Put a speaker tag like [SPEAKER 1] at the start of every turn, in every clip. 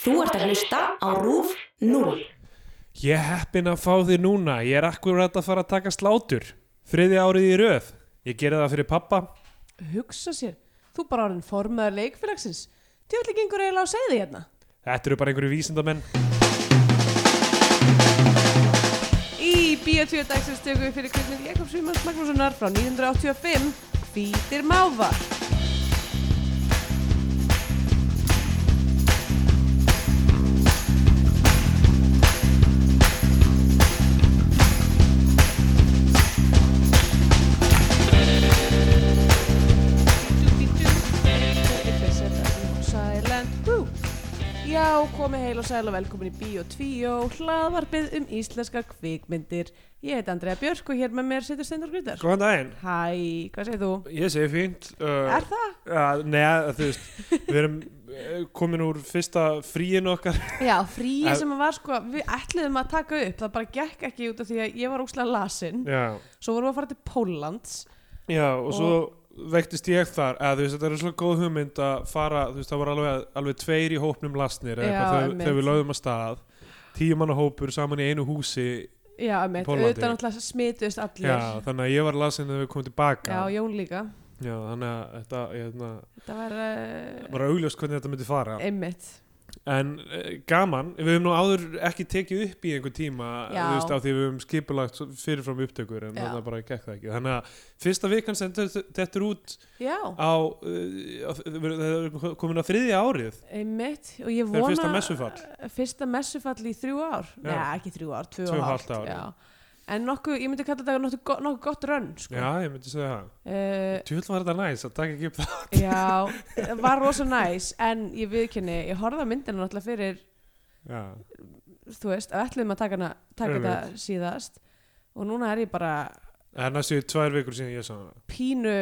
[SPEAKER 1] Þú ert að hlusta á RÚF 0.
[SPEAKER 2] Ég er heppin að fá þig núna, ég er akkurat að fara að taka slátur. Þriði árið í röð. Ég gerði það fyrir pappa.
[SPEAKER 3] Hugsa sér, þú bara orðin formaður leikfélagsins. Tjóðlega gengur eiginlega á segði hérna.
[SPEAKER 2] Þetta eru bara einhverju vísindamenn.
[SPEAKER 3] Í Bíotvíu dagsins tökum við fyrir kvikmynd Jakobs Vímans Magnússonar frá 1985, Hvítir Mávar. Silent Crew. Já, komið heil og sæl og velkomin í Bíó 2, hlaðvarpið um íslenskar kvikmyndir. Ég heit Andrea Björk og hér með mér situr Steindor Grytar.
[SPEAKER 2] Góðan daginn.
[SPEAKER 3] Hæ, hvað segir þú?
[SPEAKER 2] Ég segi fínt. Uh,
[SPEAKER 3] Er það?
[SPEAKER 2] Uh, nei, að þú veist, við erum uh, komin úr fyrsta fríin okkar.
[SPEAKER 3] Já, fríið
[SPEAKER 2] Er-
[SPEAKER 3] sem að var sko, við ætliðum að taka upp, það bara gekk ekki út af því að ég var óslega lasin.
[SPEAKER 2] Já,
[SPEAKER 3] Svo vorum við að fara til Póllands.
[SPEAKER 2] já og svo veiktist ég þar að þú veist, þetta er svo góð hugmynd að fara, þú veist, það var alveg, alveg tveir í hópnum lasnir eða
[SPEAKER 3] Já,
[SPEAKER 2] eitthvað, þegar-
[SPEAKER 3] einmitt.
[SPEAKER 2] þegar við lögðum að stað. Tíu manna hópur saman í einu húsi.
[SPEAKER 3] Já, með
[SPEAKER 2] Póllandi.
[SPEAKER 3] auðvitað náttúrulega smituðist allir.
[SPEAKER 2] Já, þannig að ég var lasin þegar við komum tilbaka.
[SPEAKER 3] Já, Jón líka.
[SPEAKER 2] Já, þannig að þetta, ég hefna,
[SPEAKER 3] Þetta var uh,
[SPEAKER 2] var augljóst hvernig þetta myndi fara.
[SPEAKER 3] einmitt.
[SPEAKER 2] En uh, gaman, við höfum nú áður ekki tekið upp í einhver tíma,
[SPEAKER 3] Já.
[SPEAKER 2] þú veist, á því við höfum skipulagt svo- fyrirfram upptökur, en
[SPEAKER 3] Já.
[SPEAKER 2] þannig að bara gekk það ekki. Þannig að fyrsta vikan sendur þetta er út
[SPEAKER 3] Já,
[SPEAKER 2] á, uh, á það er komin á þriðja árið.
[SPEAKER 3] einmitt. Og ég
[SPEAKER 2] Þegar
[SPEAKER 3] vona...
[SPEAKER 2] fyrsta messufall.
[SPEAKER 3] Fyrsta messufall í þrjú ár.
[SPEAKER 2] Já.
[SPEAKER 3] Nei, ekki þrjú ár, tvö
[SPEAKER 2] Tvö
[SPEAKER 3] og
[SPEAKER 2] og
[SPEAKER 3] hálft.
[SPEAKER 2] hálft ár,
[SPEAKER 3] já. En nokkuð, ég myndi kalla þetta nokkuð, go- nokkuð gott rönn, sko.
[SPEAKER 2] Já, ég myndi segja það.
[SPEAKER 3] Eh,
[SPEAKER 2] Tjóðlega var þetta næs að taka ekki upp það.
[SPEAKER 3] já, það var rosa næs, en ég viðkynni, ég horfði að myndina náttúrulega fyrir,
[SPEAKER 2] Já,
[SPEAKER 3] þú veist, að ætliðum að taka, hana, taka þetta síðast. Og núna er ég bara
[SPEAKER 2] það er næstu tvær vikur síðan ég sá það.
[SPEAKER 3] pínu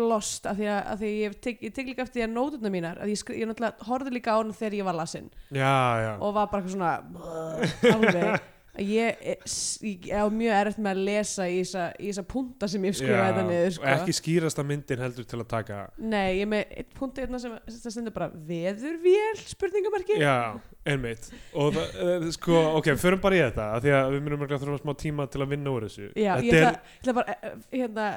[SPEAKER 3] lost af því að, af því að ég tek, ég tek líka eftir því að nótuna mínar, að ég, skri, ég náttúrulega horfði líka á hana þegar ég var lasinn.
[SPEAKER 2] Já, já.
[SPEAKER 3] og var bara eitthvað svona alveg að ég ég- ég á mjög erfitt með að lesa í þessa, í þessa punta sem ég skrifa
[SPEAKER 2] Já,
[SPEAKER 3] þetta niður sko.
[SPEAKER 2] Og ekki skýrasta myndin heldur til að taka.
[SPEAKER 3] Nei, ég er með eitt punkt einna sem það stendur bara veðurvél spurningamarki
[SPEAKER 2] Já, einmitt og það, eh, sko, ok, förum bara í þetta af því að við munum ekki að þurfa smá tíma til að vinna úr þessu
[SPEAKER 3] Já, ég
[SPEAKER 2] Þetta
[SPEAKER 3] ætla, ætla bara eh, hérna,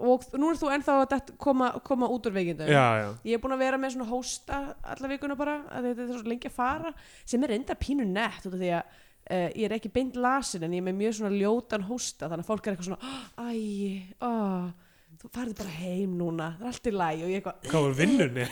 [SPEAKER 3] og nú er þú ennþá að detta- koma, koma út úr veikindum
[SPEAKER 2] já, já,
[SPEAKER 3] Ég er búin að vera með svona hósta alla vikuna bara, að þetta er svo lengi að fara sem er enda pínu nett út af því að uh, ég er ekki beint lasin en ég er með mjög svona ljótan hósta þannig að fólk er eitthvað svona, æ, ó, þú farði bara heim núna, það er allt í læg og ég eitthvað,
[SPEAKER 2] hvað var vinnunni?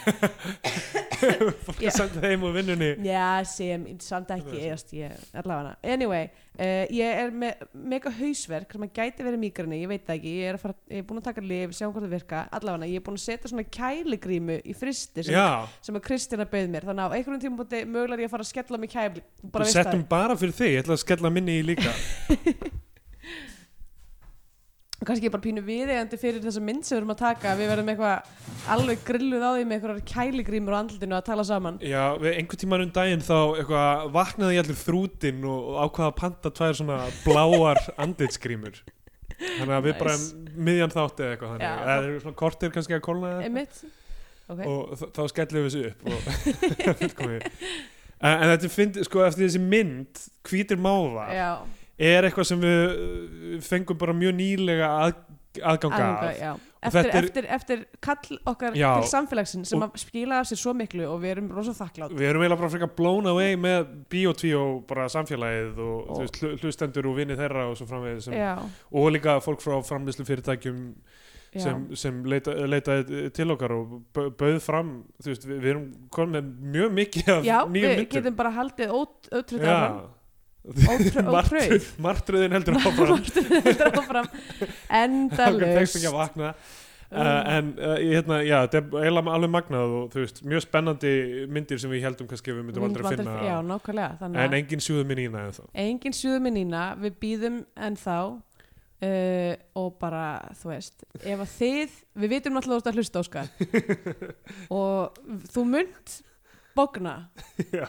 [SPEAKER 2] Fólk
[SPEAKER 3] Já.
[SPEAKER 2] að senda þeim úr vinnunni
[SPEAKER 3] já, sem, samt ekki, eðast, ég er lafana. Anyway, uh, ég er með mega hausverk sem að gæti verið mígrinni, ég veit það ekki, ég er, að fara, ég er búin að taka lif, sjá um hvort það virka, allavega, ég er búin að setja svona kæligrímu í fristi sem
[SPEAKER 2] Já,
[SPEAKER 3] sem að Kristina bauð mér þannig að á einhvern tíma búti mögulega er ég að fara að skella mig kæfli bara
[SPEAKER 2] við
[SPEAKER 3] veist það
[SPEAKER 2] settum bara fyrir þig ég ætla að skella minni í líka
[SPEAKER 3] kannski ég er bara pínu viðegandi fyrir þessa mynd sem við erum að taka við verðum eitthvað alveg grilluð á því með eitthvað kæligrímur á andlutinu að tala saman
[SPEAKER 2] Já, við einhvern tímann um daginn þá eitthvað, vaknaði ég allir þrútin og, og ákvaða að panta tvær svona bláar andlitsgrímur Þannig að við bara
[SPEAKER 3] Nice.
[SPEAKER 2] miðjan þátti eða eitthvað
[SPEAKER 3] Já.
[SPEAKER 2] þannig Það eru svona kortir kannski að kólna eða eitthvað.
[SPEAKER 3] einmitt ok,
[SPEAKER 2] og þ- þá skellum við þessu upp og fullkomið en, en þetta finnst, sko, eftir þessi mynd hvítir máva
[SPEAKER 3] já,
[SPEAKER 2] er eitthvað sem við uh, fengum bara mjög nýlega að, aðganga
[SPEAKER 3] aðganga,
[SPEAKER 2] að
[SPEAKER 3] já eftir,
[SPEAKER 2] þetta er-
[SPEAKER 3] eftir, eftir kall okkar
[SPEAKER 2] Já.
[SPEAKER 3] til samfélagsin sem
[SPEAKER 2] Og-
[SPEAKER 3] að skila af sér svo miklu og við erum rosa þakklátt
[SPEAKER 2] við erum eiginlega bara frekar blown away með B.O.T. og bara samfélagið og,
[SPEAKER 3] Og-
[SPEAKER 2] og. Veist, hlu- hlustendur og vinni þeirra og svo framvegis sem,
[SPEAKER 3] já,
[SPEAKER 2] og líka fólk frá framlýslu fyrirtækjum
[SPEAKER 3] já,
[SPEAKER 2] sem, sem leita, leitaði til okkar og bau- bauð fram þú veist, við, við erum komin með mjög mikið af
[SPEAKER 3] já við
[SPEAKER 2] nýjum myndum
[SPEAKER 3] getum bara haldið ót- ótrúð áfram
[SPEAKER 2] Já.
[SPEAKER 3] Ótrú-
[SPEAKER 2] Martröð, martröðin heldur áfram
[SPEAKER 3] Martröð áfram
[SPEAKER 2] okkur tekst
[SPEAKER 3] endalaust
[SPEAKER 2] ekki að vakna uh, en uh, ég, hérna, já, þetta er eiginlega alveg magnað og þú veist, mjög spennandi myndir sem við heldum kannski að við myndum aldrei finna
[SPEAKER 3] Já, nákvæmlega þannig
[SPEAKER 2] en
[SPEAKER 3] að-
[SPEAKER 2] engin sjúðu minni í næðu þá
[SPEAKER 3] engin suðuminnína, við býðum ennþá uh, og bara, þú veist, ef að þið við vitum náttúrulega þú ert að hlusta Óskar og þú munt bókna
[SPEAKER 2] Já.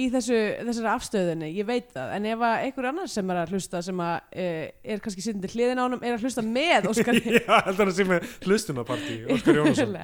[SPEAKER 3] í þessu, þessari afstöðinni ég veit það, en ef að einhver annar sem er að hlusta sem að, uh, er kannski sindið hliðin á honum, er að hlusta með Óskar
[SPEAKER 2] já, heldur að sé með hlustunapartí Óskar Jónsson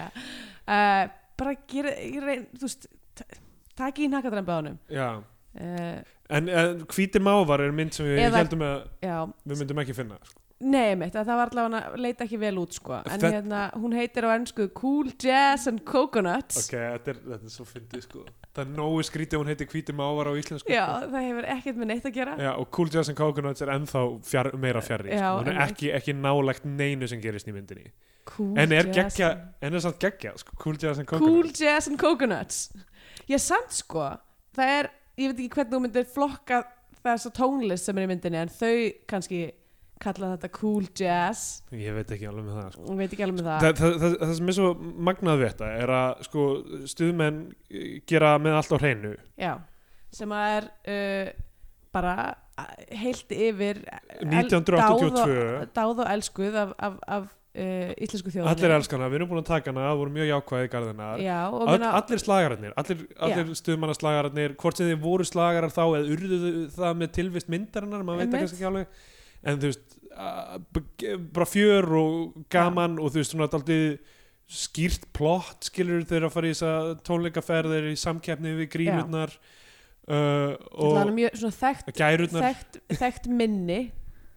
[SPEAKER 3] Eh, uh, bara gera, gera þú veist t- Takk í nakkadræmbi á honum
[SPEAKER 2] já
[SPEAKER 3] uh,
[SPEAKER 2] En, en hvíti mávar er mynd sem við
[SPEAKER 3] Eða-
[SPEAKER 2] heldum að
[SPEAKER 3] Já,
[SPEAKER 2] við myndum ekki finna sko.
[SPEAKER 3] nei mitt, það var allavega hann leita ekki vel út sko En
[SPEAKER 2] Þetta-
[SPEAKER 3] hérna, hún heitir á ennsku Cool Jazz and Coconuts
[SPEAKER 2] Ok, þetta er, þetta er svo fyndið sko Það er nógu skrítið að hún heiti hvíti mávar á íslensku
[SPEAKER 3] Já,
[SPEAKER 2] sko.
[SPEAKER 3] það hefur ekkert með neitt að gera
[SPEAKER 2] já Og Cool Jazz and Coconuts er ennþá fjar, meira fjarrri
[SPEAKER 3] Já,
[SPEAKER 2] sko. Hún er
[SPEAKER 3] einmitt.
[SPEAKER 2] ekki, ekki nálægt neinu sem gerist í myndinni
[SPEAKER 3] Cool
[SPEAKER 2] En er
[SPEAKER 3] Jazz
[SPEAKER 2] geggja,
[SPEAKER 3] and-
[SPEAKER 2] en er samt geggja sko. Cool Jazz and
[SPEAKER 3] Cool
[SPEAKER 2] Coconuts
[SPEAKER 3] Jazz and Coconuts Ég samt sko Það er, ég veit ekki hvernig þú myndir flokka þessa tónlist sem er í myndinni en þau kannski kalla þetta Cool Jazz
[SPEAKER 2] Ég veit ekki alveg með það sko.
[SPEAKER 3] Ég veit ekki alveg með það
[SPEAKER 2] Þa, það, það, það sem er svo magnað við þetta er að sko, stuðmenn eh, gera með allt á hreinu
[SPEAKER 3] Já, sem að er uh, bara uh, heilt yfir el-
[SPEAKER 2] 1982.
[SPEAKER 3] dáð og, dáð og elskuð af, af, af uh, íslensku þjóðinni
[SPEAKER 2] Allir elskana, við erum búin að taka hana, voru mjög jákvæði í garðinar
[SPEAKER 3] Já, og
[SPEAKER 2] All,
[SPEAKER 3] minna,
[SPEAKER 2] allir slagararnir, allir, allir stuðmannaslagararnir hvort sem þið voru slagarar þá eða urðu þau það með tilvist myndarinnar maður veit það
[SPEAKER 3] Einmitt.
[SPEAKER 2] kannski ekki alveg en þú veist, að- b- bara fjör og gaman og þú veist svona daldið skýrt plott skilur þeir að fara í þess að tónleikaferð þeir eru í samkeppni við grímurnar uh,
[SPEAKER 3] það er
[SPEAKER 2] og
[SPEAKER 3] um mjög svona þekkt,
[SPEAKER 2] gærurnar
[SPEAKER 3] þekkt, þekkt minni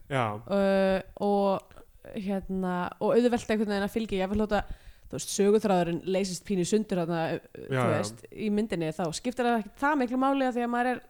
[SPEAKER 2] já,
[SPEAKER 3] uh, og hérna og auðvelt einhvern veginn að fylgja ég vil hlota þú veist, sögurþráðurinn leysist pínu í sundur þarna, uh,
[SPEAKER 2] Já,
[SPEAKER 3] þú
[SPEAKER 2] já.
[SPEAKER 3] veist, í myndinni þá skiptir það ekki það miklu máli að því að maður er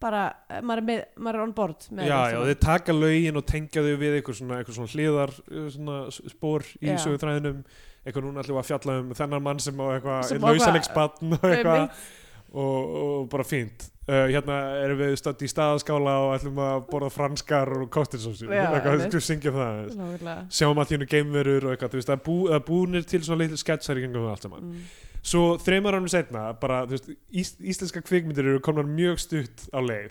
[SPEAKER 3] bara, maður er, með, maður er on board
[SPEAKER 2] já,
[SPEAKER 3] með allt
[SPEAKER 2] já,
[SPEAKER 3] saman.
[SPEAKER 2] þeir taka lögin og tengja þau við eitthvað svona, eitthvað svona hliðar uh, svona s- spór í
[SPEAKER 3] Já.
[SPEAKER 2] sögutræðinum eitthvað núna ætlum við að fjalla um þennan mann sem á eitthvað
[SPEAKER 3] Sem á eitthvað-
[SPEAKER 2] lausaleggsbatn og eitthvað
[SPEAKER 3] Einmitt.
[SPEAKER 2] og, og bara fínt uh, hérna erum við stödd í staðaskála og ætlum að borða franskar og kostinsósi
[SPEAKER 3] Já,
[SPEAKER 2] eitthvað,
[SPEAKER 3] einmitt.
[SPEAKER 2] þú syngja um það aðeins.
[SPEAKER 3] Nákvæmlega.
[SPEAKER 2] sjáum að þínu geimverur og eitthvað, þú veist, það er bú, það er búnir til svona litlu sketsar í gengum það allt saman
[SPEAKER 3] Mm.
[SPEAKER 2] svo þreymar ánum setna, bara, þú veist ís, íslenska kvikmyndir eru komnar mjög stutt á leið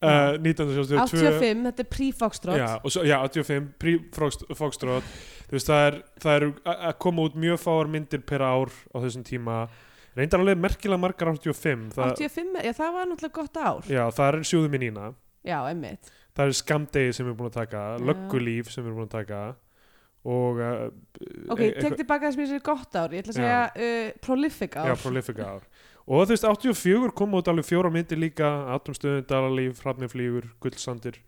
[SPEAKER 2] uh, 1972
[SPEAKER 3] 85, þetta er pre-Foxtrot
[SPEAKER 2] Já, og svo, já, 85, pre-Foxtrot þú veist, það er, það er að koma út mjög fáar myndir per ár á þessum tíma, reyndar alveg merkilega margar 85, það,
[SPEAKER 3] 85, já það var náttúrulega gott ár
[SPEAKER 2] já, E- það er sjóðu minn ína,
[SPEAKER 3] Já, emmitt
[SPEAKER 2] það er skamdegi sem við erum búin að taka,
[SPEAKER 3] Já.
[SPEAKER 2] löggulíf sem við erum búin að taka og uh,
[SPEAKER 3] Ok,
[SPEAKER 2] e- e-
[SPEAKER 3] ég tek tilbaka þess að mér sér gott ár Ég ætla að segja uh, prolific ár
[SPEAKER 2] já, prolific ár og þú veist, 84 koma út alveg fjóra myndir líka Atomstöðun, Dalalíf, Hrafniflýgur, Gullsandir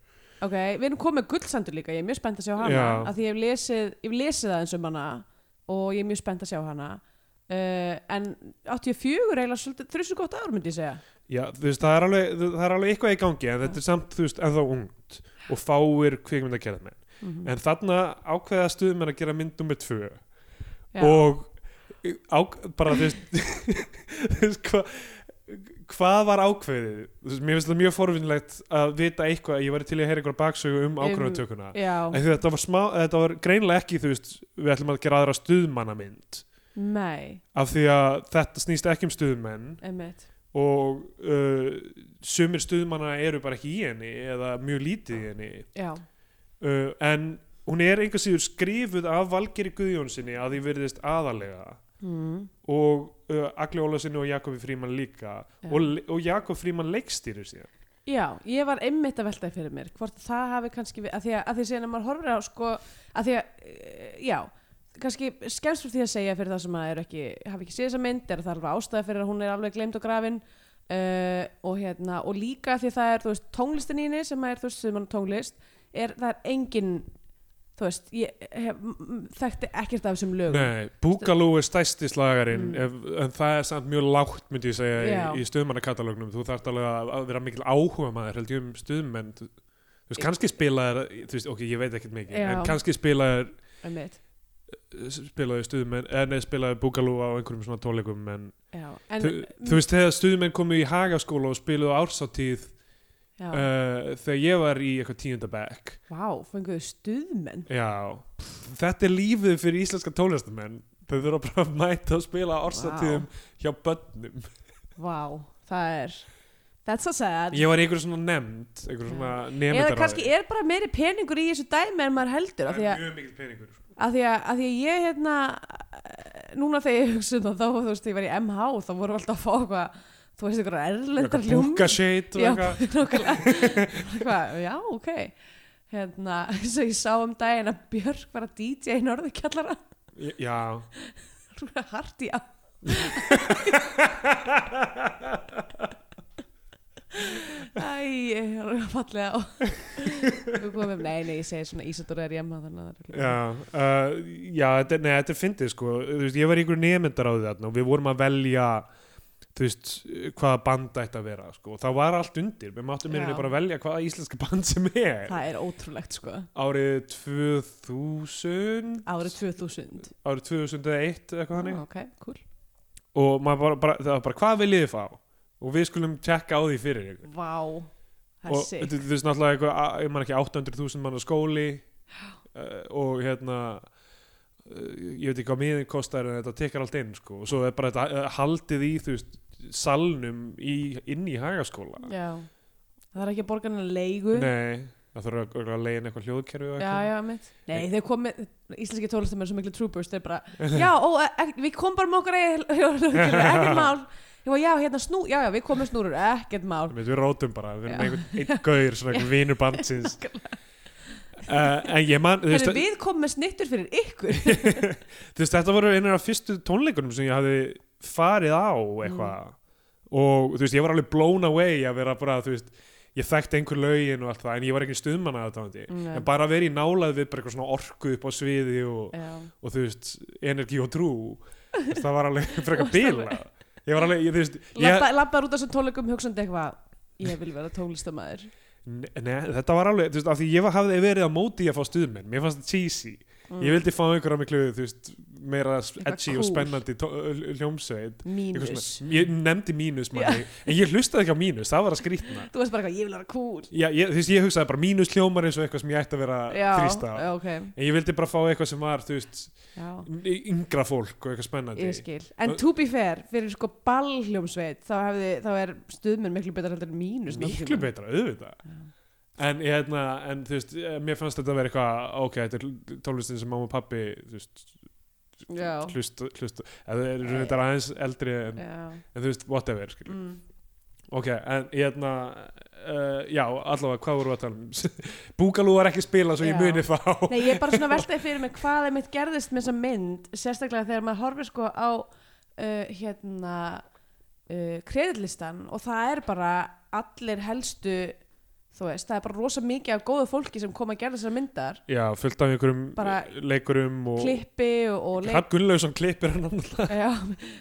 [SPEAKER 3] Ok, við erum komið með gullsandur líka, ég er mjög spennt að sjá hana
[SPEAKER 2] Já.
[SPEAKER 3] af því ég hef lesið, ég hef lesið aðeins um hana og ég er mjög spennt að sjá hana uh, en 84 er eiginlega svolítið þrjusu gott ár myndi ég segja
[SPEAKER 2] Já, þú veist, það er alveg, það er alveg eitthvað í gangi en þetta er samt, þú veist, ennþá ungt og fáir kvikmyndagerðmenn
[SPEAKER 3] Mhm.
[SPEAKER 2] en þarna ákveða stuðmenn að gera mynd nummer tvö
[SPEAKER 3] Já.
[SPEAKER 2] og á, bara, þú veist, þú veist hva, hvað var ákveðið? Þú veist, mér finnst það mjög forvinnlegt að vita eitthvað, ég væri til í að heyra eitthvað baksögu um ákveðunatökuna
[SPEAKER 3] Já,
[SPEAKER 2] en þetta var, smá, þetta var greinlega ekki, þú veist, við ætlum að gera aðra stuðmannamynd
[SPEAKER 3] nei,
[SPEAKER 2] af því að þetta snýst ekki um stuðmenn
[SPEAKER 3] emmitt
[SPEAKER 2] og uh, sumir stuðmanna eru bara ekki í henni eða mjög lítið í henni
[SPEAKER 3] Já,
[SPEAKER 2] uh, en hún er einhvers síður skrifuð af Valgeri Guðjónsinni að því virðist aðalega
[SPEAKER 3] mm.
[SPEAKER 2] og uh, Agli Ólasinni og Jakobi Fríman líka
[SPEAKER 3] Já.
[SPEAKER 2] og, le- og Jakob Fríman leikstýrir síðan
[SPEAKER 3] Já, ég var einmitt að velta því fyrir mér hvort það hafi kannski, við, að því að, að því að síðan að maður horfir á sko, að því að e, já, kannski skemmst fyrir því að segja fyrir það sem að er ekki, hafi ekki séð þessa mynd er að það er alveg ástæða fyrir að hún er alveg gleymd og grafin uh, og hérna og líka því að það er, þú veist, tónlistin í henni sem er, þú veist, sem hann tónlist er, það er engin, þú veist ég hef, m- m- þekkti ekkert af þessum lögum
[SPEAKER 2] Nei, Búkalú er stæsti slagarinn
[SPEAKER 3] Mm.
[SPEAKER 2] ef, en það er samt mjög lágt myndi ég segja
[SPEAKER 3] Já.
[SPEAKER 2] í, í stuðmannakatalógnum þú þarft alveg að, að vera mikil áhuga maður held ég um stuðmenn þú þú veist, kannski spilaðir, þú veist, ok, ég veit ekkert mikið
[SPEAKER 3] Já.
[SPEAKER 2] en kannski spilaðir
[SPEAKER 3] einmitt,
[SPEAKER 2] spilaði stuðmenn eh, nei, spilaði Búgalú á einhverjum svona tónleikum en,
[SPEAKER 3] já, en mm.
[SPEAKER 2] þú, þú veist þegar stuðmenn komu í Hagaskóla og spiluðu á ársatíð
[SPEAKER 3] já,
[SPEAKER 2] uh, þegar ég var í eitthvað tíunda bekk
[SPEAKER 3] vá, fenguðu stuðmenn
[SPEAKER 2] já, þetta er lífið fyrir íslenska tónlistamenn þau þurfa bara að mæta að spila á ársatíðum hjá börnum
[SPEAKER 3] vá, það er that's so sad
[SPEAKER 2] ég var í einhverju svona nefnd einhverju svona nefndaráði
[SPEAKER 3] eða kannski er bara meiri peningur í þessu dæmi en maður heldur af
[SPEAKER 2] það
[SPEAKER 3] því
[SPEAKER 2] er
[SPEAKER 3] að,
[SPEAKER 2] mjög mikill peningur sko.
[SPEAKER 3] að, því að, að því að ég hérna eh, núna þegar ég hugsa um það þá þú veist ég var í MH þá vorum við alltaf að fá eitthvað þú veist ykkur erlendar
[SPEAKER 2] Eitthvað
[SPEAKER 3] ljúm
[SPEAKER 2] búkasheit og
[SPEAKER 3] Já,
[SPEAKER 2] eitthvað.
[SPEAKER 3] nákvæmlega. Eitthvað, já ok hérna eins og ég sá um daginn að Björk var að DJ í norðurkjallara
[SPEAKER 2] já,
[SPEAKER 3] hart í á Æ, ég er fallega á Við komum, nei, nei, ég segi svona Ísadóra er hjemma þannig að það er
[SPEAKER 2] Já, uh, já þetta, nei, þetta er fyndið sko Þú veist, ég var í ykkur nefndar á þetta og við vorum að velja þú veist, hvaða band ætti að vera sko. og það var allt undir, við máttum
[SPEAKER 3] Já.
[SPEAKER 2] mér bara velja hvaða íslenska band sem er
[SPEAKER 3] Það er ótrúlegt, sko
[SPEAKER 2] árið 2000
[SPEAKER 3] Árið 2000
[SPEAKER 2] árið 2001 eitthvað þannig
[SPEAKER 3] Ok, cool
[SPEAKER 2] og maður bara, bara, það var bara, hvað viljið þið fá og við skulum tjekka á því fyrir ykkur
[SPEAKER 3] Vá,
[SPEAKER 2] og
[SPEAKER 3] það er
[SPEAKER 2] þú
[SPEAKER 3] sick
[SPEAKER 2] þú veist náttúrulega eitthvað, a- ég man ekki 800.000 manna skóli uh, og hérna uh, ég veit ekki hvað miðin kostar en þetta tekkar allt inn sko og svo er bara þetta uh, haldið í þú veist salnum í, inn í hagaskóla
[SPEAKER 3] Já Það er ekki að borga hennar leigu
[SPEAKER 2] nei, það þarf að, að leiðin eitthvað hljóðkerfi og
[SPEAKER 3] Já,
[SPEAKER 2] eitthvað
[SPEAKER 3] já, mitt Nei, þeir komið, íslenski tólestum er svo miklu trúburs Þeir bara, já, ó, e, við komum bara með okkar eigin- Ekkert mál Ég var, já, hérna snú, já, já, við komum með snúrur Ekkert mál
[SPEAKER 2] Við, við rótum bara, við erum
[SPEAKER 3] Já.
[SPEAKER 2] einhvern einn gaur svona einhvern vinur bandsins uh, en ég man þú veist,
[SPEAKER 3] Herri, við komum með snittur fyrir ykkur
[SPEAKER 2] þú veist, þetta voru einar af fyrstu tónleikunum sem ég hafði farið á eitthvað og þú veist, ég var alveg blown away að vera bara, þú veist ég þekkti einhver lögin og allt það, en ég var ekki stuðmann að þetta
[SPEAKER 3] Nei.
[SPEAKER 2] en bara að vera í nálað við bara eitthvað svona orku upp á sviði og,
[SPEAKER 3] Já
[SPEAKER 2] og þú veist, energi og trú Þú veist, það var alveg frekar bila ég var alveg, ég, þú veist ég,
[SPEAKER 3] Lappa, Lappar út af þessum tónleikum hugsandi eitthvað Ég vil vera tónlistamæður
[SPEAKER 2] ne, þetta var alveg, þú veist, af því ég var, hafði verið á móti í að fá stuðmenn, mér fannst það cheesy ég vildi fá einhverja miklu, þú veist meira edgy og
[SPEAKER 3] Mm. cool.
[SPEAKER 2] spennandi tó- hljómsveit Eitthvað
[SPEAKER 3] Mínus
[SPEAKER 2] svona, ég nefndi mínus manni, en ég hlustaði ekki á mínus, það var að skrýtna
[SPEAKER 3] Þú veist bara eitthvað, ég vil vera cool
[SPEAKER 2] já, ég, þú veist, ég hugsaði bara mínus hljómar eins og eitthvað sem ég ætti að vera
[SPEAKER 3] Já,
[SPEAKER 2] að þrýsta á
[SPEAKER 3] já, ok
[SPEAKER 2] en ég vildi bara fá eitthvað sem var, þú veist
[SPEAKER 3] já,
[SPEAKER 2] y- yngra fólk og eitthvað spennandi
[SPEAKER 3] Ég skil En to be fair, fyrir sko ballhljómsveit Þá, hefði, þá er stuðmenn miklu betra heldur en mínus
[SPEAKER 2] miklu betra, auðvitað en, ég hefna, en þú veist, eh, mér fannst þetta að vera eitthvað ok, þetta er tónlistin sem mamma og pappi þú veist,
[SPEAKER 3] Já.
[SPEAKER 2] hlusta, hlusta eða eru þetta aðeins eldri en,
[SPEAKER 3] Já,
[SPEAKER 2] en þú veist, whatever, skil
[SPEAKER 3] mm.
[SPEAKER 2] Ok, en ég hérna, uh, já, allavega, hvað voru að tala um? Búkalú var ekki spila svo ég
[SPEAKER 3] Já.
[SPEAKER 2] muni þá.
[SPEAKER 3] Nei, ég er bara svona veltaði fyrir mig hvað er mitt gerðist með þessa mynd, sérstaklega þegar maður horfir sko á uh, hérna uh, kreditlistan og það er bara allir helstu þú veist, það er bara rosa mikið af góðu fólki sem kom að gera þessar myndar
[SPEAKER 2] Já, fullt af einhverjum
[SPEAKER 3] Bara-
[SPEAKER 2] leikurum og...
[SPEAKER 3] klippi og, og leik
[SPEAKER 2] Hrafn Gunnlaugsson klippir hann annars.
[SPEAKER 3] já,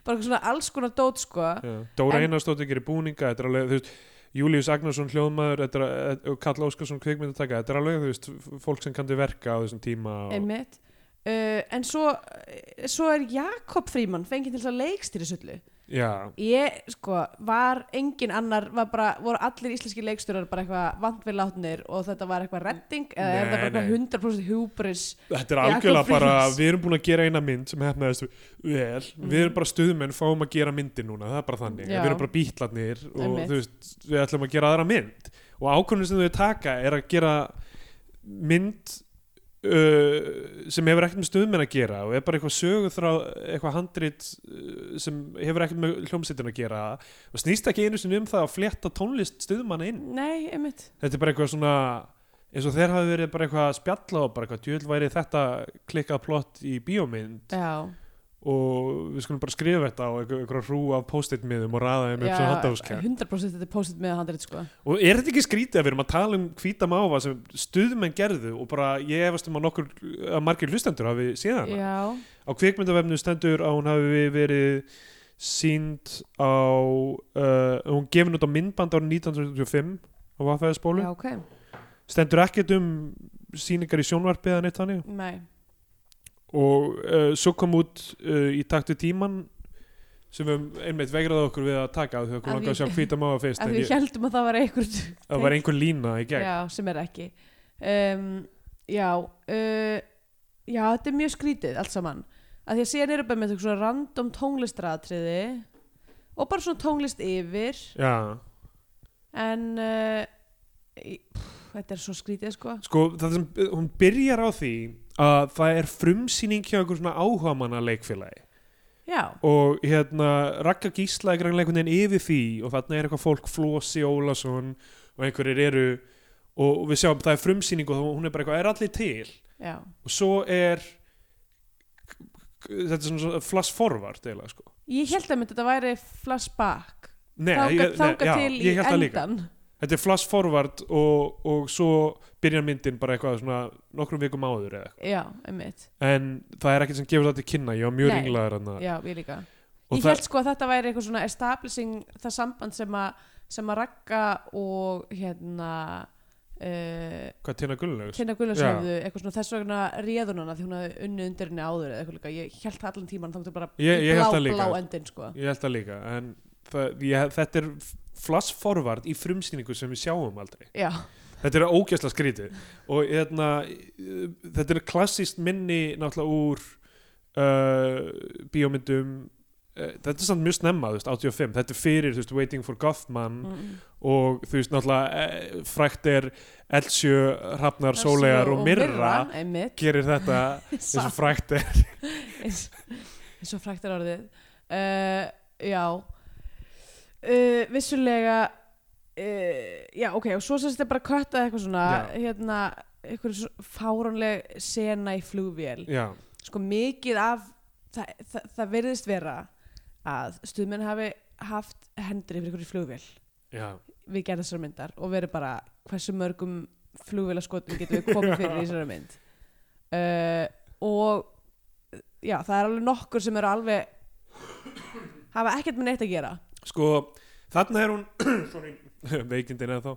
[SPEAKER 3] bara svona alls konar dót sko
[SPEAKER 2] Dóra
[SPEAKER 3] En-
[SPEAKER 2] Einarstóttir gerir búninga, þetta er alveg, þú veist, Július Agnarsson hljóðmaður, þetta er, eh, og Karl Óskarsson kvikmyndataka, þetta er alveg, þú veist, f- fólk sem kandi verka á þessum tíma og...
[SPEAKER 3] einmitt uh, en svo, eh, svo er Jakob Fríman fengið til þess að leikstýri sullu
[SPEAKER 2] Já,
[SPEAKER 3] ég sko var engin annar var bara, voru allir íslenski leikstjórar bara eitthvað vant við látnir og þetta var eitthvað redding eða
[SPEAKER 2] Nei,
[SPEAKER 3] er þetta bara
[SPEAKER 2] nei.
[SPEAKER 3] eitthvað 100% hubris
[SPEAKER 2] þetta er
[SPEAKER 3] Jakob
[SPEAKER 2] algjörlega bara,
[SPEAKER 3] Frímanns. Mhm.
[SPEAKER 2] við erum búin að gera eina mynd sem hefnaðist vel, við erum bara stuðmenn fáum að gera myndi núna, það er bara þannig
[SPEAKER 3] Já.
[SPEAKER 2] við erum bara bítlarnir og
[SPEAKER 3] Einmitt.
[SPEAKER 2] þú veist, við ætlum að gera aðra mynd og ákvörðin sem þau taka er að gera mynd uh, sem hefur ekkert með stuðmenn að gera og er bara eitthvað söguþrá eitthvað handrit uh, sem hefur ekkert með hljómsveitin að gera og snýst ekki einu sinni um það að flétta tónlist stuðmanna inn
[SPEAKER 3] nei, einmitt
[SPEAKER 2] þetta er bara eitthvað svona eins og þeir hafi verið bara eitthvað að spjalla og bara eitthvað djöld væri þetta klikkað plott í bíómynd
[SPEAKER 3] já,
[SPEAKER 2] og við skulum bara skrifa þetta á eitthvað, eitthvað hrú af post-it miðum og raða þeim upp sem handáskjær
[SPEAKER 3] 100% þetta er postið með handrið sko
[SPEAKER 2] og er þetta ekki skrítið að við erum að tala um hvíta máva sem stuðmenn gerðu og bara ég efast um að nokkur að margir hlustendur hafi séð hana
[SPEAKER 3] já,
[SPEAKER 2] á kvikmyndavefnu stendur að hún hafi verið sínd á uh, hún gefin út á myndband árið 1925 á Vafæðisbólu
[SPEAKER 3] já, ok
[SPEAKER 2] stendur ekkert um sýningar í sjónvarpi eða neitt þannig
[SPEAKER 3] nei,
[SPEAKER 2] og uh, svo kom út uh, í takt við tíman sem við einmitt vegraði okkur við að taka af því að okkur
[SPEAKER 3] Af
[SPEAKER 2] langaði að
[SPEAKER 3] því-
[SPEAKER 2] sjá hvíta mága fyrst
[SPEAKER 3] af
[SPEAKER 2] en
[SPEAKER 3] því
[SPEAKER 2] ég,
[SPEAKER 3] við heldum að það var einhver
[SPEAKER 2] það var einhver lína í gegn
[SPEAKER 3] já, sem er ekki um, já uh, já, þetta er mjög skrítið allt saman, að því að síðan eru bara með eitthvað svona random tónlistratriði og bara svona tónlist yfir
[SPEAKER 2] Já.
[SPEAKER 3] en uh, í- pff, þetta er svo skrítið sko
[SPEAKER 2] sko það sem hún byrjar á því að það er frumsýning hjá einhver svona áhugamanna leikfélagi
[SPEAKER 3] já,
[SPEAKER 2] og hérna Ragga Gísla er greinlega einhvern veginn yfir því og þarna er eitthvað fólk Flósi Ólason og einhverjir eru og við sjáum það er frumsýning og hún er bara eitthvað er allir til
[SPEAKER 3] já,
[SPEAKER 2] og svo er þetta er svona flass forvart eiginlega sko
[SPEAKER 3] Ég held að þetta væri flashback
[SPEAKER 2] Nei,
[SPEAKER 3] Þangað,
[SPEAKER 2] ég- nei,
[SPEAKER 3] þangað
[SPEAKER 2] já,
[SPEAKER 3] til í
[SPEAKER 2] ég hélt það líka.
[SPEAKER 3] endan
[SPEAKER 2] Þetta er flash forward og, og svo byrjar myndin bara eitthvað svona nokkrum vikum áður eða eitthvað.
[SPEAKER 3] Já, einmitt
[SPEAKER 2] En það er ekkert sem gefur það til kynna, ég var mjög
[SPEAKER 3] Nei.
[SPEAKER 2] ringlaður hann
[SPEAKER 3] Já, ég líka
[SPEAKER 2] og
[SPEAKER 3] Ég
[SPEAKER 2] það,
[SPEAKER 3] held sko að þetta væri eitthvað svona establishing það samband sem að sem að Ragga og hérna uh,
[SPEAKER 2] hvað Tina Gullnaugs?
[SPEAKER 3] Kynna Gullars
[SPEAKER 2] Já.
[SPEAKER 3] hefðu eitthvað svona þess vegna réðun hana því hún hafði unnið undir henni áður eða eitthvað líka ég held það allan tíman þangtum bara
[SPEAKER 2] Ég-
[SPEAKER 3] í
[SPEAKER 2] ég held
[SPEAKER 3] blá,
[SPEAKER 2] það líka.
[SPEAKER 3] blá endin sko
[SPEAKER 2] Ég held það líka, en það, ég, þetta er flash forward í frumsýningu sem við sjáum aldrei.
[SPEAKER 3] Já,
[SPEAKER 2] Þetta er ógæsla skrítið og hérna, eh, þetta er klassist minni náttúrulega úr uh, bíómyndum eh, Þetta er samt mjög snemma, þú veist, 85 Þetta er fyrir, þú veist, Waiting for Goffman
[SPEAKER 3] mm.
[SPEAKER 2] og þú veist náttúrulega eh, frækt er Elsjö, Hrafnar, Sólegar og Myrra
[SPEAKER 3] einmitt
[SPEAKER 2] gerir þetta eins og
[SPEAKER 3] Satt.
[SPEAKER 2] frækt er
[SPEAKER 3] eins, eins og frækt er orðið uh, já uh, vissulega uh, já ok og svo sem þetta bara köttað eitthvað svona
[SPEAKER 2] Já.
[SPEAKER 3] hérna eitthvað fárónleg sena í flugvél
[SPEAKER 2] Já,
[SPEAKER 3] sko mikið af það, það, það verðist vera að stuðmenn hafi haft hendur yfir ykkur í flugvél
[SPEAKER 2] já,
[SPEAKER 3] við gerðum þessar myndar og verið bara hversu mörgum flugvélaskotum getum við komið fyrir í þessari mynd uh, og já, það er alveg nokkur sem eru alveg hafa ekkert með neitt að gera
[SPEAKER 2] sko þarna er hún sorry, veikindin eða þá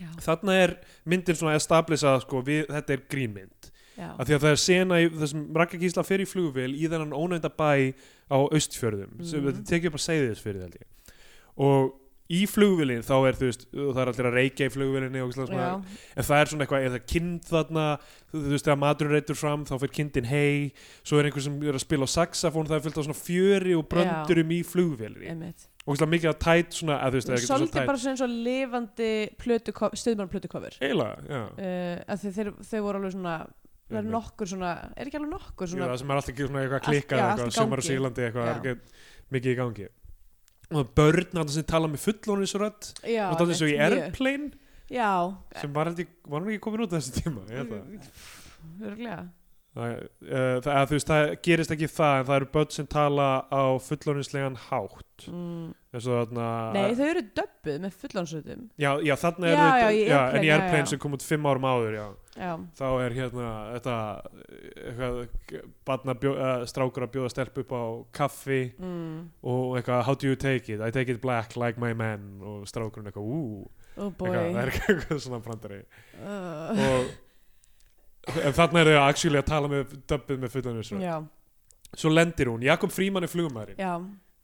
[SPEAKER 3] já,
[SPEAKER 2] þarna er myndin svona establisa sko, við, þetta er grímynd
[SPEAKER 3] já,
[SPEAKER 2] af því að það er sena í þessum Ragga Gísla fer í flugvél í þennan ónefnda bæ á Austfjörðum sem
[SPEAKER 3] Mhm.
[SPEAKER 2] þetta tekið upp að segja þess fyrir held ég og í flugvélin þá er þú veist það er allir að reykja í flugvélinni og svona,
[SPEAKER 3] já,
[SPEAKER 2] en það er svona eitthvað, er það kind þarna þú, þú veist, þegar maturinn reytur fram þá fyrir kindin hei, svo er einhver sem er að spila á saxafón, það er fyllt á svona fjöri og bröndurum í flugvélinni
[SPEAKER 3] einmitt
[SPEAKER 2] og svona mikið að tætt svona, að þú veist, það er ekki
[SPEAKER 3] svolítið
[SPEAKER 2] svona tætt
[SPEAKER 3] bara sem svo lifandi plötu, stuðmann plötukofur uh,
[SPEAKER 2] eiginlega, já
[SPEAKER 3] að þeir, þeir, þeir voru alveg svona það er
[SPEAKER 2] Einmitt.
[SPEAKER 3] nokkur svona, er ekki alveg nokkur
[SPEAKER 2] Jú,
[SPEAKER 3] svona
[SPEAKER 2] það sem er alltaf ekki svona eitthvað
[SPEAKER 3] Allt-
[SPEAKER 2] klikkað
[SPEAKER 3] já,
[SPEAKER 2] eða
[SPEAKER 3] allt í
[SPEAKER 2] eitthvað, sumar á
[SPEAKER 3] gangi.
[SPEAKER 2] Sýrlandi eitthvað, það
[SPEAKER 3] Já.
[SPEAKER 2] er ekki mikið í gangi og börn alltaf sem tala með fullónisrödd
[SPEAKER 3] já,
[SPEAKER 2] og það er svo í
[SPEAKER 3] einmitt, mjög.
[SPEAKER 2] Airplane
[SPEAKER 3] já,
[SPEAKER 2] sem var, held ég, var hann ekki komin út á þessu tíma ég held
[SPEAKER 3] Mm.
[SPEAKER 2] það.
[SPEAKER 3] örglega
[SPEAKER 2] það, uh, það, að þú veist, það gerist ekki það en það eru börn sem tala á fullónislegan hátt
[SPEAKER 3] mm.
[SPEAKER 2] eins og þarna
[SPEAKER 3] nei, þau eru döbbuð með fullansötum
[SPEAKER 2] já, já, þarna er
[SPEAKER 3] Já,
[SPEAKER 2] þetta
[SPEAKER 3] já, í Airplane,
[SPEAKER 2] en í
[SPEAKER 3] já,
[SPEAKER 2] Airplane
[SPEAKER 3] já.
[SPEAKER 2] sem kom út fimm árum áður já.
[SPEAKER 3] já,
[SPEAKER 2] þá er hérna þetta eh, eitthvað, barna bjó, uh, strákur að bjóða stelp upp á kaffi
[SPEAKER 3] mm.
[SPEAKER 2] og eitthvað, how do you take it? I take it black like my man og strákurinn eitthvað, ú
[SPEAKER 3] Oh boy
[SPEAKER 2] eitthvað, það er eitthvað svona brandari
[SPEAKER 3] uh,
[SPEAKER 2] og en þarna er þau actually að tala með döbbið með fullan þessu
[SPEAKER 3] Já,
[SPEAKER 2] svo lendir hún, Jakob Fríman er flugmaðurinn
[SPEAKER 3] já,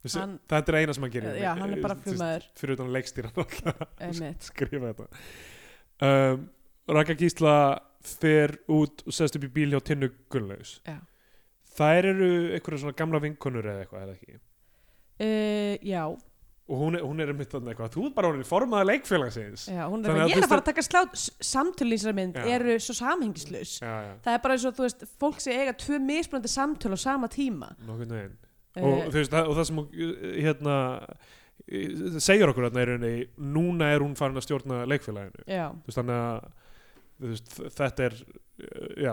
[SPEAKER 2] Þessi-
[SPEAKER 3] hann-
[SPEAKER 2] þetta er eina sem hann gerir
[SPEAKER 3] já, hann er bara
[SPEAKER 2] Þú veist,
[SPEAKER 3] flugmaður
[SPEAKER 2] fyrir utan leikstýra
[SPEAKER 3] einmitt.
[SPEAKER 2] skrifa þetta um, Raka Gísla fer út og sest upp í bíl hjá Tinnu Gunnlaus
[SPEAKER 3] Já.
[SPEAKER 2] þær eru einhverja svona gamla vinkonur eða eitthvað, eða ekki
[SPEAKER 3] Uh, já,
[SPEAKER 2] og hún er, hún er mitt þarna eitthvað, þú er bara orðin formaða leikfélagsins
[SPEAKER 3] já, hún
[SPEAKER 2] Þannig
[SPEAKER 3] er bara,
[SPEAKER 2] að þú
[SPEAKER 3] ég er
[SPEAKER 2] veist
[SPEAKER 3] að fara að taka slá samtölu í þessari mynd
[SPEAKER 2] Já.
[SPEAKER 3] eru svo samhengislaus
[SPEAKER 2] já, já,
[SPEAKER 3] Það er bara eins og, þú veist, fólk sem eiga tvö mismunandi samtölu á sama tíma
[SPEAKER 2] nokkurn veginn og,
[SPEAKER 3] uh,
[SPEAKER 2] þú veist, það, og það sem hún, uh, hérna uh, segir okkur þarna er henni núna er hún farin að stjórna leikfélaginu
[SPEAKER 3] Já,
[SPEAKER 2] þú veist, þannig að þú veist, þetta er uh, já,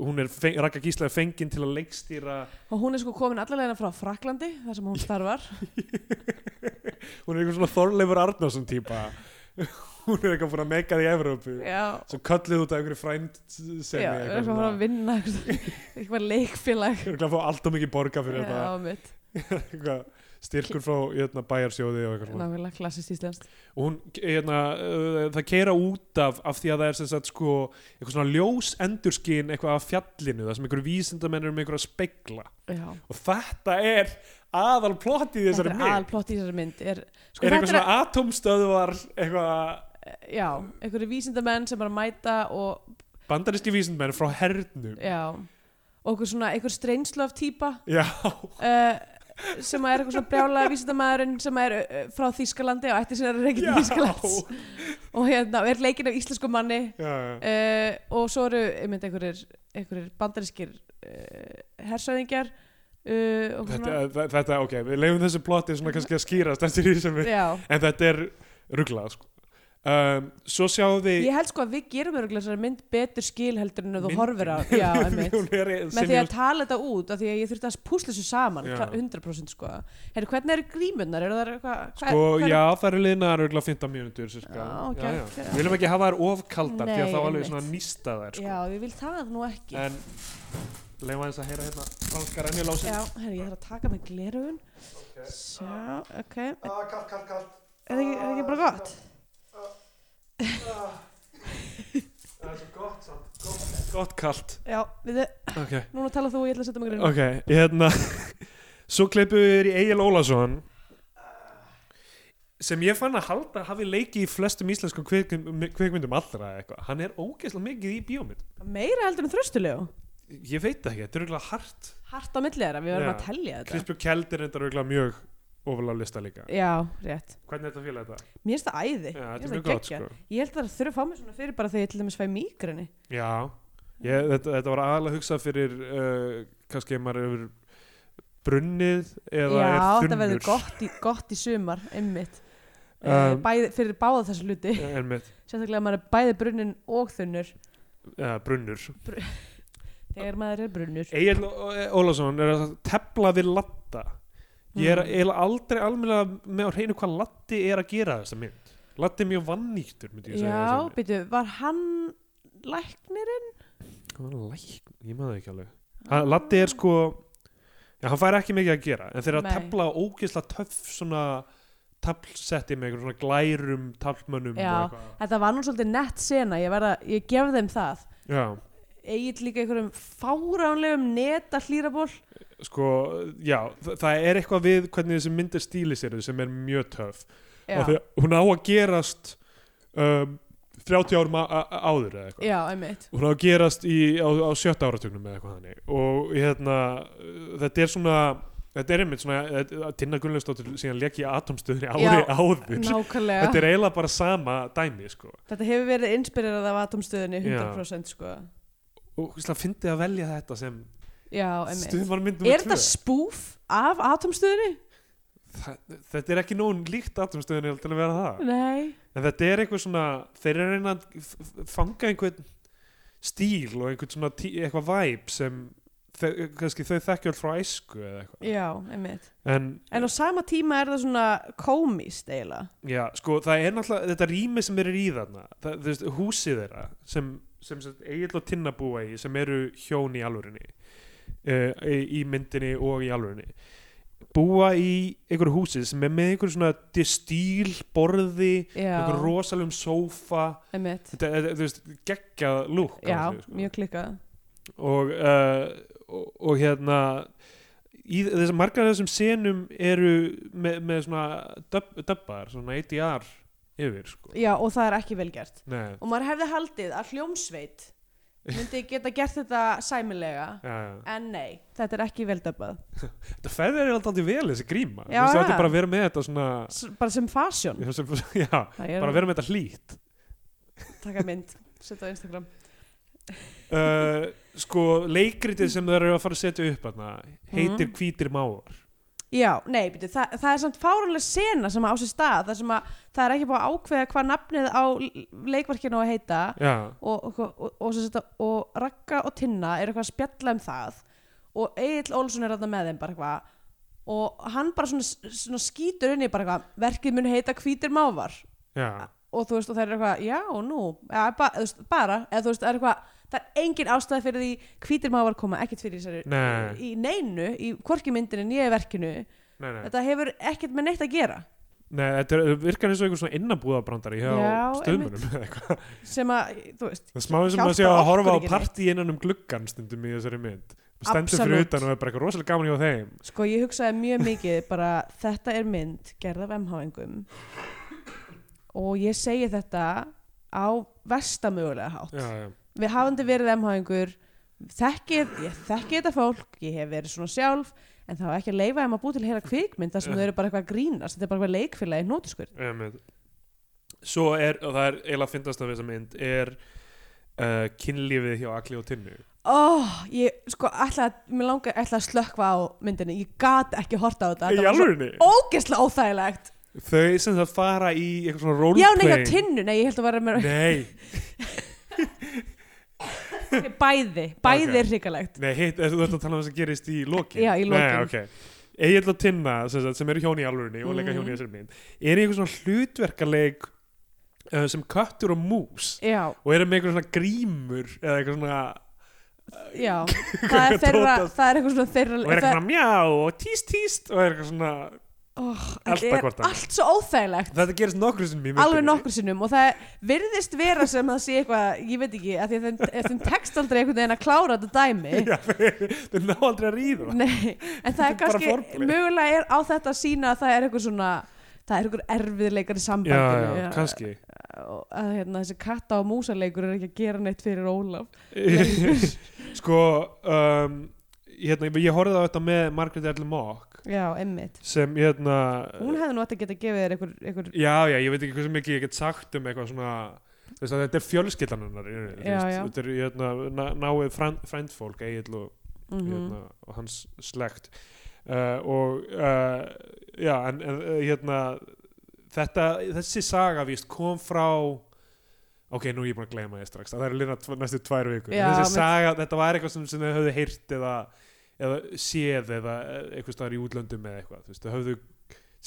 [SPEAKER 2] hún er, feng- Ragga Gísla er fengin til að leikstýra
[SPEAKER 3] og hún er sko komin allavega frá Fraklandi, þar sem hún starfar
[SPEAKER 2] hún er einhver svona Þorleifur Arnarsson típa hún er eitthvað búin að meika því í Evrópu
[SPEAKER 3] Já,
[SPEAKER 2] svo kölluð út af einhverju frænd sem
[SPEAKER 3] já, er eitthvað frá að vinna eitthvað- eitthvað leikfélag
[SPEAKER 2] að fá allt og mikið borga fyrir
[SPEAKER 3] Já, mitt,
[SPEAKER 2] þetta eitthvað, styrkur frá hérna, bæjarsjóði og eitthvað svona
[SPEAKER 3] nákvæmlega klassist íslenskt
[SPEAKER 2] og hún, hérna, uh, það keira út af af því að það er sem sagt sko eitthvað svona ljós endurskinn eitthvað af fjallinu það sem einhverju vísindamenn eru með einhverju að spegla
[SPEAKER 3] Já
[SPEAKER 2] og þetta er aðal plott í þessari
[SPEAKER 3] Þetta er
[SPEAKER 2] mynd
[SPEAKER 3] aðalplott í þessari mynd er, sko,
[SPEAKER 2] er
[SPEAKER 3] þetta
[SPEAKER 2] eitthvað svona atómstöðvar eitthvað
[SPEAKER 3] Já, einhverju vísindamenn sem bara mæta og,
[SPEAKER 2] bandaríski vísindamenn frá hernum
[SPEAKER 3] já og einhver svona, einhver streynslu af típa
[SPEAKER 2] Já,
[SPEAKER 3] uh, sem er eitthvað svona brjálaða vísindamæðurinn sem er uh, frá Þýskalandi og ætti sinna reikið
[SPEAKER 2] Já.
[SPEAKER 3] Þýskalands og hérna, og er leikinn af íslensku manni
[SPEAKER 2] já, já.
[SPEAKER 3] uh, og svo eru, ég myndi, einhverjir einhverjir bandarískir uh, hersæðingjar uh, og
[SPEAKER 2] Þetta,
[SPEAKER 3] svona,
[SPEAKER 2] þa- þetta, ok, við leifum þessu plotti svona kannski að skýrast eftir því sem við
[SPEAKER 3] já,
[SPEAKER 2] en þetta er rugglað sko. um, svo sjáum við
[SPEAKER 3] Ég held sko að við gerum örgulega þessari mynd betur skil heldur en að þú
[SPEAKER 2] Myndin.
[SPEAKER 3] horfir á já, einmitt.
[SPEAKER 2] Hún er sem
[SPEAKER 3] með því
[SPEAKER 2] ég-
[SPEAKER 3] að tala þetta út af því að ég þurfti að púsla þessu saman
[SPEAKER 2] Já.
[SPEAKER 3] klá- 100% sko Heru, hvernig eru grímunar, eru það eitthvað hvað-
[SPEAKER 2] Sko,
[SPEAKER 3] hvað-
[SPEAKER 2] já, það eru liðnaðar örgulega 15 mínútur cirka.
[SPEAKER 3] Já, ok,
[SPEAKER 2] já, já.
[SPEAKER 3] ok.
[SPEAKER 2] Við viljum ekki hafa þær ofkaldar því
[SPEAKER 3] Nei,
[SPEAKER 2] að þá alveg
[SPEAKER 3] einmitt.
[SPEAKER 2] svona nýsta þær sko.
[SPEAKER 3] já, ég vil það nú ekki
[SPEAKER 2] En leiðum aðeins að heyra hérna franskar ennjur
[SPEAKER 3] já,
[SPEAKER 2] lásið
[SPEAKER 3] herri, ég þarf að taka með glerugun sjá, ok er
[SPEAKER 2] Ah, kallt, kallt, kallt
[SPEAKER 3] það ekki, er það ekki bara gott?
[SPEAKER 2] Ah. Það er svo gott samt Gott, gott kallt
[SPEAKER 3] já, við,
[SPEAKER 2] Ok,
[SPEAKER 3] núna tala þú og ég ætla að setja mig grunum
[SPEAKER 2] ok, hérna Svo kleipum við þér í Egil Ólason sem ég fann að halda hafi leikið í flestum íslenskum kvikmyndum, kvikmyndum allra eða eitthvað. Hann er ógeðslega mikið í bíómynd.
[SPEAKER 3] meira heldur en þröstulegu
[SPEAKER 2] Ég veit það ekki, þetta er örgulega hart
[SPEAKER 3] hart á milli þeirra, við verðum
[SPEAKER 2] Já.
[SPEAKER 3] að telja þetta
[SPEAKER 2] Krispjó Kjeld er þetta örgulega mjög ofalega lista líka.
[SPEAKER 3] já, rétt
[SPEAKER 2] Hvernig er þetta félag þetta?
[SPEAKER 3] mér finnst það æði,
[SPEAKER 2] Já,
[SPEAKER 3] Mér
[SPEAKER 2] þetta
[SPEAKER 3] finnst
[SPEAKER 2] er
[SPEAKER 3] það
[SPEAKER 2] mjög gott
[SPEAKER 3] geggjað.
[SPEAKER 2] sko.
[SPEAKER 3] ég held að það þurfa að fá mig svona fyrir bara þegar ég til dæmis fæ mýgrinni
[SPEAKER 2] Já, ég, þetta, þetta var aðalega hugsað fyrir uh, kannski ef maður hefur brunnið eða
[SPEAKER 3] Já,
[SPEAKER 2] er
[SPEAKER 3] þetta
[SPEAKER 2] þunnur.
[SPEAKER 3] verður gott í, gott í sumar, einmitt um,
[SPEAKER 2] Um,
[SPEAKER 3] bæði, fyrir báða þessu hluti
[SPEAKER 2] En með
[SPEAKER 3] sérstaklega að maður er bæði brunnin og þunnur
[SPEAKER 2] uh, brunnur.
[SPEAKER 3] þegar maður er brunnur
[SPEAKER 2] Egil Ólafsson er að tepla við latta. Ég er
[SPEAKER 3] Mm.
[SPEAKER 2] eiginlega aldrei almennilega með að reyna hvað latti er að gera þessa mynd. Latti er mjög vannýttur, myndi ég segja.
[SPEAKER 3] Já,
[SPEAKER 2] þessa mynd.
[SPEAKER 3] býtu, var hann læknirinn?
[SPEAKER 2] Hvað var læk? Ég maður það ekki alveg. Hann, Latti er sko já, hann fær ekki mikið að gera en þeir eru að
[SPEAKER 3] Nei.
[SPEAKER 2] tefla ógeðslega töff svona taflsetti með einhverjum svona glærum taflmönnum
[SPEAKER 3] Já.
[SPEAKER 2] og eitthvað.
[SPEAKER 3] Þetta var nú svolítið nett sena, ég, verða, ég gef þeim það
[SPEAKER 2] Já,
[SPEAKER 3] Egil líka einhverjum fáránlegum neta hlýraból
[SPEAKER 2] sko, já, þa- það er eitthvað við hvernig þessi myndir stíli sér sem er mjög töff
[SPEAKER 3] Já,
[SPEAKER 2] og því að hún á að gerast um, 30 árum a- a- áður eða eitthvað
[SPEAKER 3] já einmitt
[SPEAKER 2] hún á að gerast í, á, á sjötta áratugnum eða eitthvað þannig og hérna, uh, þetta er svona þetta er einmitt svona, þetta- Tinna Gunnlaugsdóttir síðan leki í atomstöðinni ári
[SPEAKER 3] Já,
[SPEAKER 2] áður
[SPEAKER 3] Nákvæmlega,
[SPEAKER 2] þetta
[SPEAKER 3] þetta,
[SPEAKER 2] er eiginlega bara sama dæmi sko.
[SPEAKER 3] hefur verið inspirerað af atomstöðinni
[SPEAKER 2] Já.
[SPEAKER 3] 100% sko
[SPEAKER 2] og það fyndi að velja þetta sem
[SPEAKER 3] Já, einmitt
[SPEAKER 2] stuðmarmyndum
[SPEAKER 3] Er þetta spoof af atomstöðinni?
[SPEAKER 2] þetta er ekki nógun líkt atomstöðinni til að vera það
[SPEAKER 3] Nei
[SPEAKER 2] en þetta er eitthvað svona, þeir eru að reyna að f- f- fanga einhvern stíl og einhvern svona tí, eitthvað væp sem þe kannski þau þekkja all frá æsku eða eitthvað
[SPEAKER 3] Já, einmitt.
[SPEAKER 2] en,
[SPEAKER 3] En á sama tíma er það svona komist eiginlega.
[SPEAKER 2] já, sko, það er náttúrulega þetta rými sem eru í þarna það, þú veist, húsið þeirra sem, sem, sem eiginlega tinna búa í sem eru hjón í alvörinni uh, í myndinni og í alvörinni búa í einhverju húsið sem er með einhverju svona stíl, borði,
[SPEAKER 3] Já,
[SPEAKER 2] einhverju rosalum sófa
[SPEAKER 3] einmitt.
[SPEAKER 2] þetta er, þú veist, geggjað sko. lúk
[SPEAKER 3] Já, mjög klikkað.
[SPEAKER 2] og, uh, og, og hérna í þess að margar af þessum senum eru með, með svona döb, döbbar, svona ADR yfir, sko
[SPEAKER 3] Já, og það er ekki vel gert.
[SPEAKER 2] Nei,
[SPEAKER 3] Og maður hefði haldið að hljómsveit myndi geta gert þetta sæmilega.
[SPEAKER 2] já, já.
[SPEAKER 3] En nei, þetta er ekki vel döpað.
[SPEAKER 2] þetta ferðir er alltaf vel þessi gríma, þú
[SPEAKER 3] Já,
[SPEAKER 2] veist, þetta
[SPEAKER 3] já.
[SPEAKER 2] er bara að vera með þetta svona
[SPEAKER 3] S bara sem fasjón.
[SPEAKER 2] sem, já,
[SPEAKER 3] Það er
[SPEAKER 2] bara að vera með þetta hlýtt
[SPEAKER 3] taka mynd, setja á Instagram.
[SPEAKER 2] uh, sko, leikritið sem þeir eru að fara að setja upp hana, heitir
[SPEAKER 3] Mhm.
[SPEAKER 2] Hvítir mávar
[SPEAKER 3] Já, nei, byrju, það, það er samt fáránlega sena sem á sér stað. Það, sem að, það er ekki búið að ákveða hvað nafnið á l- leikverkinu á að heita.
[SPEAKER 2] já,
[SPEAKER 3] og, og, og, og, sem sagt, og Ragga og Tinna er eitthvað að spjalla um það og Egil Olsson er þarna með þeim bara eitthvað og hann bara svona, svona skýtur inn í bara eitthvað verkið mun heita hvítir mávar
[SPEAKER 2] já,
[SPEAKER 3] og þú veist og það er eitthvað já nú, ja, ba, þú veist, bara eða þú veist það er eitthvað það er engin ástæði fyrir því hvítir mávar koma ekkert fyrir í þessari
[SPEAKER 2] Nei.
[SPEAKER 3] í neinu, í hvorki myndinu nýja verkinu
[SPEAKER 2] nei, nei
[SPEAKER 3] þetta hefur ekkert með neitt að gera
[SPEAKER 2] Nei, þetta er- virkar eins og einhver svona innabúðabrandari hjá
[SPEAKER 3] Já,
[SPEAKER 2] stöðmunum eða eitthvað.
[SPEAKER 3] sem að, þú veist
[SPEAKER 2] Það er smá eins og maður sé
[SPEAKER 3] Hjálpar
[SPEAKER 2] að horfa á
[SPEAKER 3] okkur ekki neitt.
[SPEAKER 2] partí innan um gluggan stundum í þessari mynd. Stendur fyrir
[SPEAKER 3] Absolutt.
[SPEAKER 2] utan og er bara eitthvað rosalega gaman hjá þeim.
[SPEAKER 3] Sko ég hugsaði mjög mikið bara þetta er mynd gerð af MH-ingum og ég segi þetta á vestamögulega hátt.
[SPEAKER 2] Já, já.
[SPEAKER 3] Við hafandi verið MH-ingur, þekkið, ég þekki þetta fólk, ég hef verið svona sjálf en það var ekki að leifa þeim að búi til heila kvikmynd þar sem þau eru bara eitthvað að grínast, þetta er bara eitthvað leikfélagi nótiskur.
[SPEAKER 2] Um, svo er, og það er eiginlega fyndast af þessa mynd, er uh, kynlífið hjá Akli og Tinnu.
[SPEAKER 3] Ó, ég sko ætlaði, mér langaði ætlaði að slökva á myndinni, ég gat ekki horta á þetta.
[SPEAKER 2] Í
[SPEAKER 3] Þetta var svo
[SPEAKER 2] alvörinni?
[SPEAKER 3] ógeðslega óþægilegt.
[SPEAKER 2] Þau sem það fara í eitthvað svona
[SPEAKER 3] já,
[SPEAKER 2] roleplay
[SPEAKER 3] nei, já, tinnu, nei, ég held að vera með
[SPEAKER 2] Nei,
[SPEAKER 3] bæði, bæði
[SPEAKER 2] Ok.
[SPEAKER 3] er hrikalegt
[SPEAKER 2] nei hitt, þú ert að tala um það sem gerist í lokin
[SPEAKER 3] Já, í lokin.
[SPEAKER 2] Nei, ok Egil og Tinna, sem, sagt, sem eru hjón í alvörunni og leika
[SPEAKER 3] Mhm.
[SPEAKER 2] hjón í þessari mynd er í eitthvað svona hlutverkaleik uh, sem köttur og mús
[SPEAKER 3] já,
[SPEAKER 2] og eru með eitthvað svona grímur eða eitthvað svona
[SPEAKER 3] já, það er þeirra
[SPEAKER 2] Dótað.
[SPEAKER 3] það er eitthvað svona þeirra
[SPEAKER 2] og er eitthvað svona mjá og tíst tíst og er eitthvað svona
[SPEAKER 3] oh,
[SPEAKER 2] Allt
[SPEAKER 3] er
[SPEAKER 2] akkvart annað.
[SPEAKER 3] allt svo óþægilegt
[SPEAKER 2] þetta gerist nokkru sinnum í myndinni
[SPEAKER 3] alveg nokkur sinnum og það virðist vera sem það sé eitthvað, ég veit ekki að því að þeim, að þeim tekst aldrei einhvern veginn að klára þetta dæmi
[SPEAKER 2] Já, þau ná aldrei að ríða
[SPEAKER 3] Nei, en það er
[SPEAKER 2] Bara
[SPEAKER 3] kannski
[SPEAKER 2] forplay.
[SPEAKER 3] mögulega er á þetta að sína að það er eitthvað svona það er eitthvað erfiðleikar í
[SPEAKER 2] Já,
[SPEAKER 3] sambandinu
[SPEAKER 2] já, kannski
[SPEAKER 3] og að hérna, þessi katta og músaleikur er ekki að gera neitt fyrir Ólaf
[SPEAKER 2] Sko um, hérna, Ég horfði á þetta með Margaret L. Mock
[SPEAKER 3] já, emmitt
[SPEAKER 2] sem hérna
[SPEAKER 3] hún hefði nú átt að geta gefið þér einhver, einhver
[SPEAKER 2] Já, já, ég veit ekki hversu mikið ég get sagt um eitthvað svona þú veist, að þetta er fjölskyldan hennar í rauninni, þú
[SPEAKER 3] Já,
[SPEAKER 2] veist,
[SPEAKER 3] já.
[SPEAKER 2] þetta er hérna, ná- náið frænd, frændfólk Egil og
[SPEAKER 3] mm
[SPEAKER 2] hérna, og hans slegt uh, og uh, já, en, en uh, hérna þetta, þessi saga víst kom frá ok, nú er ég búin að gleyma ég strax það er lína tv- næstu tvær vikur
[SPEAKER 3] Já,
[SPEAKER 2] þessi
[SPEAKER 3] mitt-
[SPEAKER 2] saga, þetta var eitthvað sem, sem þau höfðu heyrt eða, eða séð eða eh, eitthvað staðar í útlöndum eða eitthvað þú veist, þau höfðu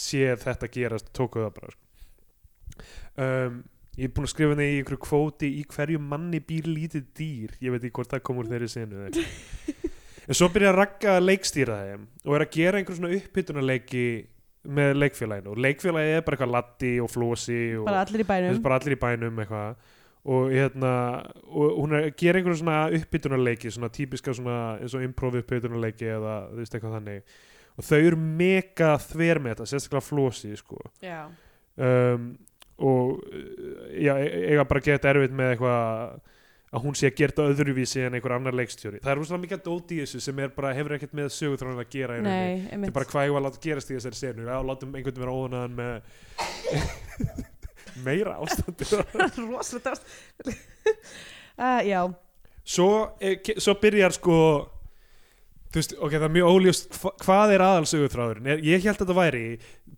[SPEAKER 2] séð þetta gerast tóku það bara sko. um, ég er búin að skrifa henni í einhverju kvóti í hverju manni býr lítið dýr ég veit ekki hvort það kom úr þeirri senu eða eitthvað. en svo byrja að ragga að leikstýra þeim og er að gera einhver svona uppbytunarleiki með leikfélaginu og leikfélagið er bara eitthvað latti og flósi og
[SPEAKER 3] bara allir í
[SPEAKER 2] þetta er
[SPEAKER 3] bænum
[SPEAKER 2] bara allir í bænum eitthvað og hérna og hún er að gera einhverjum svona uppbytunarleiki svona típiska svona eins og improv uppbytunarleiki eða þú veist eitthvað þannig og þau eru mega þver með þetta sérstaklega flósi sko
[SPEAKER 3] já,
[SPEAKER 2] um, og uh, já, e- eiga bara að geta erfitt með eitthvað að hún sé að gera þetta öðruvísi en einhver annar leikstjóri það er rosalega mikið að dóti í þessu sem er bara hefur ekkert með sögutrónin að gera í rauninni.
[SPEAKER 3] nei,
[SPEAKER 2] þetta
[SPEAKER 3] emmitt
[SPEAKER 2] er bara hvað ég var að láta gerast í þessari senu já, látum einhvern vera óðanaðan með meira ástandi
[SPEAKER 3] rosalega dást uh, já,
[SPEAKER 2] svo, eh, ke- svo byrjar sko þú veist, ok, það er mjög óljóst hva- hvað er aðalsögutráðurinn Er- ég held að þetta væri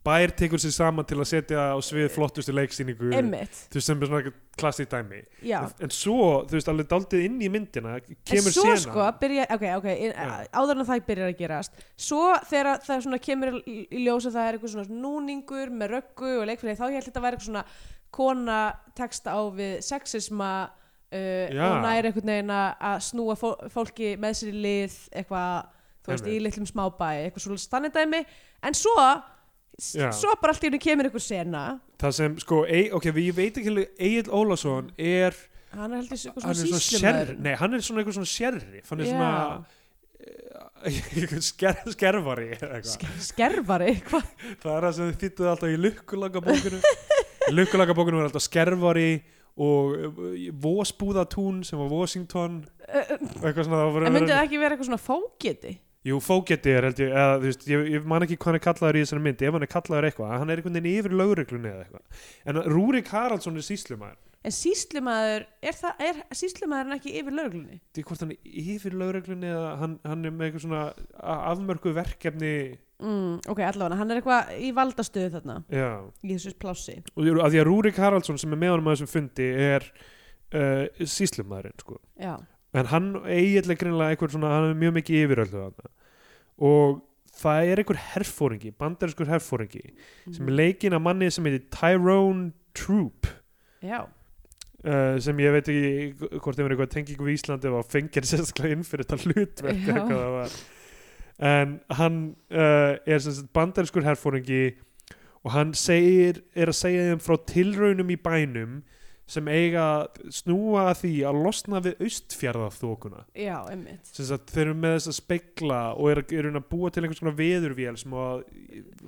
[SPEAKER 2] bær tekur sér saman til að setja á svið flottustu leiksýningu
[SPEAKER 3] emmitt
[SPEAKER 2] þú veist, sem er svona klassið dæmi
[SPEAKER 3] já
[SPEAKER 2] en, en svo, þú veist, alveg daldið inn í myndina kemur
[SPEAKER 3] en svo
[SPEAKER 2] sena
[SPEAKER 3] sko byrja, ok, ok, in,
[SPEAKER 2] Já.
[SPEAKER 3] áður en það byrjar að gerast svo þegar að það svona kemur í í ljós að það er eitthvað svona núningur með röggu og leikfélagi þá ég held þetta væri eitthvað svona kona texta á við sexisma uh,
[SPEAKER 2] Já.
[SPEAKER 3] og næri einhvern veginn að- að snúa fó fólki með sér í lið eitthvað, þú veist, í
[SPEAKER 2] Einmitt.
[SPEAKER 3] litlum smábæ eitthvað svona stannindæmi, en svo s-
[SPEAKER 2] Já.
[SPEAKER 3] svo bara allt í hennu kemur einhver sena
[SPEAKER 2] það sem, sko, e, ok, við- ég veit ekki alveg, Egil Ólafsson er
[SPEAKER 3] hann er heldur eitthvað
[SPEAKER 2] hann er
[SPEAKER 3] svona
[SPEAKER 2] svona
[SPEAKER 3] síslumöður
[SPEAKER 2] sérri, nei, hann er svona eitthvað svona sérri hann er
[SPEAKER 3] Já.
[SPEAKER 2] svona eitthvað sker, skerfari eða eitthvað.
[SPEAKER 3] skerfari, hvað
[SPEAKER 2] það er það sem þið þýttuð alltaf í lukkulanga bókinu lukkulanga bókinu var alltaf skerfari og vósbúðatún sem var Washington og eitthvað svona það var-
[SPEAKER 3] en myndið það ekki vera eitthvað svona fógeti
[SPEAKER 2] Jú, fógeti er held ég, eða, þú veist, ég, ég man ekki hvað hann er kallaður í þessari myndi, ef hann er kallaður eitthvað, hann er einhvern veginn yfir lögreglunni eða eitthvað. En Rúrik Haraldsson er síslumæður,
[SPEAKER 3] En síslumaður, er, það- er síslumaðurinn ekki yfir lauruglunni?
[SPEAKER 2] þetta er hvort hann er yfir lögreglunni eða hann, hann er með eitthvað svona a- afmörkuð verkefni,
[SPEAKER 3] Mm, ok, allavega, hann er eitthvað í valdastöðu þarna,
[SPEAKER 2] já.
[SPEAKER 3] í þessu plássi.
[SPEAKER 2] Og ég- að því að Rúrik Haraldsson sem er með honum að þessum fundi er uh, síslumæðurinn, sko.
[SPEAKER 3] Já,
[SPEAKER 2] En hann eiginlega greinlega eitthvað svona, hann er mjög mikið yfir öllu þarna. Og það er einhver herfóringi, bandariskur herfóringi, sem er leikinn af manni sem heitir Tyrone Troop.
[SPEAKER 3] já,
[SPEAKER 2] uh, sem ég veit ekki hvort þeim er eitthvað tengingu við Íslandi og fengir sérstaklega inn fyrir þetta hlutverk
[SPEAKER 3] Já.
[SPEAKER 2] eða hvað það var. en hann uh, er sem sagt bandariskur herfóringi og hann segir, er að segja þeim frá tilraunum í bænum sem eiga að snúa að því að losna við austfjarðaþókuna
[SPEAKER 3] já, einmitt.
[SPEAKER 2] sem sagt þeir eru með þess að spegla og eru er að búa til einhvers konar veðurvél sem á að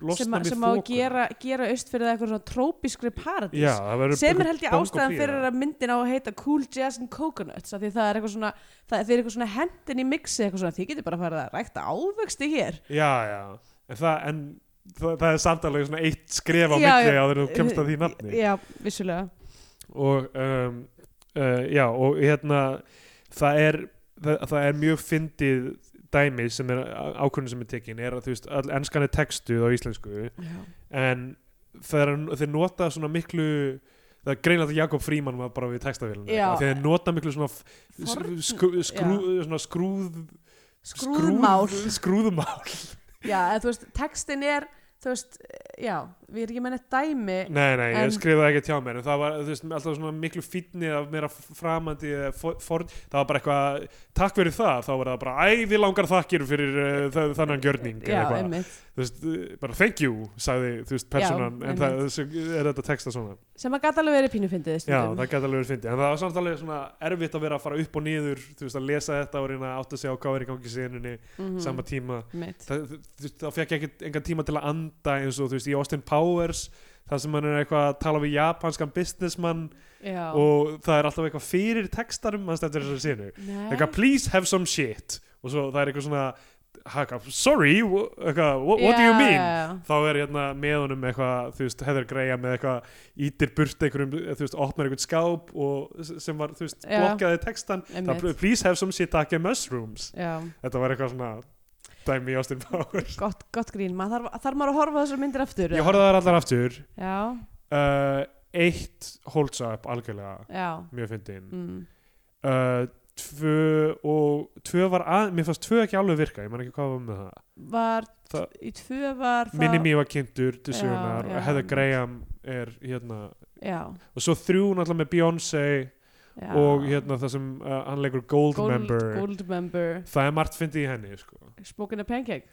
[SPEAKER 2] losna
[SPEAKER 3] Sem, að-
[SPEAKER 2] við
[SPEAKER 3] sem á
[SPEAKER 2] þókuna
[SPEAKER 3] að gera, gera aust fyrir það eitthvað svona trópískri paradís.
[SPEAKER 2] Já, það verður
[SPEAKER 3] Sem er
[SPEAKER 2] einhver
[SPEAKER 3] held ég
[SPEAKER 2] böng og
[SPEAKER 3] ástæðan
[SPEAKER 2] fjör.
[SPEAKER 3] fyrir að myndin á að heita Cool Jazz and Coconuts, af því það er eitthvað svona, það þeir eru eitthvað svona hendin í mixi, eitthvað svona, þið getur bara að fara að rækta ávöxti hér.
[SPEAKER 2] Já, já, en það, en það, það er samt alveg svona eitt skref á
[SPEAKER 3] Já,
[SPEAKER 2] milli
[SPEAKER 3] já.
[SPEAKER 2] áður en þú kemst að því nafni
[SPEAKER 3] Já, vissulega.
[SPEAKER 2] og um, uh, já, og hérna það er, það, það er mjög fyndið dæmi sem er ákvörðin sem er tekin er að þú veist, all enskan er textuð á íslensku
[SPEAKER 3] Já.
[SPEAKER 2] en þegar hann- þeir nota svona miklu það er greinlega að Jakob Fríman var bara við textavélina
[SPEAKER 3] Já.
[SPEAKER 2] þegar þeir nota miklu svona, f-
[SPEAKER 3] Forn-
[SPEAKER 2] skrú, skrú, svona skrúð
[SPEAKER 3] Skrúðmál.
[SPEAKER 2] skrúð- skrúðmál
[SPEAKER 3] já, eða, þú veist, textin er þú veist, já, við erum ekki með neitt dæmi
[SPEAKER 2] nei, nei,
[SPEAKER 3] En-
[SPEAKER 2] ég skrifaði ekki tjá mér en það var þú veist, alltaf svona miklu fínni af meira framandi eða for, for, það var bara eitthvað, takk fyrir það þá var það bara, æ, við langar þakkir fyrir uh, þa- þannan gjörning eða
[SPEAKER 3] já,
[SPEAKER 2] eitthvað.
[SPEAKER 3] einmitt,
[SPEAKER 2] þú veist, eh, bara thank you sagði, þú veist, personan
[SPEAKER 3] Já,
[SPEAKER 2] en það, þessu, er þetta texta svona
[SPEAKER 3] sem að gata alveg verið pínu fyndið
[SPEAKER 2] já,
[SPEAKER 3] stundum.
[SPEAKER 2] það gæti alveg verið fyndi en það var samt alveg svona erfitt að vera að fara upp og niður þú veist, að lesa þetta og reyna að átta sig á hvað er í gangi sínunni,
[SPEAKER 3] Mhm,
[SPEAKER 2] sama tíma
[SPEAKER 3] einmitt.
[SPEAKER 2] það, þú veist, það fekk ekki engan tíma til að anda eins og, þú veist, í Austin Powers þar sem hann er eitthvað að tala við japanskan businessman
[SPEAKER 3] já,
[SPEAKER 2] og það er alltaf eitthvað fyrir textarum hans þetta er þessari sínu
[SPEAKER 3] Nei.
[SPEAKER 2] eitthvað please have some shit og svo það er eitthvað svona eitthvað, sorry, wha- eitthvað, what, what do you
[SPEAKER 3] Já,
[SPEAKER 2] mean
[SPEAKER 3] já, já.
[SPEAKER 2] þá er hérna með honum eitthvað þú veist, Heather Graham með eitthvað ítir burt einhverjum, þú veist, opnar einhvern skáp og s- sem var, þú veist,
[SPEAKER 3] Já.
[SPEAKER 2] blokkaði textan það,
[SPEAKER 3] Einmitt.
[SPEAKER 2] please have some shit take mushrooms
[SPEAKER 3] já,
[SPEAKER 2] þetta var eitthvað svona dæmi í Austin Powers
[SPEAKER 3] gott, gott grín maður þarf, þarf maður að horfa á þessar myndir aftur
[SPEAKER 2] ég horfði á þær allar aftur
[SPEAKER 3] já,
[SPEAKER 2] uh, eitt holds up algjörlega,
[SPEAKER 3] já
[SPEAKER 2] mjög fyndin
[SPEAKER 3] mm.
[SPEAKER 2] uh, tvö og tvö var að, mér fannst tvö ekki alveg virka ég man ekki hvað var með það
[SPEAKER 3] var,
[SPEAKER 2] Það-
[SPEAKER 3] í tvö var það
[SPEAKER 2] Minni mér var kynntur til
[SPEAKER 3] Já,
[SPEAKER 2] sögunar
[SPEAKER 3] já,
[SPEAKER 2] Heather
[SPEAKER 3] einmitt.
[SPEAKER 2] Graham er hérna
[SPEAKER 3] já,
[SPEAKER 2] og svo þrjú náttúrulega með Beyoncé
[SPEAKER 3] já.
[SPEAKER 2] og hérna það sem uh, hann leikur Goldmember
[SPEAKER 3] gold member
[SPEAKER 2] það er margt fyndið í henni sko.
[SPEAKER 3] spoken a pancake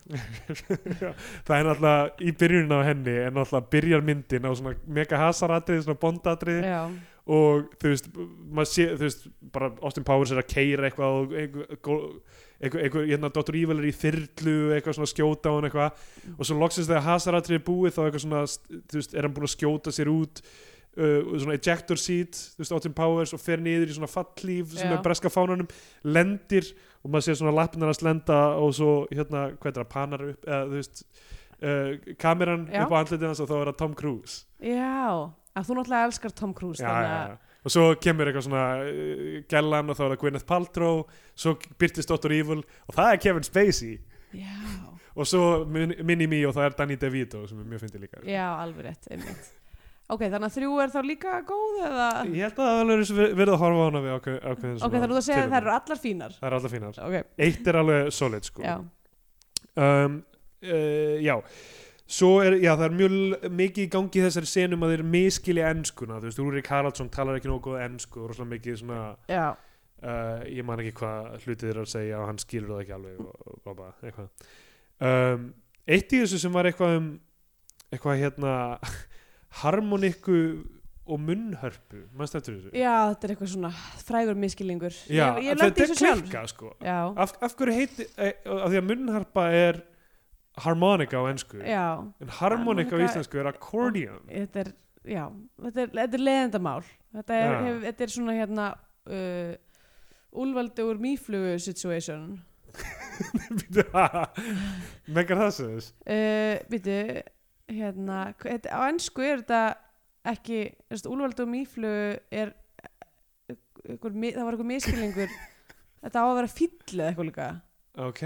[SPEAKER 2] það er náttúrulega í byrjunin á henni en náttúrulega byrjar myndin á svona mega hasaratriði, svona bondatriði
[SPEAKER 3] já,
[SPEAKER 2] og þú veist, maður sé þú veist, bara Austin Powers er að keira eitthvað og einhver, gó- einhver, einhver hérna Dr. Evil er í þyrlu eitthvað svona að skjóta á hann eitthvað og svo loksins þegar hasaratriði er búið þá eitthvað svona, þú veist, er hann búin að skjóta sér út uh, svona ejector seat þú veist, Austin Powers og fer niður í svona fallíf sem
[SPEAKER 3] Já.
[SPEAKER 2] er breska fánanum, lendir og maður sér svona lappnar hans lenda og svo hérna, hvað er það, panar upp eða þú veist, uh, kameran
[SPEAKER 3] Já.
[SPEAKER 2] upp á andlitið hans og þá er það Tom Cruise
[SPEAKER 3] já að þú náttúrulega elskar Tom Cruise
[SPEAKER 2] já,
[SPEAKER 3] þannig
[SPEAKER 2] já,
[SPEAKER 3] að
[SPEAKER 2] já. og svo kemur eitthvað svona uh, gellan og þá er það Gwyneth Paltrow svo byrtist Dr. Evil og það er Kevin Spacey
[SPEAKER 3] já,
[SPEAKER 2] og svo Minnie Me og það er Danny DeVito sem er mjög fyndið líka
[SPEAKER 3] já, alveg rétt einmitt. ok, þannig að þrjú er þá líka góð eða
[SPEAKER 2] ég held að það er alveg verið að horfa á hana við ákveð, ákveðin
[SPEAKER 3] ok,
[SPEAKER 2] svona
[SPEAKER 3] þannig að þú segir að
[SPEAKER 2] tilefni.
[SPEAKER 3] þær eru allar fínar
[SPEAKER 2] það er alltaf fínar
[SPEAKER 3] ok,
[SPEAKER 2] eitt er alveg solid sko
[SPEAKER 3] já,
[SPEAKER 2] um, uh, já svo er, já það er mjög l- mikið í gangi í þessari senum að þeir miskilja enskuna þú veist, Rúrik Haraldsson talar ekki nógu góð ensku og rosalega mikið svona
[SPEAKER 3] já
[SPEAKER 2] uh, ég man ekki hvað hlutið er að segja og hann skilur það ekki alveg og, og, og, og, eitthvað um, eitt í þessu sem var eitthvað um eitthvað hérna harmoniku og munnhörpu mannst eftir þessu
[SPEAKER 3] já, þetta er eitthvað svona frægur miskilingur ég, ég
[SPEAKER 2] þetta
[SPEAKER 3] lendi
[SPEAKER 2] er
[SPEAKER 3] þessu sjálf
[SPEAKER 2] klikkað, sko
[SPEAKER 3] já,
[SPEAKER 2] af, af hverju heiti, e, af því að munnharpa er harmonika á ennsku
[SPEAKER 3] já
[SPEAKER 2] en harmonika á
[SPEAKER 3] Harmonika-
[SPEAKER 2] íslensku er accordion
[SPEAKER 3] þetta er, já, þetta er, þetta er leðendamál þetta er,
[SPEAKER 2] Já.
[SPEAKER 3] hef, þetta er svona hérna uh, úlvaldi úr mýflugu situation
[SPEAKER 2] megar það sem þess
[SPEAKER 3] uh, býtu hérna, hva- þetta, á ennsku er þetta ekki, þessi úlvaldi úr mýflugu er ykkur, mi- það var eitthvað miskilingur þetta á að vera fýll eða eitthvað líka Eh,
[SPEAKER 2] ok,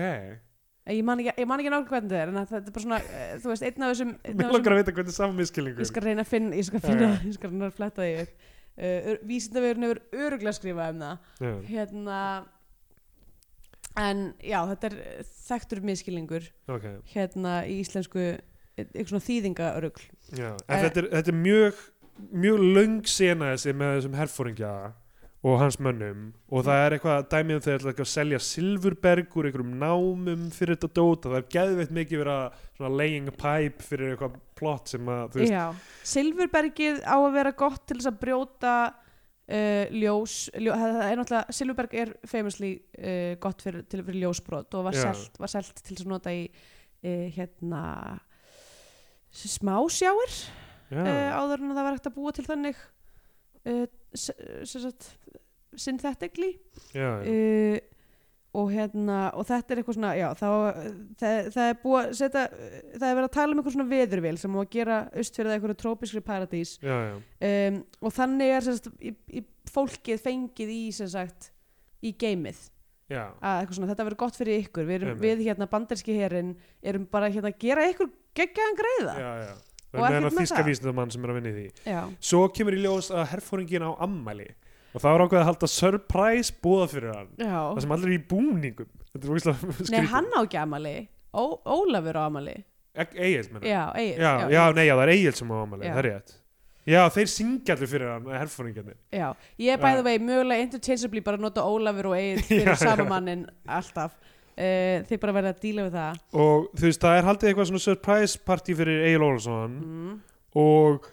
[SPEAKER 3] ég man ekki, ég man ekki nákvæmlega hvernig þetta er en að þetta er bara svona, eh, þú veist, einn af þessum einn af
[SPEAKER 2] mér
[SPEAKER 3] þessum-
[SPEAKER 2] langar að vita hvernig saman miskilningur
[SPEAKER 3] Ég skal reyna að finna, ég skal
[SPEAKER 2] Já,
[SPEAKER 3] finna,
[SPEAKER 2] já.
[SPEAKER 3] ég skal reyna að fletta því upp. Uh, Vísindavegurinn hefur öruglega skrifað um það.
[SPEAKER 2] Já.
[SPEAKER 3] Hérna, en já, þetta er þekktur miskilningur
[SPEAKER 2] ok,
[SPEAKER 3] hérna í íslensku, eitthvað svona þýðingaörugl.
[SPEAKER 2] já en
[SPEAKER 3] Eh.
[SPEAKER 2] þetta er, þetta er mjög mjög löng sena þessi með þessum herfóringja og hans mönnum og það er eitthvað dæmið um þeir ætla eitthvað að selja silfurberg úr einhverjum námum fyrir þetta dóta, það er geðveitt mikið verið að svona laying pipe fyrir eitthvað plott sem að, þú veist,
[SPEAKER 3] Já, silfurbergið á að vera gott til þess að brjóta uh, ljós, ljó, það það er náttúrulega, silfurberg er famously uh, gott fyrir, til fyrir ljósbrot og var
[SPEAKER 2] Já.
[SPEAKER 3] selt, var selt til þess að nota í uh, hérna smásjáir
[SPEAKER 2] já,
[SPEAKER 3] uh, áður en það var hægt að búa til þannig uh, sem sagt synthetically
[SPEAKER 2] já, já,
[SPEAKER 3] uh, og hérna og þetta er eitthvað svona, já þá, það, það er búið að setja það er verið að tala um eitthvað svona veðurvél sem á að gera austfyrir það eitthvað trópiskri paradís
[SPEAKER 2] já, já.
[SPEAKER 3] um, og þannig er sem sagt, í, í fólkið fengið í sem sagt í geimið
[SPEAKER 2] Já,
[SPEAKER 3] að eitthvað svona, þetta verður gott fyrir ykkur við, erum,
[SPEAKER 2] Einmitt.
[SPEAKER 3] við hérna banderski herin erum bara hérna að gera ykkur geggjaðan greiða
[SPEAKER 2] já, já. og er með
[SPEAKER 3] Og ekkert
[SPEAKER 2] hennar
[SPEAKER 3] með
[SPEAKER 2] þíska
[SPEAKER 3] það.
[SPEAKER 2] vísindamann sem er að vinna í því
[SPEAKER 3] já,
[SPEAKER 2] svo kemur í ljós að herfóringin á ammæli og það var ákveð að halda surprise búða fyrir hann
[SPEAKER 3] já.
[SPEAKER 2] það sem allir er í búningum þetta er ógislega
[SPEAKER 3] Nei,
[SPEAKER 2] skrítið
[SPEAKER 3] hann á ekki amali Ó, Ólafur á amali
[SPEAKER 2] Egil meina já,
[SPEAKER 3] Já, Egil
[SPEAKER 2] já, já, nei, já, það er Egil sem á ammæli,
[SPEAKER 3] Já.
[SPEAKER 2] það er rétt já, þeir syngja allir fyrir hann, herfóringinni
[SPEAKER 3] já. Ég er bæði
[SPEAKER 2] Já.
[SPEAKER 3] vei mögulega interchangeably bara að nota Ólafur og Egil
[SPEAKER 2] Já,
[SPEAKER 3] fyrir
[SPEAKER 2] já.
[SPEAKER 3] sama mannin alltaf uh, Þeir bara verða að díla við það
[SPEAKER 2] og þú veist, það er haldið eitthvað svona surprise party fyrir Egil Ólafsson
[SPEAKER 3] mm.
[SPEAKER 2] og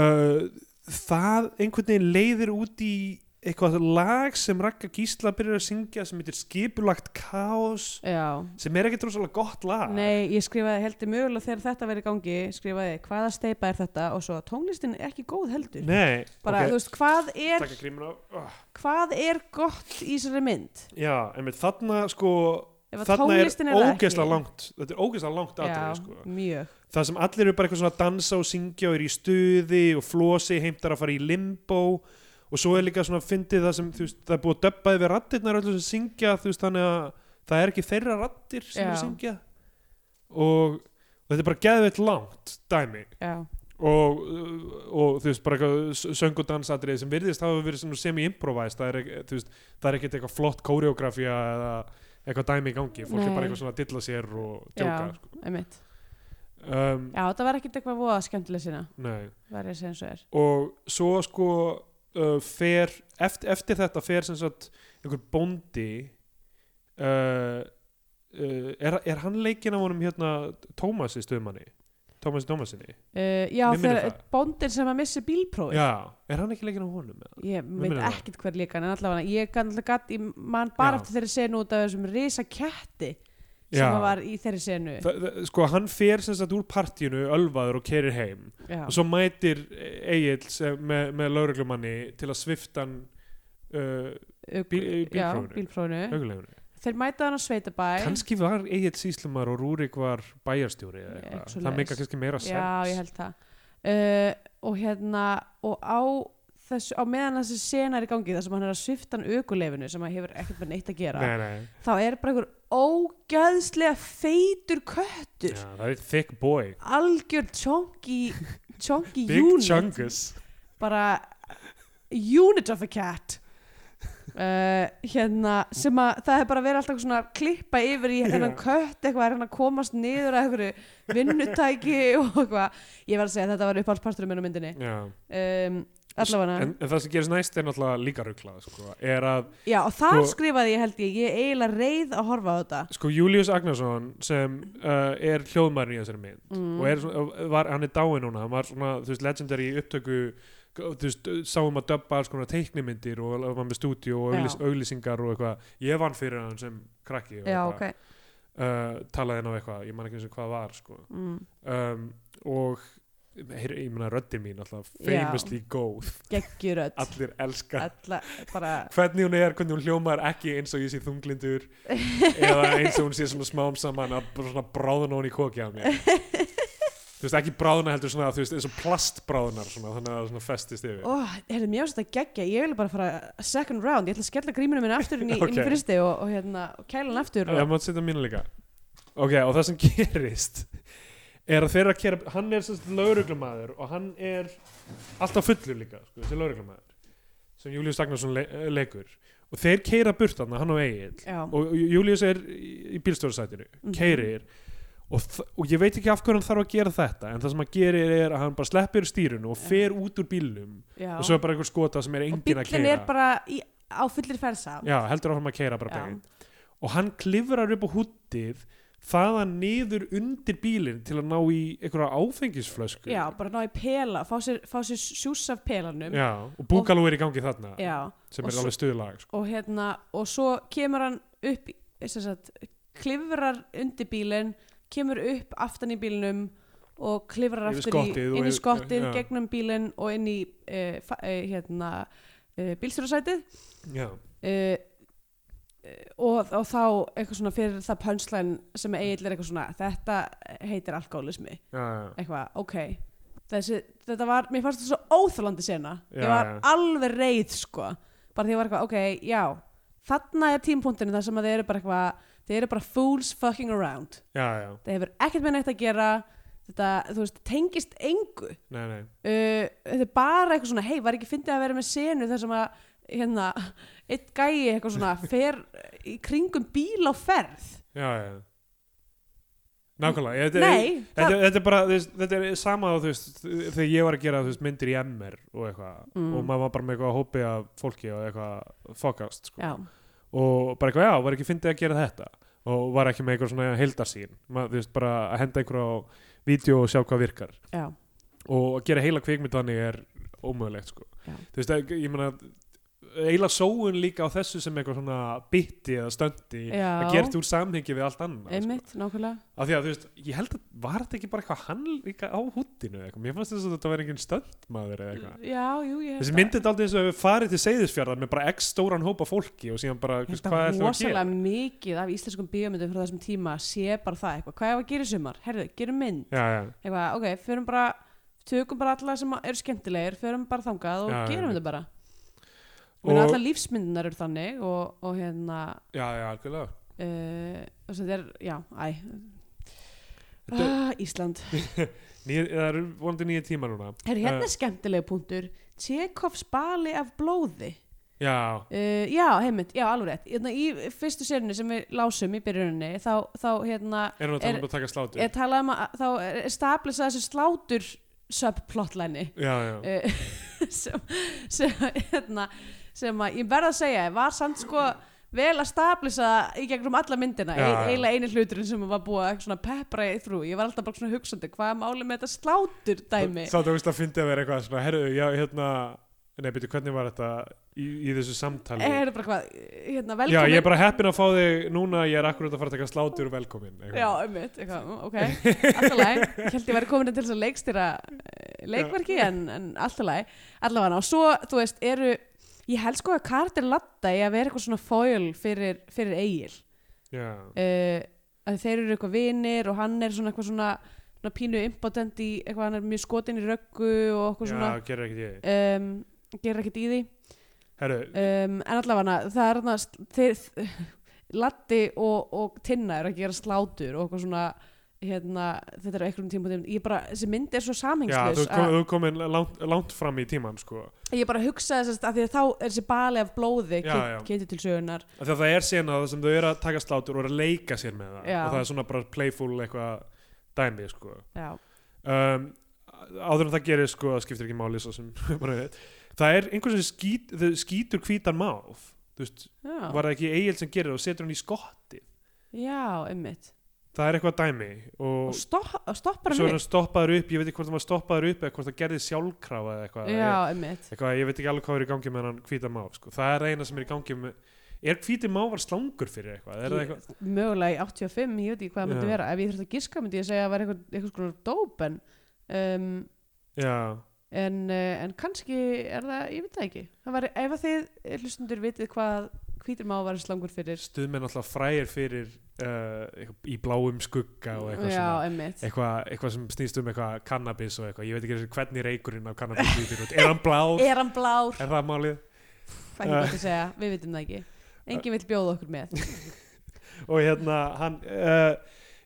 [SPEAKER 2] uh, það einhvern veginn leiðir út í eitthvað lag sem Ragga Gísla byrjar að syngja sem heitir Skipulagt Kaos
[SPEAKER 3] Já,
[SPEAKER 2] sem er ekkert rosalega gott lag
[SPEAKER 3] Nei, ég skrifaði heldur mögulega þegar þetta verið í gangi skrifaði hvaða steipa er þetta og svo tónlistin er ekki góð heldur
[SPEAKER 2] Nei,
[SPEAKER 3] bara, þú
[SPEAKER 2] ok,
[SPEAKER 3] veist, hvað er,
[SPEAKER 2] taka grímur á oh.
[SPEAKER 3] hvað er gott í þessari mynd
[SPEAKER 2] Já, en með þarna sko
[SPEAKER 3] Ef að
[SPEAKER 2] þarna er
[SPEAKER 3] tónlistin er það
[SPEAKER 2] ógeðslega
[SPEAKER 3] ekki.
[SPEAKER 2] langt þetta er ógeðslega langt aðrið sko.
[SPEAKER 3] mjög
[SPEAKER 2] það sem allir eru bara eitthvað svona að dansa og syngja og eru í stuði og flosi heimtar að fara í limbo og svo er líka svona fyndið það sem þú veist, það er búið að döbba yfir rattirnar öllu sem syngja þú veist, þannig að það er ekki þeirra rattir sem eru
[SPEAKER 3] Já.
[SPEAKER 2] að syngja og, og þetta er bara geðveitt langt dæmi
[SPEAKER 3] já,
[SPEAKER 2] og, og þú veist bara eitthvað söng og dansatriði sem virðist hafa verið svona semi-improvised það er, ek- þú veist, það er ekkert eitthvað flott kóreografía eða eitthvað dæmi í gangi fólk er
[SPEAKER 3] Nei.
[SPEAKER 2] bara eitthvað svona að dilla sér og djóka
[SPEAKER 3] Já.
[SPEAKER 2] sko.
[SPEAKER 3] einmitt
[SPEAKER 2] um,
[SPEAKER 3] já, það var ekkert eitthvað voða skemmtileg sinna
[SPEAKER 2] nei.
[SPEAKER 3] verið sem svo er
[SPEAKER 2] og svo sko uh, fer, eftir, eftir þetta fer sem sagt einhver bóndi uh, uh, er, er hann leikinn af honum hérna Tómasi stuðmanni Tómasi Tómasinni
[SPEAKER 3] uh, já,
[SPEAKER 2] Mér minnir
[SPEAKER 3] þegar
[SPEAKER 2] það.
[SPEAKER 3] bóndin sem að missi bílprófi
[SPEAKER 2] Já, er hann ekki leikinn af honum? eða?
[SPEAKER 3] ég veit
[SPEAKER 2] minnir það.
[SPEAKER 3] ekkert hver líka en allavega ég kann alltaf gatt í mann bara
[SPEAKER 2] Já.
[SPEAKER 3] eftir þeirri senu út af þessum risa ketti sem
[SPEAKER 2] Já.
[SPEAKER 3] að var í þeirri senu
[SPEAKER 2] Þa, þa- sko hann fer sem sagt úr partíinu ölvaður og kerir heim
[SPEAKER 3] já,
[SPEAKER 2] og svo mætir Egil með, með lauruglumanni til að svifta hann uh, bíl-
[SPEAKER 3] já,
[SPEAKER 2] bílprófinu.
[SPEAKER 3] bílprófinu.
[SPEAKER 2] högulegunu
[SPEAKER 3] þeir mæta hann á Sveitabæ
[SPEAKER 2] kannski var Egil síslumar og Rúrik var bæjarstjóri eða
[SPEAKER 3] Eitthvað
[SPEAKER 2] eitthvað,
[SPEAKER 3] svoleiðis.
[SPEAKER 2] það meika kannski meira sens
[SPEAKER 3] Já, ég held það uh, og hérna og á þessu, á meðan þessi sena er í gangi þar sem hann er að svifta hann ökuleifinu sem hann hefur ekkert með neitt að gera
[SPEAKER 2] nei, nei,
[SPEAKER 3] þá er bara einhver ógæðslega feitur köttur
[SPEAKER 2] já, það er thick boy
[SPEAKER 3] algjör chonky chonky
[SPEAKER 2] Big
[SPEAKER 3] unit
[SPEAKER 2] Chungus
[SPEAKER 3] bara unit of a cat Uh, hérna sem að það hefur bara verið alltaf svona að klippa yfir í hennan
[SPEAKER 2] Já.
[SPEAKER 3] kött eitthvað er hann að komast niður að einhverju vinnutæki og eitthvað ég verð að segja að þetta var uppáhaldsparturinn minn á myndinni
[SPEAKER 2] Já.
[SPEAKER 3] um, allavega
[SPEAKER 2] en, en það sem gerist næst er náttúrulega líka ruglað sko, er að
[SPEAKER 3] já og þar
[SPEAKER 2] sko-
[SPEAKER 3] skrifaði ég held ég ég er eiginlega reið að horfa á þetta
[SPEAKER 2] sko Július Agnarsson sem uh, er hljóðmærin í þessari mynd
[SPEAKER 3] Mm.
[SPEAKER 2] og er, svona- var, hann er dáin núna hann var svona, þú veist, legendary í upptöku þú veist, sáum að döbba alls konar teiknimyndir og var með stúdíu og
[SPEAKER 3] Já.
[SPEAKER 2] auglis, auglisingar og eitthvað, ég vann fyrir hann sem krakki og
[SPEAKER 3] já
[SPEAKER 2] eitthvað,
[SPEAKER 3] ok
[SPEAKER 2] uh, talaði hann á eitthvað ég man ekki eins og hvað var sko.
[SPEAKER 3] mm.
[SPEAKER 2] um, og heyr, ég meina röddin mín alltaf,
[SPEAKER 3] Já.
[SPEAKER 2] famously góð
[SPEAKER 3] geggjurödd
[SPEAKER 2] allir elska
[SPEAKER 3] alla bara
[SPEAKER 2] hvernig hún er, hvernig hún hljómar ekki eins og ég sé þunglindur eða eins og hún sé svona smám saman að bara svona bráðuna hún í koki á mér þú veist, ekki bráðuna heldur svona þú veist, eins og plastbráðunar svona, þannig að það svona festist yfir
[SPEAKER 3] Ó, heyrðu, mér finnst þetta geggja, ég vil bara fara second round, ég ætla að skella gríminu minn aftur inn í, inn í
[SPEAKER 2] Ok.
[SPEAKER 3] fristi og, og, hérna, og kæla hann aftur
[SPEAKER 2] ég
[SPEAKER 3] og,
[SPEAKER 2] mátt setja mínu líka ok, og það sem gerist er að þeirra kera, hann er svona lauruglumæður og hann er alltaf fullur líka, sko, þessi lauruglumæður sem Július Stagnarsson le leikur og þeir keira burt hann, hann og Egil
[SPEAKER 3] já,
[SPEAKER 2] og Július er í bílstjórasætinu
[SPEAKER 3] Mhm.
[SPEAKER 2] keirir og, þ- og ég veit ekki af hverju hann þarf að gera þetta en það sem hann gerir er að hann bara sleppir stýrunu og fer út úr bílnum
[SPEAKER 3] já.
[SPEAKER 2] og svo er bara einhver skota sem er
[SPEAKER 3] og
[SPEAKER 2] engin að
[SPEAKER 3] bíllinn
[SPEAKER 2] keira
[SPEAKER 3] er bara í, á fullir fersa
[SPEAKER 2] já, heldur áfram að keira bara
[SPEAKER 3] Já.
[SPEAKER 2] beint og hann klifrar upp á húttið þaðan niður undir bílinn til að ná í einhverja áfengisflösku
[SPEAKER 3] Já, bara ná í pela, fá sér, fá sér sjús af pelanum
[SPEAKER 2] Já, og búkalú er í gangi þarna
[SPEAKER 3] Já,
[SPEAKER 2] sem
[SPEAKER 3] og
[SPEAKER 2] er
[SPEAKER 3] svo-
[SPEAKER 2] alveg stuðlag sko.
[SPEAKER 3] og hérna og svo kemur hann upp í- sem sagt, klifrar undir bílinn kemur upp aftan í bílinnum og klifrar
[SPEAKER 2] Yfir
[SPEAKER 3] aftur
[SPEAKER 2] skottið
[SPEAKER 3] í,
[SPEAKER 2] og
[SPEAKER 3] inn í
[SPEAKER 2] yfir-
[SPEAKER 3] skottið,
[SPEAKER 2] já.
[SPEAKER 3] gegnum bílinn og inn í uh, uh, hérna, uh, bílstjórasætið
[SPEAKER 2] Já.
[SPEAKER 3] uh, eh, og, og þá eitthvað svona fyrir það pönslæn sem eiginlega er eitthvað svona þetta heitir alkoholismi
[SPEAKER 2] Já, já.
[SPEAKER 3] eitthvað, ok Þessi, þetta var, mér fannst þetta svo óþalandi sena ég
[SPEAKER 2] Já,
[SPEAKER 3] var
[SPEAKER 2] já.
[SPEAKER 3] alveg reið sko bara því ég var eitthvað, ok, já þarna er tímpunktinu þar sem að þeir eru bara eitthvað þeir eru bara fools fucking around
[SPEAKER 2] já, já
[SPEAKER 3] það hefur ekkert með neitt að gera þetta, þú veist, tengist engu uh,
[SPEAKER 2] nei, nei,
[SPEAKER 3] þetta er bara eitthvað svona, hei, var ekki fyndið að vera með senu þar sem að, hérna eitt gæi eitthvað svona, fer í kringum bíl á ferð
[SPEAKER 2] já, já nákvæmlega, þetta er,
[SPEAKER 3] nei,
[SPEAKER 2] þetta, þetta er bara þú veist, þetta er sama þú veist, þegar ég var að gera þú veist, myndir í MR og eitthvað
[SPEAKER 3] Mm.
[SPEAKER 2] og maður var bara með eitthvað hópi af fólki og eitthvað fokast sko.
[SPEAKER 3] já,
[SPEAKER 2] og bara eitthvað, já, var ekki fyndið að gera þetta og var ekki með eitthvað svona heildarsýn maður, þú veist, bara að henda einhverju á vídeo og sjá hvað virkar
[SPEAKER 3] já,
[SPEAKER 2] og að gera heila kvikmynd þannig er ómögulegt, sko
[SPEAKER 3] Já.
[SPEAKER 2] þú veist, ég- ég meina heila sóun líka á þessu sem eitthvað svona bitti eða stöndi
[SPEAKER 3] Já.
[SPEAKER 2] að gert úr samhengi við allt annað um sko.
[SPEAKER 3] einmitt, nákvæmlega
[SPEAKER 2] af því að, þú veist, ég held að var þetta ekki bara eitthvað hann líka á húttinu eða eitthvað, mér fannst þess að þetta var engin stöndmaður eða eitthvað
[SPEAKER 3] já, jú, Mm, ég held
[SPEAKER 2] Þessi
[SPEAKER 3] að-
[SPEAKER 2] myndið er aldrei eins og við farið til Seyðisfjarðar með bara x stóran hópa fólki og síðan bara,
[SPEAKER 3] Ég
[SPEAKER 2] hvað
[SPEAKER 3] held að
[SPEAKER 2] er það að gera?
[SPEAKER 3] rosalega mikið af íslenskum bíómyndum frá þessum tíma sé bara það eitthvað, hvað er að gera í sumar? Herðu, gerum mynd
[SPEAKER 2] Já, já.
[SPEAKER 3] eitthvað, ok, förum bara tökum bara alla sem eru skemmtilegir förum bara þangað og
[SPEAKER 2] Já, já,
[SPEAKER 3] gerum
[SPEAKER 2] já.
[SPEAKER 3] þetta bara og
[SPEAKER 2] Og-
[SPEAKER 3] alla lífsmyndunar eru þannig og, og hérna
[SPEAKER 2] Já, já, algjörlega
[SPEAKER 3] uh, og þetta er, já, æ
[SPEAKER 2] Þetta-
[SPEAKER 3] ah, Ísland
[SPEAKER 2] Nýja, Það eru vonandi nýja tíma núna
[SPEAKER 3] Herru, hérna
[SPEAKER 2] Eh.
[SPEAKER 3] er skemmtilegu punktur Tjekovs bali af blóði
[SPEAKER 2] Já,
[SPEAKER 3] Uh, já, heimitt, já, alveg rétt hérna, Í fyrstu sérinu sem við lásum í byrjuninni þá, þá hérna
[SPEAKER 2] erum við að tala
[SPEAKER 3] Er-
[SPEAKER 2] um að taka slátur
[SPEAKER 3] er talað um að þá er stablisa þessu slátur subplotlæni
[SPEAKER 2] Já, já,
[SPEAKER 3] uh, sem, sem, hérna, sem að ég verð að segja var samt sko vel að stablisa í gegnum alla myndina
[SPEAKER 2] Já,
[SPEAKER 3] ja,
[SPEAKER 2] já.
[SPEAKER 3] eiginlega eini hluturinn sem var búið að svona peppra í þrú, ég var alltaf bara svona hugsandi hvað er málið með þetta slátur dæmi
[SPEAKER 2] Þá þú veist að fyndi að vera eitthvað svona Herru, já, hérna Nei, byrju, hvernig var þetta í, í þessu samtali?
[SPEAKER 3] er bara hvað, hérna
[SPEAKER 2] já,
[SPEAKER 3] velkomin
[SPEAKER 2] ég er bara heppin að fá þig núna Ég er akkurat að fara að taka slátur velkomin eitthvað.
[SPEAKER 3] Já, einmitt, eitthvað, mm, ok, alltaf læg Ég held ég væri komin til þess að leikstýra eh, leikverki, en, en alltaf læg Allavega, og svo, þú veist, eru Ég held sko að Carter Latta í að vera eitthvað svona foil fyrir, fyrir Egil
[SPEAKER 2] já,
[SPEAKER 3] uh, að þeir eru eitthvað vinir og hann er svona eitthvað svona, svona pínu impotent í eitthvað, hann er mjög skotin í röggu og
[SPEAKER 2] já
[SPEAKER 3] eitthvað svona
[SPEAKER 2] gerir ekkert ég
[SPEAKER 3] um, gerir ekkert í því
[SPEAKER 2] Herru,
[SPEAKER 3] um, en allavega það er þarna sl- þeir, Latti og, og Tinna eru að gera slátur og eitthvað svona hérna, þetta er á einhverjum tíma ég bara, þessi mynd er svo
[SPEAKER 2] já, þú
[SPEAKER 3] samhengslaus
[SPEAKER 2] ert kom, þú ert komin langt, langt fram í tíman sko.
[SPEAKER 3] að ég bara hugsaði þess að því að þá er þessi bali af blóði
[SPEAKER 2] Já, já.
[SPEAKER 3] kynntu til sögunar
[SPEAKER 2] Af því að Það er sena það sem þau eru að taka slátur og eru að leika sér með það
[SPEAKER 3] Já.
[SPEAKER 2] og það er svona bara playful eitthvað dæmi sko.
[SPEAKER 3] já,
[SPEAKER 2] um, áður en það gerir sko það skiptir ekki máli svo sem bara við- það er einhvern sem skít, þau skítur hvítan máf þú veist,
[SPEAKER 3] já,
[SPEAKER 2] var það ekki eigil sem gerir það og setur hann í skotti
[SPEAKER 3] já einmitt
[SPEAKER 2] það er eitthvað dæmi
[SPEAKER 3] og,
[SPEAKER 2] og,
[SPEAKER 3] stopp, og stoppar
[SPEAKER 2] svo er
[SPEAKER 3] hann
[SPEAKER 2] hann stoppaður upp ég veit ekki hvort hann var stoppaður upp eða hvort það gerði sjálfkrafa eða
[SPEAKER 3] upp
[SPEAKER 2] eitthvað,
[SPEAKER 3] já, einmitt
[SPEAKER 2] Ég- eitthvað ég veit ekki alveg hvað er í gangi með hann hvítan máf sko. það er eina sem er í gangi með er hvíti máfar slangur fyrir eitthvað, er það eitthvað?
[SPEAKER 3] Ég- mögulega í 85, ég veit ekki hvað það myndi
[SPEAKER 2] Já.
[SPEAKER 3] vera ef ég þurfti að giska myndi ég segja að það var eitthvað, eitthvað skonar dóp en um,
[SPEAKER 2] Já,
[SPEAKER 3] en, eh, en kannski er það, ég veit það ekki það var, ef að þið eh, hlustundur vitið hvað hvítir má var slangur fyrir
[SPEAKER 2] stuðmenn alltaf frægir fyrir uh, eitthvað í bláum skugga og eitthvað svona
[SPEAKER 3] já, emmitt
[SPEAKER 2] eitthvað eitthva sem snýst um eitthvað kannabis og eitthvað, ég veit ekki einu sinni hvernig reykurinn af kannabis lítur út, er hann blár,
[SPEAKER 3] er hann blár,
[SPEAKER 2] er það málið
[SPEAKER 3] það
[SPEAKER 2] Eh.
[SPEAKER 3] er ekki gott að segja við vitum það ekki, enginn vill bjóða okkur með
[SPEAKER 2] og hérna hann uh,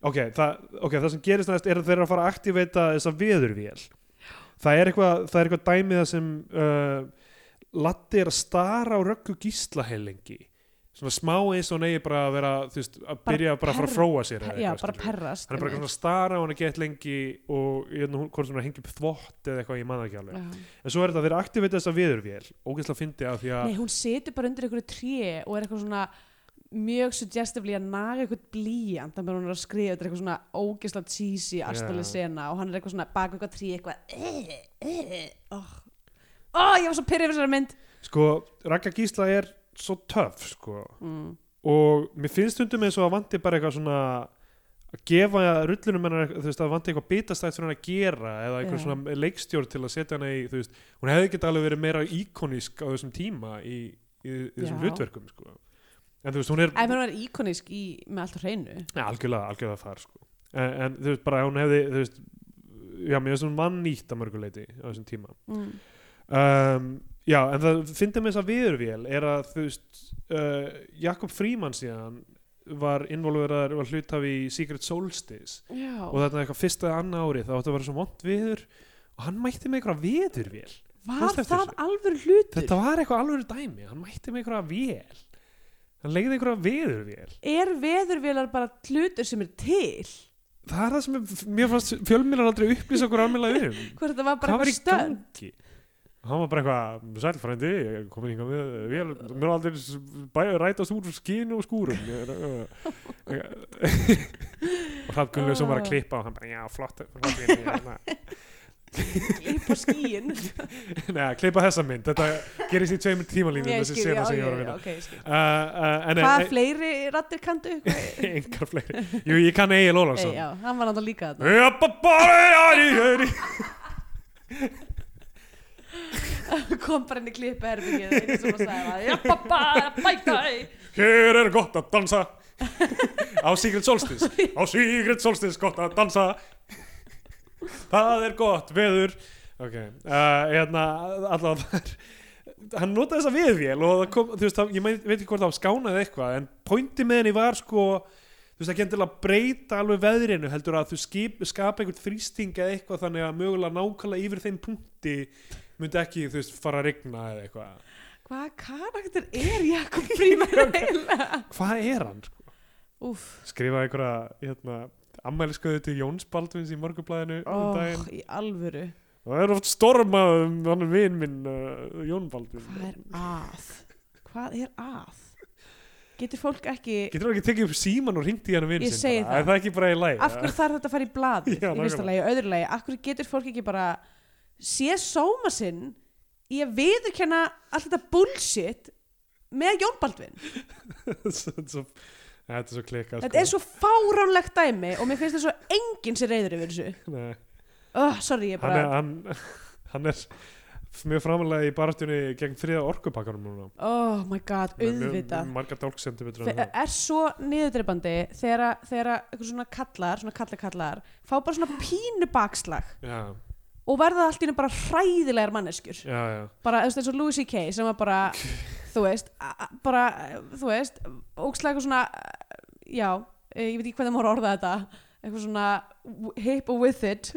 [SPEAKER 2] ok, það, ok, það sem gerist næst er að þeir eru að fara að aktiveita þessa viðurvél það er eitthvað, það er eitthvað dæmið sem uh, Latti er að stara á röggu gíslahelengi svona smá eins og neyji bara að vera þú veist, að
[SPEAKER 3] Bara
[SPEAKER 2] byrja bara að fara að
[SPEAKER 3] per-
[SPEAKER 2] fróa sér eða
[SPEAKER 3] já,
[SPEAKER 2] eitthvað,
[SPEAKER 3] bara
[SPEAKER 2] skilurðu.
[SPEAKER 3] perrast
[SPEAKER 2] hann er bara eitthvað svona að stara á hann að geta lengi og hérna, hún, hvort sem er að hengja upp þvott eða eitthvað, ég man það ekki alveg
[SPEAKER 3] einmitt. Já.
[SPEAKER 2] En svo er þetta að þeir aktivita þessa viðurvél Ógeðslega fyndi af því að
[SPEAKER 3] nei, hún setur bara undir einhverju tré og er eitthvað svona mjög suggestively að naga eitthvað blíjant þannig að hún er að skrifa þetta er eitthvað svona ógeðslega cheesy astali
[SPEAKER 2] Já.
[SPEAKER 3] sena og hann er eitthvað svona bak við eitthvað tré eitthvað ó, oh. oh, ég var svo pyrrið fyrir þessari mynd
[SPEAKER 2] Sko, Ragga Gísla er svo töff sko.
[SPEAKER 3] mm.
[SPEAKER 2] Og mér finnst stundum eins og að vanti bara eitthvað svona Að gefa rullunum hennar Þú veist, að vanti eitthvað bitastætt fyrir hann að gera Eða eitthvað
[SPEAKER 3] Já.
[SPEAKER 2] svona leikstjórn til að setja hana í Þú veist, hún hefði ekki alveg verið meira íkonísk Á þessum tíma í, í, í þessum
[SPEAKER 3] Já.
[SPEAKER 2] hlutverkum sko. En þú veist, hún er
[SPEAKER 3] Ef hún var íkonísk í, með allt á hreinu
[SPEAKER 2] Nei, algjörlega, algjörlega þar sko. en, en þú veist, bara hún hefði Þú veist, já, mér finnst hún vann nýtt Að mörguleiti á þessum tíma
[SPEAKER 3] mm.
[SPEAKER 2] um, já, en það fyndið með þess að viðurvél er að þú veist uh, Jakob Fríman síðan var involveraðar var hluthafi í Secret Solstice
[SPEAKER 3] já,
[SPEAKER 2] og þetta er eitthvað fyrsta eða annað árið þá átti að vera svo vond viður og hann mætti með eitthvað viðurvél
[SPEAKER 3] var
[SPEAKER 2] manstu
[SPEAKER 3] það
[SPEAKER 2] eftir þessu?
[SPEAKER 3] alveg hlutur?
[SPEAKER 2] þetta var eitthvað alveg dæmi, hann mætti með eitthvað vél hann legði eitthvað viðurvél
[SPEAKER 3] Er veðurvélar bara hlutur sem er til?
[SPEAKER 2] það er það sem er- mér fannst fjölmiðlar aldrei upplýsa okkur almennlega um
[SPEAKER 3] Hvort þetta var bara
[SPEAKER 2] hvað var í
[SPEAKER 3] stönd?
[SPEAKER 2] gangi og hann var bara eitthvað sælfrændi, ég er komin hingað með vél, mér er aldrei s- bæ- rætast úr skinu og skúrum Ég er, uh, uh, og Hrafn Gunnlaugsson var að klippa og hann bara, já, flott flott vinur, ég er hérna."
[SPEAKER 3] upp á skíin
[SPEAKER 2] Nei, klippa þessa mynd, þetta gerist í tveimur tímalínum þessi sena sem ég var að vinna
[SPEAKER 3] okay, ég skil.
[SPEAKER 2] Uh, uh, en
[SPEAKER 3] Hvað
[SPEAKER 2] en-
[SPEAKER 3] fleiri rattir kanntu?
[SPEAKER 2] engar fleiri Jú, ég kann Egil
[SPEAKER 3] Ei,
[SPEAKER 2] Ólafsson
[SPEAKER 3] já, hann var náttúrulega líka þarna
[SPEAKER 2] Ég bara bara er í heri
[SPEAKER 3] kom bara inn í klippu herbyggið eins og maður sagði það Jappappa, bæta
[SPEAKER 2] Hér er gott að dansa Á Secret Solstice Á Secret Solstice gott að dansa Það er gott veður Ok, uh, hérna allavega þar Hann notaði þessa viðvél og það kom, þú veist, það, ég mein, veit ekki hvort það skánaði eitthvað en pointi með henni var sko þú veist, ekki endilega breyta alveg veðrinu heldur að þú skip, skapa einhvern þrýsting eða eitthvað þannig að mögulega nákvæmlega yfir þeim punkti myndi ekki, þú veist, fara að rigna eða eitthvað
[SPEAKER 3] Hvað karakter er Jakob Fríman eiginlega?
[SPEAKER 2] Hvað er hann?
[SPEAKER 3] Úf,
[SPEAKER 2] skrifaði einhverja hérna, ammælisköðu til Jóns Baldvins í morgunblæðinu um
[SPEAKER 3] oh,
[SPEAKER 2] daginn
[SPEAKER 3] í alvöru
[SPEAKER 2] og það er oft stormað um hann er vin minn uh, Jón Baldvin
[SPEAKER 3] Hvað er að? Hvað er að? Getur fólk ekki
[SPEAKER 2] getur það ekki tekið upp síman og ringt í hann vin
[SPEAKER 3] Ég
[SPEAKER 2] sinn
[SPEAKER 3] segi
[SPEAKER 2] bara?
[SPEAKER 3] það.
[SPEAKER 2] er það ekki bara í læg
[SPEAKER 3] Af hverju þarf þetta að fara í blaði?
[SPEAKER 2] Já,
[SPEAKER 3] í fyrsta
[SPEAKER 2] nákvæmlega.
[SPEAKER 3] lagi, í öðru lagi, af hverju getur fólk ekki bara sé sóma sinn í að viðurkenna allt þetta bullshit með Jón Baldvin
[SPEAKER 2] þetta er svo, þetta er svo sko. klikkað
[SPEAKER 3] Þetta er svo fáránlegt dæmi og mér finnst þetta svo enginn sem reyður yfir þessu
[SPEAKER 2] Nei,
[SPEAKER 3] oh, Sorry, ég
[SPEAKER 2] hann
[SPEAKER 3] bara
[SPEAKER 2] er, hann, hann er mjög framlega í baratjunni gegn þriða orkupakkanum núna
[SPEAKER 3] Oh my god, auðvitað
[SPEAKER 2] marga dálksentimetra
[SPEAKER 3] Fe- er svo niðurdreipandi þegar að- þegar að einhver svona kallar, svona kallakallar fá bara svona pínu bakslag
[SPEAKER 2] já,
[SPEAKER 3] og verða allt í henni bara hræðilegar manneskjur
[SPEAKER 2] já, já
[SPEAKER 3] bara þú veist, eins og Louis C.K. sem var bara þú veist, a- a- bara þú veist, ókslega eitthvað svona já, eh, ég veit ekki hvernig maður orða þetta eitthvað svona hip og with it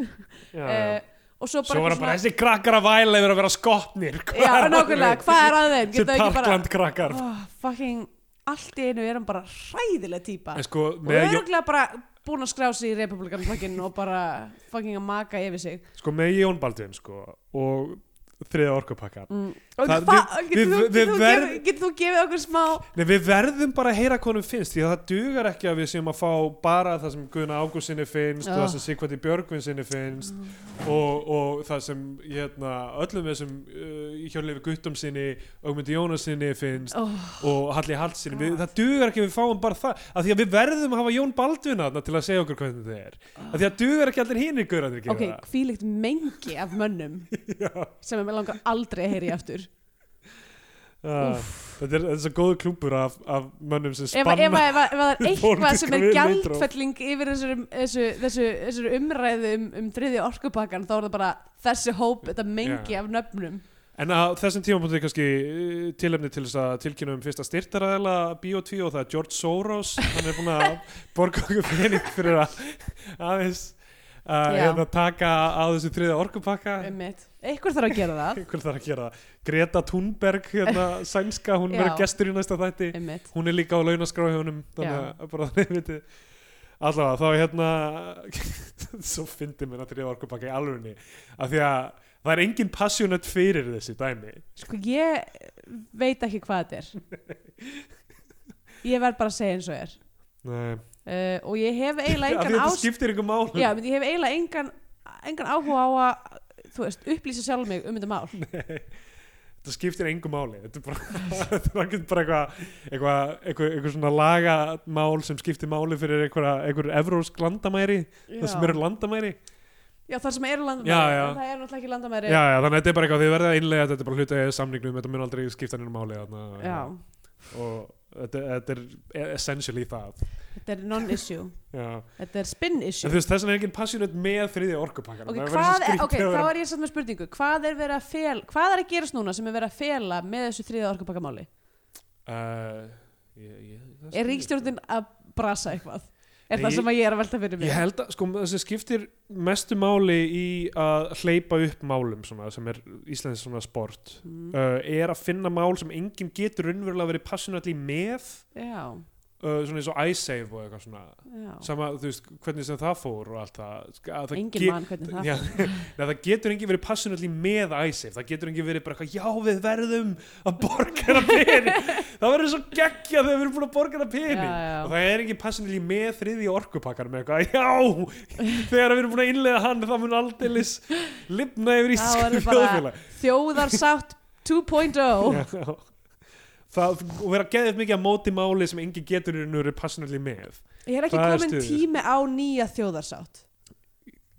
[SPEAKER 2] Já, já.
[SPEAKER 3] uh, og svo
[SPEAKER 2] svo
[SPEAKER 3] bara,
[SPEAKER 2] var
[SPEAKER 3] eitthvað
[SPEAKER 2] hann bara, þessi krakkar að væla yfir að vera skotnir Hvað er
[SPEAKER 3] já,
[SPEAKER 2] að
[SPEAKER 3] nákvæmlega,
[SPEAKER 2] þeim?"
[SPEAKER 3] hvað er að þeim
[SPEAKER 2] sem
[SPEAKER 3] geta ekki bara,
[SPEAKER 2] Parkland krakkar
[SPEAKER 3] oh, fucking allt í einu er hann bara hræðileg típa
[SPEAKER 2] en sko,
[SPEAKER 3] og
[SPEAKER 2] með, Jón,
[SPEAKER 3] öruglega bara búin að skrá sig í republikanflokkinn og bara fucking að maka yfir sig
[SPEAKER 2] sko, með Jón Baldvin sko, og þriða orkupakkan
[SPEAKER 3] mm.
[SPEAKER 2] Það-
[SPEAKER 3] og
[SPEAKER 2] við- við-
[SPEAKER 3] hvað,
[SPEAKER 2] við-
[SPEAKER 3] getur
[SPEAKER 2] við
[SPEAKER 3] þú
[SPEAKER 2] verð-
[SPEAKER 3] gefið- getur þú gefið okkur smá
[SPEAKER 2] Nei, við verðum bara að heyra hvað honum finnst því að það dugar ekki að við séum að fá bara það sem Gunnar Ágústinni finnst og
[SPEAKER 3] Já.
[SPEAKER 2] það sem Sigvati Björgvinsinni finnst
[SPEAKER 3] Ah.
[SPEAKER 2] og, og það sem hérna, öllum þessum uh, í hjörleifi Guttum sinni, Ögmundi Jónasinni finnst
[SPEAKER 3] oh.
[SPEAKER 2] og Halli Hallsinni
[SPEAKER 3] God.
[SPEAKER 2] við, það dugar ekki að við fáum bara það af því að við verðum að hafa Jón Baldvin þarna til að segja okkur hvernig það er af því að dugar ekki allir hinir Gunnar
[SPEAKER 3] ok, hvílíkt mengi af mönnum
[SPEAKER 2] Já.
[SPEAKER 3] sem ég langar aldrei að heyri aftur
[SPEAKER 2] Ah, þetta er, þetta er svo góðu klúpur af, af mönnum sem
[SPEAKER 3] ef, ef, ef,
[SPEAKER 2] spanna
[SPEAKER 3] ef, ef það er eitthvað sem er
[SPEAKER 2] Pólitíska
[SPEAKER 3] gjaldfelling yfir þessu, þessu, þessu, þessu umræðu um, um þriði orkupakkan þá er það bara þessi hóp, þetta mengi
[SPEAKER 2] Já.
[SPEAKER 3] af nöfnum
[SPEAKER 2] En á þessum tímapunktu er kannski eh, tilefni til þess að tilkynna um fyrsta styrtaræðala Bio 2 og það er George Soros hann er búinn að borga okkur pening fyrir að aðeins að
[SPEAKER 3] Já.
[SPEAKER 2] hérna, taka á þessu þriða orkupakka
[SPEAKER 3] um eitthvað þarf að gera það
[SPEAKER 2] einhver þarf að gera það Greta Thunberg, hérna, sænska hún
[SPEAKER 3] Já.
[SPEAKER 2] verður gestur í næsta þætti
[SPEAKER 3] um
[SPEAKER 2] hún er líka á launaskrá hjá honum
[SPEAKER 3] Já.
[SPEAKER 2] þannig að bara þannig viti allavega þá er hérna svo fyndi mér að þriða orkupakka í alvunni af því að það er engin passionate fyrir þessi dæmi
[SPEAKER 3] sko ég veit ekki hvað þetta er ég verð bara að segja eins og er
[SPEAKER 2] Nei.
[SPEAKER 3] uh, og ég hef
[SPEAKER 2] af
[SPEAKER 3] eiginlega
[SPEAKER 2] því að
[SPEAKER 3] engan
[SPEAKER 2] þetta
[SPEAKER 3] ás
[SPEAKER 2] skiptir ykkur máli
[SPEAKER 3] Já, menn, ég hef eiginlega engan, engan áhuga á að þú veist, upplýsa sjálf mig um þetta mál
[SPEAKER 2] þetta skiptir engu máli þetta er bara, þetta er ekkert bara eitthvað eitthvað, eitthvað, eitthvað svona lagamál sem skiptir máli fyrir einhverja einhver evrósk landamæri það sem eru landamæri
[SPEAKER 3] Já, þar sem eru landamæri,
[SPEAKER 2] Já, já.
[SPEAKER 3] en það eru náttúrulega ekki landamæri
[SPEAKER 2] já, já, þannig að þetta er bara eitthvað því verða einlega þetta er bara hluta eða samningnum þetta mun aldrei skipta nýjum máli þarna,
[SPEAKER 3] Já,
[SPEAKER 2] og þetta, þetta er essentially það
[SPEAKER 3] þetta er non-issue
[SPEAKER 2] já.
[SPEAKER 3] Þetta er spin-issue
[SPEAKER 2] En þú veist, þess vegna er enginn passionate með þriðja orkupakkan
[SPEAKER 3] Ok, hvað er, ok, þá er ég samt með spurningu Hvað er verið að fel, hvað er að gerast núna sem er verið að fela með þessu þriða orkupakamáli?
[SPEAKER 2] uh, ég, ég, það
[SPEAKER 3] Er
[SPEAKER 2] skil ég
[SPEAKER 3] ríkstjórnin að brasa eitthvað er
[SPEAKER 2] Nei,
[SPEAKER 3] það
[SPEAKER 2] ég-
[SPEAKER 3] sem að ég er að velta fyrir
[SPEAKER 2] Ég
[SPEAKER 3] mér
[SPEAKER 2] held að, sko, það sem skiptir mestu máli í að hleypa upp málum svona, sem er íslensk svona sport
[SPEAKER 3] Mm.
[SPEAKER 2] uh, er að finna mál sem enginn getur raunverulega verið passionately með
[SPEAKER 3] já,
[SPEAKER 2] uh, svona eins og iSave og eitthvað svona
[SPEAKER 3] já,
[SPEAKER 2] sama, þú veist, hvernig sem það fór og allt það, sk- að það
[SPEAKER 3] engin mann hvernig það
[SPEAKER 2] Já, neða, það getur enginn verið passionately með ISIF, það getur enginn verið bara eitthvað, já við verðum að borga hana pening það verður svo geggja þegar við erum búin að borga hana pening
[SPEAKER 3] Já, já.
[SPEAKER 2] og það er enginn passionately með þriði orkupakkar með eitthvað, já þegar við erum búin að innlega hann það mun aldeilis lifna yfir
[SPEAKER 3] Þá er
[SPEAKER 2] íslensku
[SPEAKER 3] það bara-
[SPEAKER 2] þjóðfélag
[SPEAKER 3] þjóðarsátt oh. 2.0
[SPEAKER 2] Já. það, og vera geðið mikið að móti máli sem enginn getur nú verið passionately með
[SPEAKER 3] ég er ekki
[SPEAKER 2] Það er
[SPEAKER 3] komin
[SPEAKER 2] stuð.
[SPEAKER 3] tími á nýja þjóðarsátt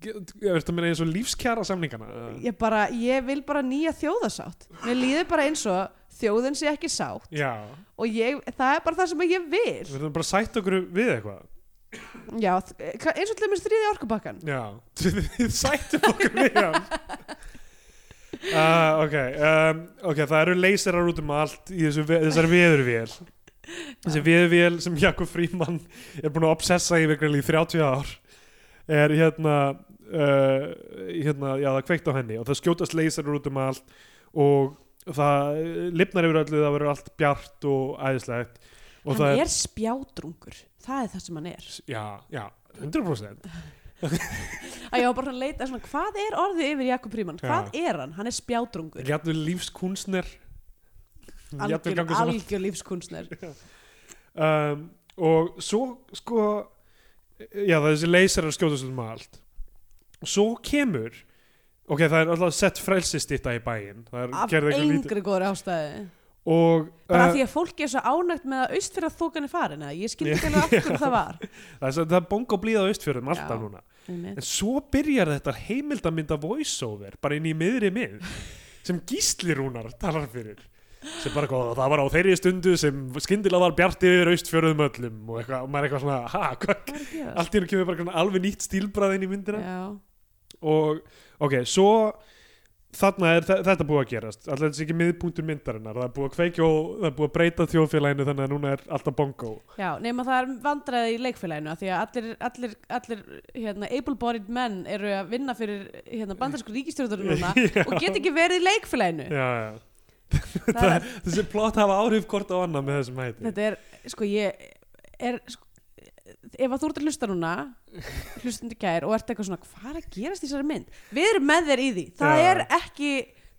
[SPEAKER 2] Er þetta að meina eins og lífskjara samningana?
[SPEAKER 3] ég, bara, ég vil bara nýja þjóðarsátt mér líður bara eins og þjóðin sé ekki sátt
[SPEAKER 2] Já,
[SPEAKER 3] og ég, það er bara það sem ég
[SPEAKER 2] við
[SPEAKER 3] vil
[SPEAKER 2] verðum bara að sætta okkur við eitthvað
[SPEAKER 3] já, þ- hva- eins og til mér stríði orkubakkan
[SPEAKER 2] Já, þið sættum okkur við hann uh, ok, um, ok, það eru leyserar út um allt í þessu, ve- þessari veðurvél þessi veðurvél sem Jakob Fríman er búin að obsessa yfir greinilega í 30 ár er hérna uh, hérna, já það er kveikt á henni og það skjótast leyserar út um allt og það lifnar yfir öllu það verður allt bjart og æðislegt og
[SPEAKER 3] hann
[SPEAKER 2] það
[SPEAKER 3] er spjádrungur það er það sem hann er
[SPEAKER 2] já, já, 100%
[SPEAKER 3] að ég var bara svona að leita svona, hvað er orðið yfir Jakob Príman, hvað er hann, hann er spjádrungur
[SPEAKER 2] Jættu lífskunstner Jættu
[SPEAKER 3] algjör,
[SPEAKER 2] gangur saman
[SPEAKER 3] algjör lífskunstner
[SPEAKER 2] um, Og svo sko Já það er þessi leysarar skjótast um allt Svo kemur Ok það er alltaf sett frelsistýtta í bæinn Það er
[SPEAKER 3] af
[SPEAKER 2] gerði eitthvað lítið Uh,
[SPEAKER 3] engri góður ástæði
[SPEAKER 2] Og
[SPEAKER 3] bara
[SPEAKER 2] uh,
[SPEAKER 3] því að fólki er svo ánægt með að aust fyrir að þókan er farin eða ég skildi
[SPEAKER 2] Já.
[SPEAKER 3] ekki alveg af hverju það var
[SPEAKER 2] það er, það er bóng og blíða á austfjörðum alltaf
[SPEAKER 3] Já.
[SPEAKER 2] núna
[SPEAKER 3] Einmitt.
[SPEAKER 2] En svo byrjar þetta heimildamynda voiceover Bara inn í miðri mið Sem gísli rúnar talar fyrir sem bara góða, það var á þeirri stundu sem skyndilega var bjart yfir austfjörðum öllum og, eitthvað, og maður er eitthvað svona, ha, hvað,
[SPEAKER 3] Hvað er að gerast?
[SPEAKER 2] allt í hennu kemur bara svona alveg nýtt stílbrað inn í myndina
[SPEAKER 3] Já.
[SPEAKER 2] og ok, svo þarna er þe- þetta búið að gerast alltaf þetta sé ekki miðpunktur myndarinnar það er búið að kveikja og það er búið að breyta þjóðfélaginu þannig að núna er alltaf bongo
[SPEAKER 3] Já, nema það er vandræði í leikfélaginu af því að allir, allir, allir hérna, able-bodied menn eru að vinna fyrir hérna, bandarsku ríkistjórnum núna
[SPEAKER 2] Já.
[SPEAKER 3] og get ekki verið í leikfélaginu
[SPEAKER 2] já, já.
[SPEAKER 3] það er,
[SPEAKER 2] þessi plott hafa áhrif hvort á annað með þessum hætti
[SPEAKER 3] þetta er, sko ég er, sko, ef að þú ert að hlusta núna hlustandi kær og ert eitthvað svona hvað er að gerast í þessari mynd? Við erum með þér í því það
[SPEAKER 2] Já.
[SPEAKER 3] er ekki,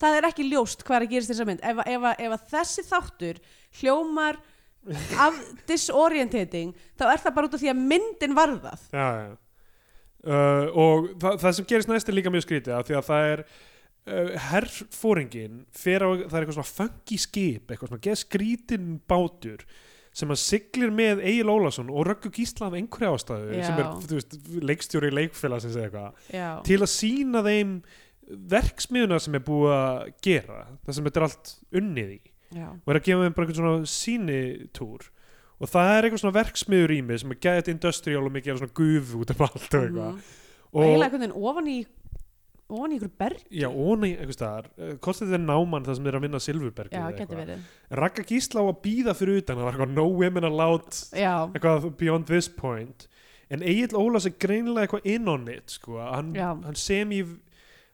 [SPEAKER 3] það er ekki ljóst hvað er að gerast í þessari mynd ef, að- ef, að- ef að þessi þáttur hljómar af disorientating þá er það bara út af því að myndin varðað
[SPEAKER 2] já, já. Uh, og það, það sem gerist næst er líka mjög skrítið af því að það er uh, herrfóringin fer á, það er eitthvað svona funky skip, eitthvað svona geð skrítin bátur sem að siglir með Egil Ólason og Röggu Gísla af einhverja ástæðu
[SPEAKER 3] Já.
[SPEAKER 2] sem er, þú veist, leikstjóri leikfélagsins eða eitthvað,
[SPEAKER 3] Já,
[SPEAKER 2] til að sína þeim verksmiðuna sem er búið að gera, það sem þetta er allt unnið í
[SPEAKER 3] já,
[SPEAKER 2] og er að gefa þeim bara einhvern svona sýnitúr og það er eitthvað svona verksmiður í mig sem er gæðið industrial og mikið er svona gufu út af allt og eitthvað
[SPEAKER 3] Mhm. og eiginlega
[SPEAKER 2] og
[SPEAKER 3] einhvern veginn ofan í ofan í ykkur berg
[SPEAKER 2] já, óna í einhvers staðar eh, hvort þetta er náman það sem er að vinna Silfurberg
[SPEAKER 3] Já, getur verið
[SPEAKER 2] Ragga Gísla á að býða fyrir utan það var eitthvað no women allowed
[SPEAKER 3] Já,
[SPEAKER 2] eitthvað beyond this point en Egil Ólas er greinilega eitthvað in on it sko, að hann,
[SPEAKER 3] Já.
[SPEAKER 2] hann sem í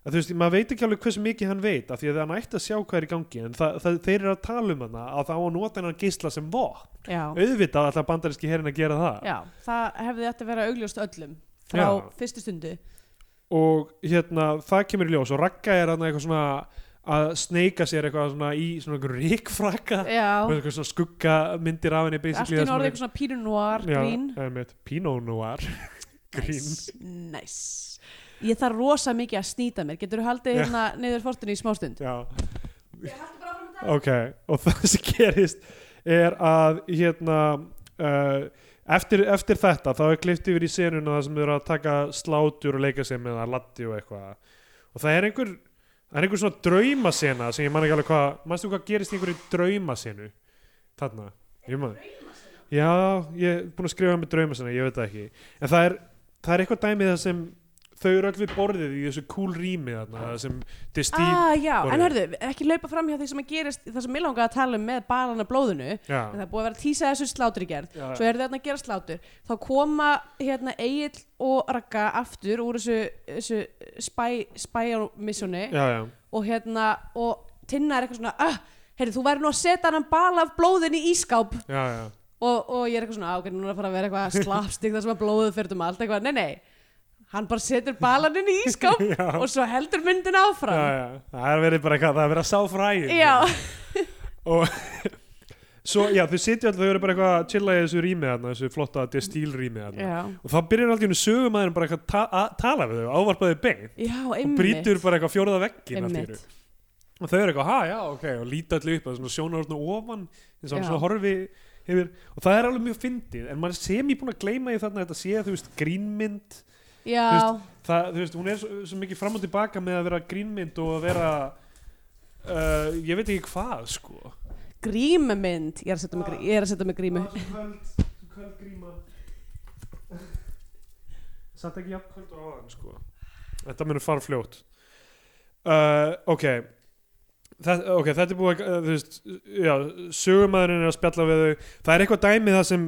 [SPEAKER 2] að þú veist, maður veit ekki alveg hversu mikið hann veit af því að hann ætti að sjá hvað er í gangi en það, það, þeir eru að tala um hana að það á að nota hennar gísla sem vopn
[SPEAKER 3] já
[SPEAKER 2] auðvitað alltaf bandaríski herin að gera það
[SPEAKER 3] Já, það hefði þetta að vera augljóst öllum frá
[SPEAKER 2] Já.
[SPEAKER 3] fyrstu stundu
[SPEAKER 2] og hérna það kemur í ljós og Ragga er hann eitthvað svona að sneika sér eitthvað svona í svona einhverjum ríkfrakka
[SPEAKER 3] Já,
[SPEAKER 2] og eitthvað svona skuggamyndir af henni
[SPEAKER 3] allt í
[SPEAKER 2] basically, það sem er-
[SPEAKER 3] norðu eitthvað svona pínu noir,
[SPEAKER 2] Já,
[SPEAKER 3] grín
[SPEAKER 2] einmitt, Pinot Noir grín
[SPEAKER 3] Næs, næs Ég þarf rosa mikið að snýta mér Getur þú haldið
[SPEAKER 2] Já.
[SPEAKER 3] hérna niður fórstinu í smástund?
[SPEAKER 2] Já Ok, og það sem gerist er að hérna uh, eftir, eftir þetta þá er klift yfir í senuna það sem þau eru að taka slátur og leika sér með það latti og eitthvað og það er einhver það er einhver svona draumasena sem ég man ekki alveg hvað manstu hvað gerist í einhverju draumasenu þarna, ég man Já, ég er búin að skrifa með draumasena, ég veit það ekki en það er, það er eitthvað dæmið það sem þau eru öll við borðið í þessu cool rými þarna sem Destí
[SPEAKER 3] ah, já,
[SPEAKER 2] voru-
[SPEAKER 3] en hörðu, ekki laupa fram hjá því sem að gerist það sem ég langaði að tala um með barana blóðinu en
[SPEAKER 2] já,
[SPEAKER 3] það er búið að vera að tísa þessu slátri gerð
[SPEAKER 2] já,
[SPEAKER 3] svo eru þau þarna að gera slátur þá koma hérna Egil og Ragga aftur úr þessu, þessu spy, spy á missjóni
[SPEAKER 2] já, já,
[SPEAKER 3] og hérna og Tinna er eitthvað svona ah, heyrðu, þú væri nú að setja hann bala af blóðinu í ískáp
[SPEAKER 2] já, já.
[SPEAKER 3] og, og ég er eitthvað svona "Á, ok, núna er að fara að vera eitthvað slapstig þar sem að blóðu fyrir um allt eitthvað, nei nei hann bara setur balan inn í ískáp
[SPEAKER 2] Já.
[SPEAKER 3] og svo heldur myndin áfram
[SPEAKER 2] já, já. það er verið bara eitthvað, það er verið að sá fræðin
[SPEAKER 3] Já,
[SPEAKER 2] og svo, já, þau sitja alltaf, þau eru bara eitthvað að chilla í þessu rými þarna, þessu flotta Destíl rými þarna
[SPEAKER 3] já,
[SPEAKER 2] og þá byrjar alltaf einu sögumæðurinn bara eitthvað að ta að tala við þau, ávarpaði beint
[SPEAKER 3] já
[SPEAKER 2] og
[SPEAKER 3] einmitt
[SPEAKER 2] brýtur bara eitthvað fjóraða veggin allt í einu.
[SPEAKER 3] einmitt.
[SPEAKER 2] og þau eru eitthvað, ha, já, ok, og líta allir upp að svona sjónar svona ofan eins og hann
[SPEAKER 3] Já.
[SPEAKER 2] svona horfi yfir, og það er alveg mjög fyndið en maður sem ég búin að gleyma því þarna að þetta sé, þú veist, grínmynd
[SPEAKER 3] Já,
[SPEAKER 2] það, þú veist, hún er svo, svo mikið fram og tilbaka með að vera grínmynd og að vera uh, ég veit ekki hvað, sko
[SPEAKER 3] grímumynd Ég er að setja mig, grí, ég er að setja mig grímu
[SPEAKER 2] svo köld, svo köld gríma satt ekki jafn köld og áðan sko þetta munur fara fljótt uh, ok Það, ok, þetta er búið að, uh, þú veist, já, sögumæðurinn er að spjalla við þau. Það er eitthvað dæmi það sem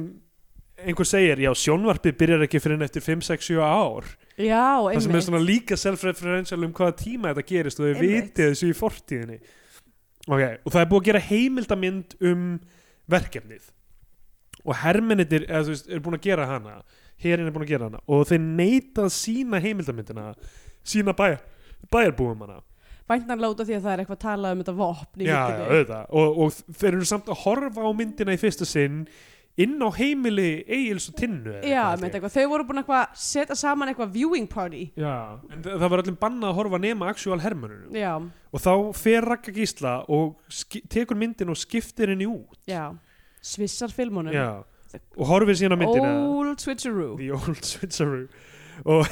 [SPEAKER 2] einhver segir, já, sjónvarpið byrjar ekki fyrir en eftir 5, 6, 7 ár.
[SPEAKER 3] Já,
[SPEAKER 2] Það sem er
[SPEAKER 3] einmitt
[SPEAKER 2] svona líka self-referential um hvaða tíma þetta gerist og þau
[SPEAKER 3] Einmitt.
[SPEAKER 2] vitið þessu í fortíðinni. Ok, og það er búið að gera heimildamind um verkefnið og hermenitir eða, þú veist, er búin að gera hana herin er búin að gera hana og þeir neita að sína heimildamindina sína bæjar, bæjarbúum hana
[SPEAKER 3] Væntanlega út af því að það er eitthvað að tala um þetta vopn í
[SPEAKER 2] já, já,
[SPEAKER 3] myndinni.
[SPEAKER 2] auðvitað og, og þeir eru samt að horfa á myndina í fyrsta sinn inn á heimili Egil's og Tinnu eða
[SPEAKER 3] já
[SPEAKER 2] eitthvað, held
[SPEAKER 3] einmitt,
[SPEAKER 2] ég.
[SPEAKER 3] eitthvað Þau voru búin að eitthvað setja saman eitthvað viewing party
[SPEAKER 2] já, en þa- það var allir bannað að horfa nema actual hermönunum
[SPEAKER 3] Já,
[SPEAKER 2] og þá fer Ragga Gísla og ski- tekur myndin og skiptir henni út
[SPEAKER 3] já Svissar filmunum
[SPEAKER 2] já, og horfir síðan á myndina
[SPEAKER 3] Old switcheroo
[SPEAKER 2] The Old Switcheroo og,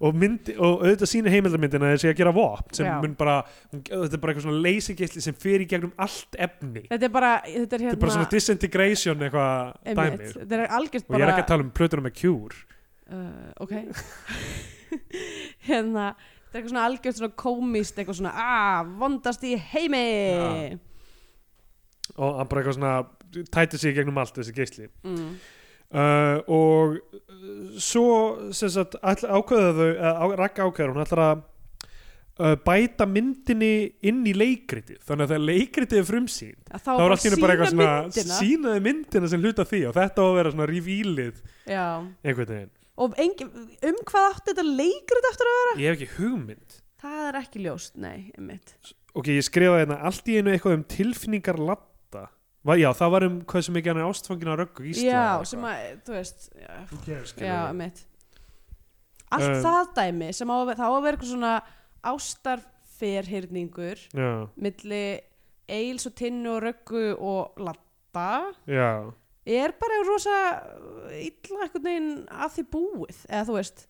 [SPEAKER 2] og, myndi, og auðvitað sína heimildamyndina þessi að gera vopn sem
[SPEAKER 3] Já.
[SPEAKER 2] mun bara, hún- þetta er bara eitthvað svona leysigisli sem fer í gegnum allt efni
[SPEAKER 3] Þetta er bara, þetta er
[SPEAKER 2] þetta
[SPEAKER 3] hérna
[SPEAKER 2] er bara svona disintegration eitthvað
[SPEAKER 3] einmitt,
[SPEAKER 2] dæmi
[SPEAKER 3] Þetta er algjört
[SPEAKER 2] og ég er
[SPEAKER 3] bara
[SPEAKER 2] ekki að tala um plötunum með Cure
[SPEAKER 3] uh, ok hérna þetta er eitthvað svona algjört svona komist eitthvað svona að vondast í heimi
[SPEAKER 2] Já. og hann bara eitthvað svona tætir sig í gegnum allt þessi geisli
[SPEAKER 3] mm.
[SPEAKER 2] uh, og uh, svo sem sagt all, ákveða þau, uh, rakka ákveður hún ætlar að uh, bæta myndinni inn í leikritið þannig að þegar leikritið er frumsýnd
[SPEAKER 3] að
[SPEAKER 2] þá
[SPEAKER 3] þá
[SPEAKER 2] er
[SPEAKER 3] bara
[SPEAKER 2] allt í hennu bara
[SPEAKER 3] sýna
[SPEAKER 2] eitthvað svona
[SPEAKER 3] myndina
[SPEAKER 2] sínaði myndina sem hluta af því og þetta á að vera svona revílið
[SPEAKER 3] já.
[SPEAKER 2] einhvern veginn,
[SPEAKER 3] og engi, um hvað átti þetta leikrit aftur að vera
[SPEAKER 2] ég hef ekki hugmynd
[SPEAKER 3] það er ekki ljóst, nei, einmitt
[SPEAKER 2] ok, ég skrifaði hérna allt í einu eitthvað um tilfinningar latta Va, já, það var um hvað sem ekki hann er ástfangin á röggu í Ísland
[SPEAKER 3] já, sem að, þú veist já, já einmitt allt
[SPEAKER 2] Um,
[SPEAKER 3] það dæmi sem á að vera, þá á að vera eitthvað svona ástarferhyrningur
[SPEAKER 2] já,
[SPEAKER 3] milli Eils og Tinnu og Röggu og Latta
[SPEAKER 2] já,
[SPEAKER 3] er bara rosa illa einhvern veginn að því búið eða þú veist,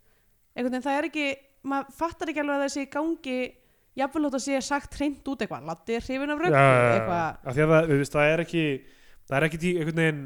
[SPEAKER 3] einhvern veginn það er ekki maður fattar ekki alveg að það sé í gangi jafnvel hótt að sé sagt hreint út eitthvað Latti er hrifin af
[SPEAKER 2] Já,
[SPEAKER 3] röggu
[SPEAKER 2] já, já.
[SPEAKER 3] eitthvað,
[SPEAKER 2] Af því að það, þú veist, það er ekki það er ekki í einhvern veginn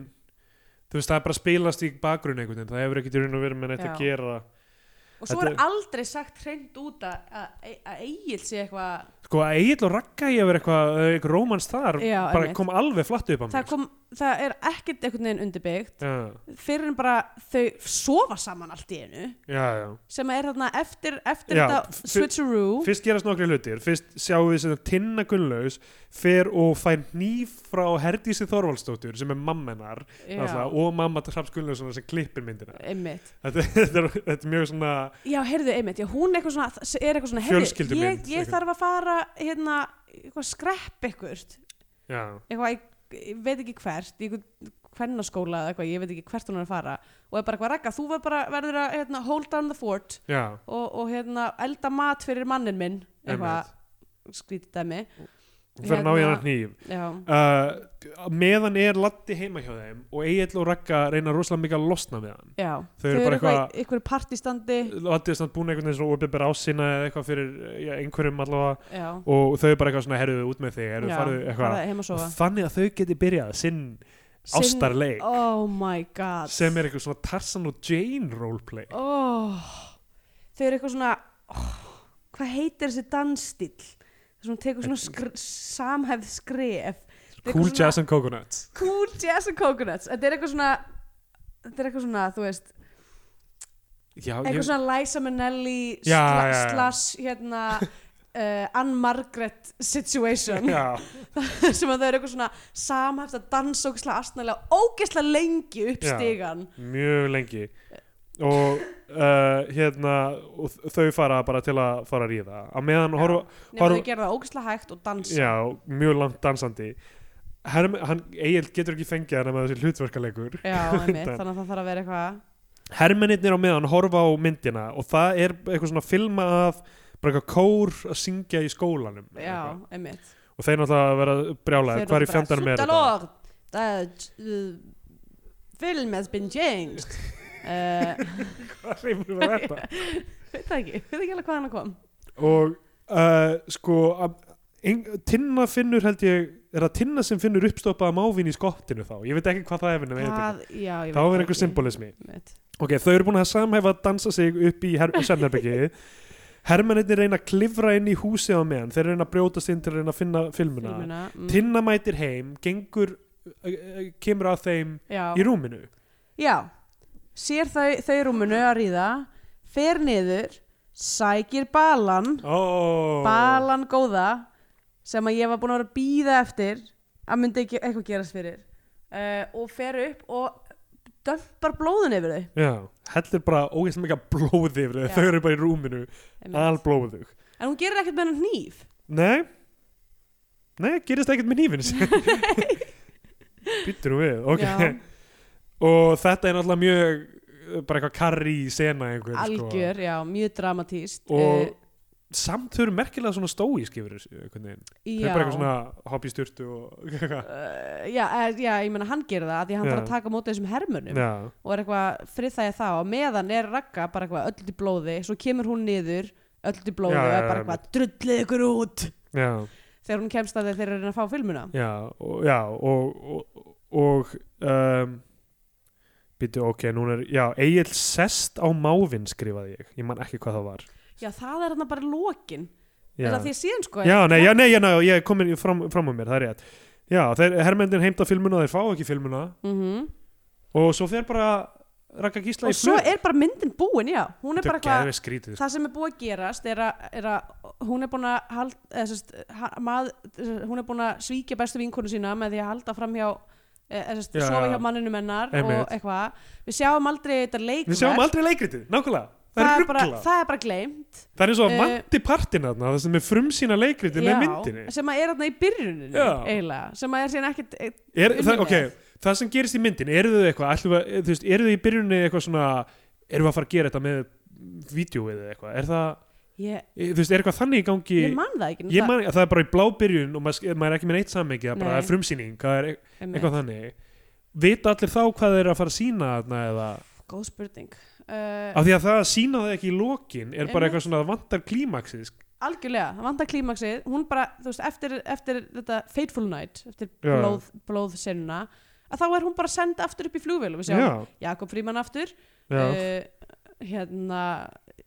[SPEAKER 2] þú veist, það er bara að spilast í bakgrunn einhvern veginn, það hefur ekki í raun og verið með neitt
[SPEAKER 3] Já.
[SPEAKER 2] að gera
[SPEAKER 3] og svo
[SPEAKER 2] Þetta
[SPEAKER 3] er
[SPEAKER 2] er-
[SPEAKER 3] aldrei sagt hreint út að, að, að Egil sé eitthvað
[SPEAKER 2] sko að Egil og Ragga ég að vera eitthvað, eitthvað rómans þar
[SPEAKER 3] Já,
[SPEAKER 2] bara
[SPEAKER 3] einmitt.
[SPEAKER 2] kom alveg flatt upp á
[SPEAKER 3] það,
[SPEAKER 2] mig
[SPEAKER 3] kom, það er ekkert einhvern veginn undirbyggt
[SPEAKER 2] já,
[SPEAKER 3] fyrir en bara þau sofa saman allt í einu
[SPEAKER 2] já, já.
[SPEAKER 3] sem er þarna eftir, eftir
[SPEAKER 2] Já, f-
[SPEAKER 3] þetta
[SPEAKER 2] f-
[SPEAKER 3] switcheroo
[SPEAKER 2] fyrst gerast nokkri hlutir, fyrst sjáum við sem Tinna Gunnlaus fer og fær nýf frá Herdísi Þorvaldsdóttur sem er mammenar
[SPEAKER 3] Já,
[SPEAKER 2] alltaf, og mamma Traps Gunnlaussonar sem klippir myndina
[SPEAKER 3] einmitt
[SPEAKER 2] þetta, þetta, er, þetta er mjög svona
[SPEAKER 3] Já, heyrðu, einmitt, já, hún eitthvað svona, er eitthvað svona, heyrðu,
[SPEAKER 2] Fjölskyldumynd,
[SPEAKER 3] ég, ég
[SPEAKER 2] eitthvað.
[SPEAKER 3] þarf að fara, hérna, eitthvað skrepp ykkur,
[SPEAKER 2] já,
[SPEAKER 3] eitthvað, ég, ég veit ekki hvert, í eitthvað kvennaskóla eða eitthvað, ég veit ekki hvert hún er að fara og er bara eitthvað ragga, þú var bara, verður að, hérna, hold down the fort
[SPEAKER 2] já
[SPEAKER 3] og, og hérna, elda mat fyrir mannin minn, eitthvað,
[SPEAKER 2] einmitt.
[SPEAKER 3] skrítið dæmi,
[SPEAKER 2] hún fer að ná í
[SPEAKER 3] Hérna-
[SPEAKER 2] hann nýf
[SPEAKER 3] já,
[SPEAKER 2] uh, meðan er Latti heima hjá þeim og Egil og Ragga reyna rosalega mikið að losna við hann
[SPEAKER 3] já,
[SPEAKER 2] Þau eru bara
[SPEAKER 3] eitthvað,
[SPEAKER 2] eitthvað-
[SPEAKER 3] í- einhverju partistandi,
[SPEAKER 2] Latti er samt búin einhvern veginn svona opið bara ásina eða eitthvað fyrir já, einhverjum allavega
[SPEAKER 3] já,
[SPEAKER 2] og þau er bara eitthvað svona herruðu út með þig herruðu
[SPEAKER 3] já,
[SPEAKER 2] farðu eitthvað
[SPEAKER 3] farðu heim að sofa,
[SPEAKER 2] Og þannig að þau geti byrjað sinn
[SPEAKER 3] Sinn-
[SPEAKER 2] ástarleik
[SPEAKER 3] oh my god,
[SPEAKER 2] sem er eitthvað svona Tarzan og Jane roleplay
[SPEAKER 3] oh, þau eru eitthvað svona oh, hvað heitir þessi dansstíll þess að hún tekur svona skr, samhæfð skref Þetta er
[SPEAKER 2] Cool
[SPEAKER 3] eitthvað svona-
[SPEAKER 2] Jazz and Coconuts
[SPEAKER 3] cool jazz and coconuts þetta er eitthvað svona þetta er eitthvað svona, þú veist
[SPEAKER 2] Já,
[SPEAKER 3] eitthvað
[SPEAKER 2] ég,
[SPEAKER 3] svona Liza Minnelli
[SPEAKER 2] Já,
[SPEAKER 3] sla,
[SPEAKER 2] já, já.
[SPEAKER 3] slash hérna uh, Anne Margaret situation
[SPEAKER 2] já,
[SPEAKER 3] sem að þau eru eitthvað svona samhæft að dansa ógeðslega astnalega ógeðslega lengi upp
[SPEAKER 2] Já.
[SPEAKER 3] stigan
[SPEAKER 2] mjög lengi og uh, hérna og þ- þau fara bara til að fara að ríða á meðan horfa,
[SPEAKER 3] nema
[SPEAKER 2] Horf-
[SPEAKER 3] þau gera það ógeðslega hægt og dansa
[SPEAKER 2] já, mjög langt dansandi Herm, hann, Egil getur ekki fengið hann með þessi hlutverkaleikur
[SPEAKER 3] Já, einmitt, þannig að það þarf að vera eitthvað
[SPEAKER 2] hermennirnir á meðan horfa á myndina og það er eitthvað svona filma af bara eitthvað kór að syngja í skólanum eða
[SPEAKER 3] Já,
[SPEAKER 2] eitthvað.
[SPEAKER 3] einmitt
[SPEAKER 2] og þeir náttúrulega vera brjálæðir hvað er í fjandanum er þetta
[SPEAKER 3] Suttalord The film has been changed uh,
[SPEAKER 2] hvað reyfum við þetta
[SPEAKER 3] Veit það ekki, veit ekki alveg hvað hann kom
[SPEAKER 2] og uh, sko að- ein, Tinna finnur held ég er það Tinna sem finnur uppstoppaða mávin í skottinu þá, ég veit ekki hvað það er vinna
[SPEAKER 3] Það, já, ég
[SPEAKER 2] þá er einhver symbolismi
[SPEAKER 3] Einmitt.
[SPEAKER 2] ok, þau eru búin að samhæfa að dansa sig upp í, her í svefnherbyggi hermennirnir reyna að klifra inn í húsið á meðan þeir reyna að brjótast inn til að reyna að finna filmuna,
[SPEAKER 3] Filmuna, mm.
[SPEAKER 2] Tinna mætir heim gengur, uh, uh, kemur að þeim
[SPEAKER 3] Já.
[SPEAKER 2] í rúminu
[SPEAKER 3] já, sér þau, þau rúmunu að ríða Fer niður, sækir balan
[SPEAKER 2] oh.
[SPEAKER 3] Balan góða sem að ég var búin að vera að býða eftir að myndi ekki eitthvað gerast fyrir uh, og fer upp og dömpar blóðun yfir þau
[SPEAKER 2] Já, hellir bara ógeðslega mikið blóði yfir þau,
[SPEAKER 3] Já.
[SPEAKER 2] þau eru bara í rúminu
[SPEAKER 3] Einmitt.
[SPEAKER 2] alblóðug
[SPEAKER 3] en hún gerir ekkert með hennar hníf
[SPEAKER 2] Nei Nei, gerist ekkert með nýfins Byttur nú við Ok
[SPEAKER 3] Já.
[SPEAKER 2] Og þetta er náttúrulega mjög uh, bara eitthvað karri í sena einhver
[SPEAKER 3] algjör, já, mjög Eh, dramatíst
[SPEAKER 2] sko. Og samt þau eru merkilega svona stóísk yfir þessu einhvern veginn Þau eru bara eitthvað svona hopp í styrtu og eitthvað
[SPEAKER 3] Uh, já, eh, já, ég meina hann gerir það af því að hann
[SPEAKER 2] Já.
[SPEAKER 3] þarf að taka á móti þessum hermönum
[SPEAKER 2] Já,
[SPEAKER 3] og er eitthvað friðþægja það og meðan er Ragga bara eitthvað öll í blóði svo kemur hún niður öll í blóði
[SPEAKER 2] Já,
[SPEAKER 3] og
[SPEAKER 2] já,
[SPEAKER 3] er bara eitthvað drullið ykkur út
[SPEAKER 2] já,
[SPEAKER 3] þegar hún kemst að þeir þeir eru að reyna að fá filmuna
[SPEAKER 2] já og, Já, og, og, og um, Býttu, ok, núna er Já, Egil sest á mávin skrifaði ég Ég man ekki hvað það var
[SPEAKER 3] já, það er hann bara lokin
[SPEAKER 2] Já.
[SPEAKER 3] eða því að síðan sko
[SPEAKER 2] Já, nei, já, nei, já, nei, ég er komin í- fram, fram á mér, það er rétt Já, þeir, hermendin heimta filmuna, þeir fá ekki filmuna
[SPEAKER 3] Mhm.
[SPEAKER 2] og svo þeir bara rakka gísla
[SPEAKER 3] og
[SPEAKER 2] í
[SPEAKER 3] svo er bara myndin búin, já hún er bara
[SPEAKER 2] hvað
[SPEAKER 3] eitthvað
[SPEAKER 2] skrítið, sko.
[SPEAKER 3] það sem er búið að gerast er að, er að hún er búin að hald, eða, sest, ha- mað, hún er búin að svíkja bestu vinkonu sína með því að halda fram hjá e, eða, sest,
[SPEAKER 2] Já,
[SPEAKER 3] sofa
[SPEAKER 2] já.
[SPEAKER 3] hjá manninum hennar
[SPEAKER 2] Einmitt.
[SPEAKER 3] og eitthvað við sjáum aldrei þetta leikverk
[SPEAKER 2] Við sjáum aldrei leikritið, nákvæmlega Það,
[SPEAKER 3] það
[SPEAKER 2] er
[SPEAKER 3] er, bara,
[SPEAKER 2] ruggla, það,
[SPEAKER 3] það er bara gleymt
[SPEAKER 2] er eins og að
[SPEAKER 3] eh,
[SPEAKER 2] vanti partina þarna, það sem er frumsýna leikritið með
[SPEAKER 3] Já,
[SPEAKER 2] myndinni
[SPEAKER 3] sem að er þarna í byrjuninu
[SPEAKER 2] Já.
[SPEAKER 3] eiginlega, sem að er síðan ekkit e,
[SPEAKER 2] er, það,
[SPEAKER 3] unnið
[SPEAKER 2] Ok, það sem gerist í myndinni, eru þau eitthvað ætlum við, að- þú veist, eru þau í byrjunni eitthvað svona eru við að fara að gera þetta með vídjóið eða eitthvað, er það,
[SPEAKER 3] ég,
[SPEAKER 2] þú veist, er eitthvað þannig í gangi
[SPEAKER 3] ég man það ekki
[SPEAKER 2] Ég man að það er bara í blábyrjun og maður, maður er ekki með neitt samhengi, það er bara
[SPEAKER 3] Nei.
[SPEAKER 2] það er frumsýning, það er e-
[SPEAKER 3] man,
[SPEAKER 2] eitthvað þannig. Vita allir þá hvað þeir eru að fara að sína þarna eða?
[SPEAKER 3] góð spurning uh,
[SPEAKER 2] Af því að það að sína það ekki í lokin er bara
[SPEAKER 3] Einmitt.
[SPEAKER 2] eitthvað svona það vantar klímaksið. sk-
[SPEAKER 3] algjörlega, það vantar klímaksið hún bara, þú veist, eftir, eftir þetta Fateful Night, eftir
[SPEAKER 2] Já.
[SPEAKER 3] blóð, blóðsenuna að þá er hún bara send aftur upp í flugvél og við
[SPEAKER 2] Já,
[SPEAKER 3] sjáum Jakob Fríman aftur
[SPEAKER 2] já.
[SPEAKER 3] uh, hérna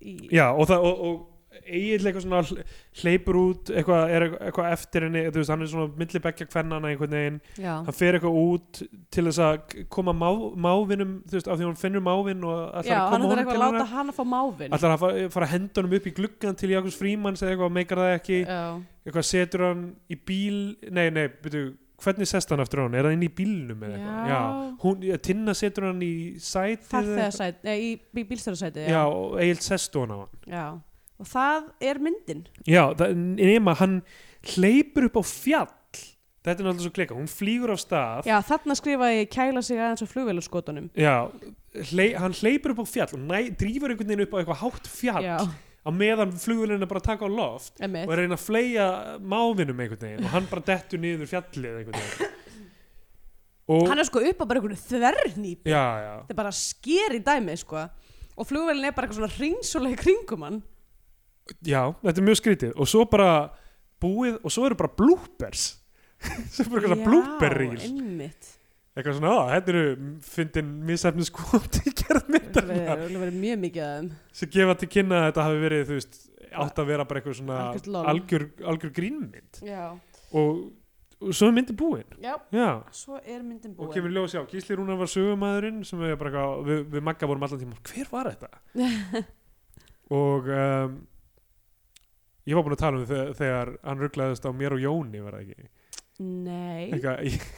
[SPEAKER 3] í,
[SPEAKER 2] já, og það, og, og Egil eitthvað svona hl- hleypur út, eitthvað, er eitthvað eftir henni, þú veist, hann er svona millibekja kvennana einhvern veginn,
[SPEAKER 3] já,
[SPEAKER 2] hann fer eitthvað út til þess að k- koma má, mávinum, þú veist, af því að hún finnur mávin og ætlar
[SPEAKER 3] já
[SPEAKER 2] að
[SPEAKER 3] hann
[SPEAKER 2] koma
[SPEAKER 3] er
[SPEAKER 2] honum til
[SPEAKER 3] eitthvað að
[SPEAKER 2] hennar.
[SPEAKER 3] láta hann að fá mávin
[SPEAKER 2] Ætlar að fara, fara hendunum upp í gluggan til Jakobs Frímanns eða eitthvað, meikar það ekki
[SPEAKER 3] já,
[SPEAKER 2] eitthvað setur hann í bíl nei, nei, byrju, hvernig sest hann aftur á hann er það inn í bílnum eða eitthvað
[SPEAKER 3] Já.
[SPEAKER 2] Hún, ja, Tinna setur hann í sætið eða eitthvað.
[SPEAKER 3] farþegarsæti, nei, í, í bílstjórasæti
[SPEAKER 2] já, og Egil sestu hann á hann
[SPEAKER 3] já, og það er myndin
[SPEAKER 2] já, það, nema, hann hleypur upp á fjall þetta er náttúrulega svo klika, hún flýgur af stað
[SPEAKER 3] já, þarna skrifaði ég kæla sig aðeins á flugvélaskotunum
[SPEAKER 2] hley, hann hleypur upp á fjall og næ, drífur einhvern veginn upp á eitthvað hátt fjall
[SPEAKER 3] já,
[SPEAKER 2] á meðan flugurinn er bara að taka á loft og
[SPEAKER 3] emmitt
[SPEAKER 2] er að reyna að fleia mávinum einhvern veginn og hann bara dettur niður fjallið einhvern veginn og
[SPEAKER 3] hann er sko upp á bara einhvern þvernýp
[SPEAKER 2] já, já,
[SPEAKER 3] þetta er bara skeri dæmi sko og flugvælin er bara eitthvað svona hringsólega kringum hann
[SPEAKER 2] já, þetta er mjög skrítið og svo bara búið og svo eru bara bloopers svo er bara eitthvað svona blooper reel
[SPEAKER 3] einmitt
[SPEAKER 2] eitthvað svona, á, þetta eru fyndin misefnis kvot í gerð myndarinnar
[SPEAKER 3] Það verið mjög mikið af þeim
[SPEAKER 2] sem gefa til kynna að þetta hafi verið þú veist, átt að vera bara eitthvað
[SPEAKER 3] Algjört lol.
[SPEAKER 2] svona algjör, algjör grínmynd
[SPEAKER 3] Já,
[SPEAKER 2] og, og svo er myndin búin
[SPEAKER 3] já,
[SPEAKER 2] já,
[SPEAKER 3] svo er myndin
[SPEAKER 2] og
[SPEAKER 3] búin
[SPEAKER 2] kemur ljós já, Gísli Rúnar var sögumæðurinn sem við, bara, eitthvað- við, við Magga vorum allan tíma hver var þetta? og um, ég var búin að tala um þegar, þegar hann rugglaðist á mér og Jóni var það ekki
[SPEAKER 3] Nei,
[SPEAKER 2] eitthvað ég,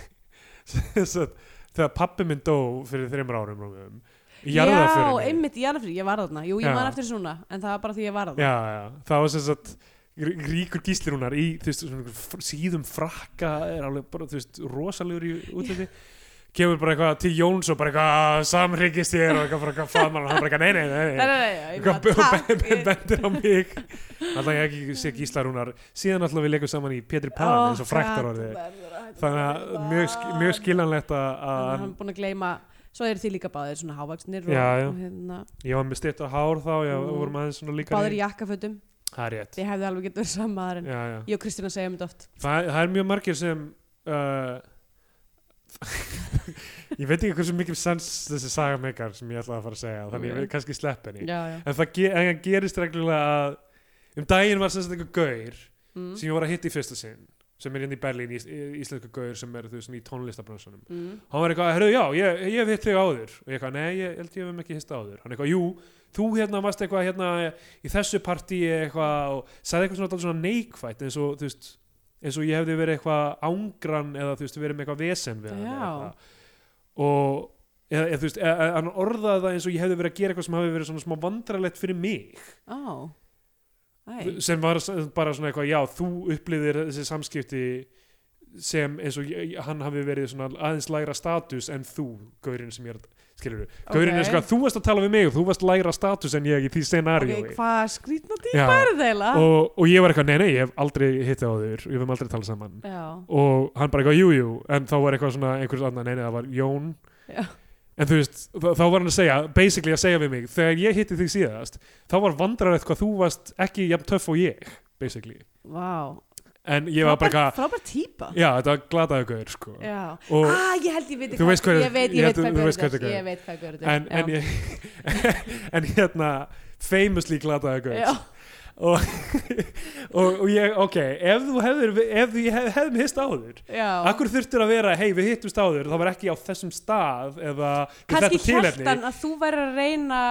[SPEAKER 2] þess að, þegar pappi minn dó fyrir þreymur árum rúmum, í
[SPEAKER 3] já,
[SPEAKER 2] jarðaförinni.
[SPEAKER 3] einmitt í jarðafyrir, ég var þarna Jú,
[SPEAKER 2] Já.
[SPEAKER 3] ég man eftir svona, en það var bara því ég var þarna
[SPEAKER 2] já, já, það var sem sagt gr- ríkur gíslirúnar í þú veist, svona, einhver fr- síðum frakka er alveg bara, þú veist, rosalegur í útliti kemur bara eitthvað til Jóns og bara eitthvað "Ah, samhryggist þér og eitthvað bara eitthvað faðmann og hann bara eitthvað nei, nei,
[SPEAKER 3] Nei,
[SPEAKER 2] nei, nei.
[SPEAKER 3] nei, nei, já, ég
[SPEAKER 2] Eitthvað
[SPEAKER 3] bara
[SPEAKER 2] b-
[SPEAKER 3] takk
[SPEAKER 2] b- b- bendir á mig alltaf ég ekki sé gíslarúnar síðan alltaf við leikum saman í Pétri Pan
[SPEAKER 3] Ó,
[SPEAKER 2] eins og fræktar orðið
[SPEAKER 3] gat, verður að hætta
[SPEAKER 2] þannig að
[SPEAKER 3] Pétri
[SPEAKER 2] mjög, sk-
[SPEAKER 3] Pan.
[SPEAKER 2] mjög skiljanlegt að, að
[SPEAKER 3] Þannig að hann
[SPEAKER 2] hann-
[SPEAKER 3] er búin að gleyma Svo eru því líka báðir svona hávaksnir og,
[SPEAKER 2] Já, já.
[SPEAKER 3] og hérna,
[SPEAKER 2] ég var með styrta hár þá ég
[SPEAKER 3] Mm.
[SPEAKER 2] vorum aðeins svona líka
[SPEAKER 3] báðir í jakkafötum
[SPEAKER 2] það er rétt
[SPEAKER 3] Þið hefði alveg getur verið saman maður en
[SPEAKER 2] já, já.
[SPEAKER 3] ég og Kristina segja mynd oft
[SPEAKER 2] það, það er mjög margir sem uh, ég veit ekki hversu mikil sens þessi saga meikar sem ég ætlaði að fara að segja þannig ég
[SPEAKER 3] Ok.
[SPEAKER 2] veit kannski slepp henni
[SPEAKER 3] Já, já
[SPEAKER 2] en það ge en það gerist reglulega að um daginn var sem sagt einhver gaur
[SPEAKER 3] mm.
[SPEAKER 2] sem ég var að hitta í fyrsta sinn sem er inn í Berlín, ís íslensku gaur sem er þú veist svona í tónlistabransunum
[SPEAKER 3] Mm.
[SPEAKER 2] hann var eitthvað, herru já, ég, ég hef hitt þig áður og ég eitthvað, nei, ég held ég hef ekki hitt þig áður hann eitthvað, jú, þú hérna varst eitthvað hérna í þessu partí eitthvað og sagði eitthvað svona, dálítið svona neikvætt eins og, þú veist, eins og ég hefði verið eitthvað ángran eða þú veist, verið með eitthvað vesen við hann eða
[SPEAKER 3] Já.
[SPEAKER 2] eitthvað. og eða, eða, þú veist, eða, eða, hann orðaði það eins og ég hefði verið að gera eitthvað sem hafi verið svona smá vandralegt fyrir mig
[SPEAKER 3] Á Æ,
[SPEAKER 2] sem var s- bara svona eitthvað, já, þú upplýðir þessi samskipti sem eins og ég, hann hafi verið svona aðeins lægra status en þú, gaurinn sem ég er skilur við, gaurinn er
[SPEAKER 3] Ok.
[SPEAKER 2] svona, þú varst að tala við mig og þú varst lægra status en ég í því scenaríu
[SPEAKER 3] ok, hvað skrýtna
[SPEAKER 2] Já.
[SPEAKER 3] típa er þeila?
[SPEAKER 2] og, og ég var eitthvað, nei, nei, ég hef aldrei hitt á þér, og við höfum aldrei talað saman
[SPEAKER 3] Já,
[SPEAKER 2] og hann bara eitthvað, jú, jú, en þá var eitthvað svona einhvers annar, nei, nei, það var Jón
[SPEAKER 3] Já.
[SPEAKER 2] en þú veist, þá þá var hann að segja basically að segja við mig, þegar ég hitti þig síðast þá var vandrarætt hvað þú varst ekki jafn töff og ég, basically
[SPEAKER 3] vá
[SPEAKER 2] en ég var bara eitthvað,
[SPEAKER 3] Frábær típa
[SPEAKER 2] já, þetta var glataði gaur, sko
[SPEAKER 3] Já
[SPEAKER 2] og,
[SPEAKER 3] Ah, ég held ég veit
[SPEAKER 2] Þú veist hver-
[SPEAKER 3] Ég veit,
[SPEAKER 2] ég
[SPEAKER 3] ég
[SPEAKER 2] held-
[SPEAKER 3] veit hvað
[SPEAKER 2] þú veist
[SPEAKER 3] Björn
[SPEAKER 2] hvað þetta
[SPEAKER 3] er
[SPEAKER 2] er.
[SPEAKER 3] Ég veit hvað Björn er
[SPEAKER 2] en, en, ég, en hérna famously glataði gaur
[SPEAKER 3] Já,
[SPEAKER 2] og, og, og ég, ok ef þú hefðir, ef þú hef, hefðum hist áður
[SPEAKER 3] já
[SPEAKER 2] Akkur þurftur að vera, hei við hittumst áður það var ekki á þessum stað eða við
[SPEAKER 3] Kanski
[SPEAKER 2] þetta
[SPEAKER 3] hjælt
[SPEAKER 2] tilefni
[SPEAKER 3] hann að þú væri að reyna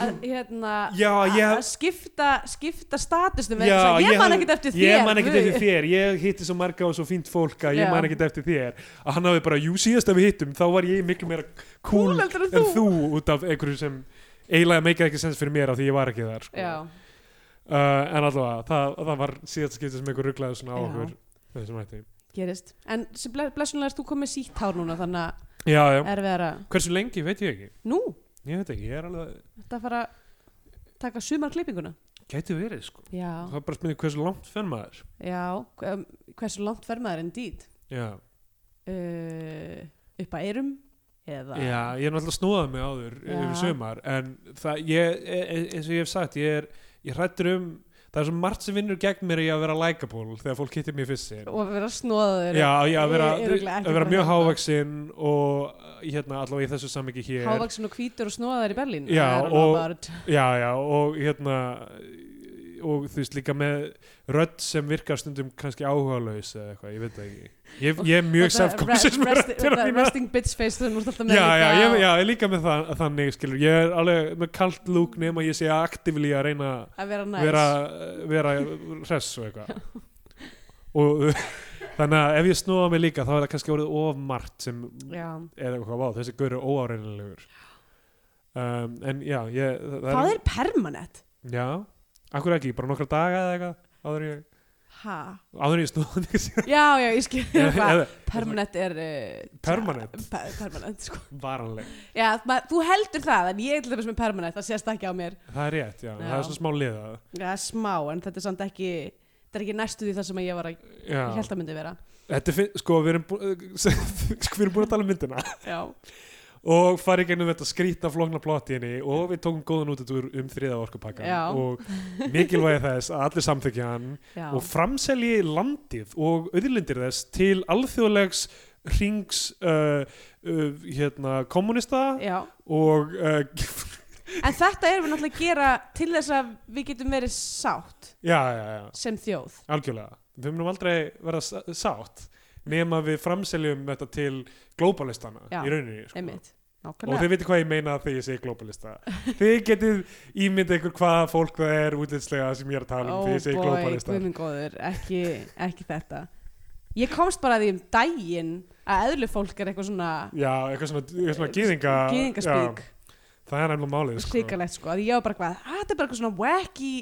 [SPEAKER 3] að, hérna
[SPEAKER 2] Já, ég-
[SPEAKER 3] að skipta, skipta statusnum
[SPEAKER 2] Já,
[SPEAKER 3] Já, ég, man
[SPEAKER 2] hef-
[SPEAKER 3] ekkert eftir þér
[SPEAKER 2] Ég man ekkert
[SPEAKER 3] guð.
[SPEAKER 2] eftir þér, ég hitti svo marga og svo fínt fólk að
[SPEAKER 3] Já.
[SPEAKER 2] ég man ekkert eftir þér að hann hafi bara, jú síðast að við hittum þá var ég miklu meira cool
[SPEAKER 3] Cool heldur en
[SPEAKER 2] en þú út af einhverju sem eiginlega meika ekki sens fyrir mér af því ég var ekki þar sko.
[SPEAKER 3] Já,
[SPEAKER 2] uh, en allavega, það, það var síðast skipti sem einhver rugglaði svona á
[SPEAKER 3] Já.
[SPEAKER 2] okkur með þessum hætti
[SPEAKER 3] gerist En sem ble- blessunlega erst þú komið sítt hár núna Þannig
[SPEAKER 2] Já, já,
[SPEAKER 3] að erfiðara
[SPEAKER 2] hversu lengi veit ég ekki
[SPEAKER 3] Nú,
[SPEAKER 2] ég veit ekki, ég er alveg,
[SPEAKER 3] þetta fara að taka sumarklippinguna
[SPEAKER 2] gæti verið sko
[SPEAKER 3] Já,
[SPEAKER 2] það er bara að spynja hversu langt fenn maður
[SPEAKER 3] já, um, hversu langt fer maður indeed?
[SPEAKER 2] Já,
[SPEAKER 3] Uh, upp að eyrum? Eða?
[SPEAKER 2] já ég er náttúrulega snúðað mig áður
[SPEAKER 3] Já.
[SPEAKER 2] yfir sumar en það, ég, e- e- eins og ég hef sagt ég er, ég hrættur um það er svo margt sem vinnur gegn mér í að vera likeable þegar fólk hittir mér fyrst sinn
[SPEAKER 3] Og vera snóðaður?
[SPEAKER 2] Já, já, að vera,
[SPEAKER 3] Ég- ég örugglega ekki
[SPEAKER 2] að vera
[SPEAKER 3] bara
[SPEAKER 2] mjög
[SPEAKER 3] hérna.
[SPEAKER 2] hávaxinn og hérna allavega í þessu samviki hér
[SPEAKER 3] Hávaksin og hvítur og snóðaður í Berlín?
[SPEAKER 2] Já,
[SPEAKER 3] I don't know
[SPEAKER 2] og-
[SPEAKER 3] about it.
[SPEAKER 2] Já, já, og hérna og þú veist líka með rödd sem virkar stundum kannski áhugalaus eða eitthvað, ég veit það ekki Ég, ég er mjög
[SPEAKER 3] Þetta
[SPEAKER 2] self-conscious með
[SPEAKER 3] rest-
[SPEAKER 2] röddina
[SPEAKER 3] þetta
[SPEAKER 2] mína.
[SPEAKER 3] Resting bitch face sem þú ert alltaf
[SPEAKER 2] já,
[SPEAKER 3] með
[SPEAKER 2] já,
[SPEAKER 3] líka
[SPEAKER 2] ég,
[SPEAKER 3] og-
[SPEAKER 2] já, ég líka með það, þannig skilur ég er alveg með kalt lúk nema ég sé aktivli að reyna að
[SPEAKER 3] Að vera næs
[SPEAKER 2] vera, vera hress og eitthvað og þannig að ef ég snúa mig líka þá er það kannski orðið of margt sem
[SPEAKER 3] Já.
[SPEAKER 2] er eitthvað vá, þessi gaur er óáreinilegur um, en já ég, það,
[SPEAKER 3] Það er permanent
[SPEAKER 2] já, akkur ekki, bara nokkra daga eða eitthvað áður en ég,
[SPEAKER 3] Ha?
[SPEAKER 2] áður en ég snúa mig síðan.
[SPEAKER 3] Já, já, ég skil hvað
[SPEAKER 2] Eða-
[SPEAKER 3] Permanent er uh,
[SPEAKER 2] Permanent,
[SPEAKER 3] per Permanent, sko
[SPEAKER 2] varanleg
[SPEAKER 3] Já, maður, þú heldur það, en ég er til dæmis með permanent, það sést ekki á mér.
[SPEAKER 2] það er rétt, já,
[SPEAKER 3] Já.
[SPEAKER 2] það er svona smá liða
[SPEAKER 3] Já, smá, en þetta er samt ekki, þetta er ekki næstu því það sem ég var að,
[SPEAKER 2] já.
[SPEAKER 3] ég held að myndi vera.
[SPEAKER 2] Þetta er, finn- sko, við erum, bú, við erum búin að tala um myndina
[SPEAKER 3] Já.
[SPEAKER 2] og farið gennum þetta skrýtna flókna plott í henni og við tókum góðan út um þriða orkupakka
[SPEAKER 3] Já.
[SPEAKER 2] og mikilvægi þess að allir samþykja hann
[SPEAKER 3] Já.
[SPEAKER 2] og framselji landið og auðlindir þess til alþjóðlegs rings uh, uh, hérna, kommunista
[SPEAKER 3] já
[SPEAKER 2] og uh,
[SPEAKER 3] en þetta erum við náttúrulega að gera til þess að við getum verið sátt
[SPEAKER 2] já, já, já,
[SPEAKER 3] sem þjóð
[SPEAKER 2] Sko. algjörlega við munum aldrei verða s- sátt nema við framseljum þetta til globalistana
[SPEAKER 3] Já,
[SPEAKER 2] í rauninni sko.
[SPEAKER 3] einmitt,
[SPEAKER 2] og
[SPEAKER 3] nákvæmlega
[SPEAKER 2] þið veitir hvað ég meina þegar ég segi globalista þið getið ímynd ykkur hvað fólk það er útlitslega sem ég er að tala um þegar
[SPEAKER 3] Oh,
[SPEAKER 2] ég segi globalista
[SPEAKER 3] guðminn góður, ekki, ekki þetta ég komst bara að því um daginn að eðlu fólk er eitthvað svona
[SPEAKER 2] já, eitthvað svona, eitthvað svona gýðinga
[SPEAKER 3] gýðingaspík,
[SPEAKER 2] það er nefnilega málið sko.
[SPEAKER 3] hrikalegt sko að ég var bara hvað, að þetta er bara eitthvað svona wacky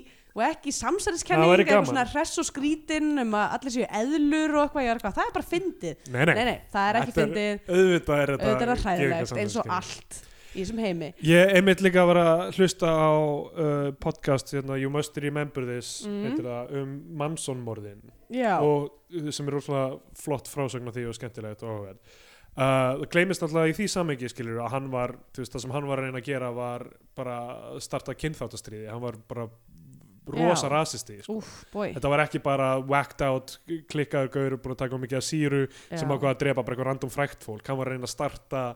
[SPEAKER 2] Það
[SPEAKER 3] wacky samsæðiskenning
[SPEAKER 2] væri
[SPEAKER 3] eitthvað
[SPEAKER 2] gaman.
[SPEAKER 3] svona hress og skrítin um að allir séu eðlur og eitthvað, ég var eitthvað, það er bara fyndið
[SPEAKER 2] nei, nei,
[SPEAKER 3] nei, nei, það er ekki
[SPEAKER 2] Þetta er-
[SPEAKER 3] fyndið
[SPEAKER 2] auðvitað er
[SPEAKER 3] auðvitað er það
[SPEAKER 2] þetta
[SPEAKER 3] hræðilegt eins og
[SPEAKER 2] gyðingasamfélagsgerð.
[SPEAKER 3] allt í þessum heimi
[SPEAKER 2] Ég einmitt líka var að hlusta á uh, podcast hérna, You Must Remember This
[SPEAKER 3] Mm.
[SPEAKER 2] heitir það, um Manson-morðin
[SPEAKER 3] já,
[SPEAKER 2] og uh, sem er rosalega flott frásögn af því og skemmtilegt og áhugaverð Uh, það gleymist alltaf í því samengi skilur að hann var, þú veist, það sem hann var að reyna að gera var bara að starta kynþáttastriði hann var bara rosa
[SPEAKER 3] Já.
[SPEAKER 2] rasisti sko.
[SPEAKER 3] úf, boi
[SPEAKER 2] þetta var ekki bara whacked out klikkaður gaur, búin að taka of mikið að síru sem ákvað að drepa bara eitthvað random frækt fólk hann var að reyna að starta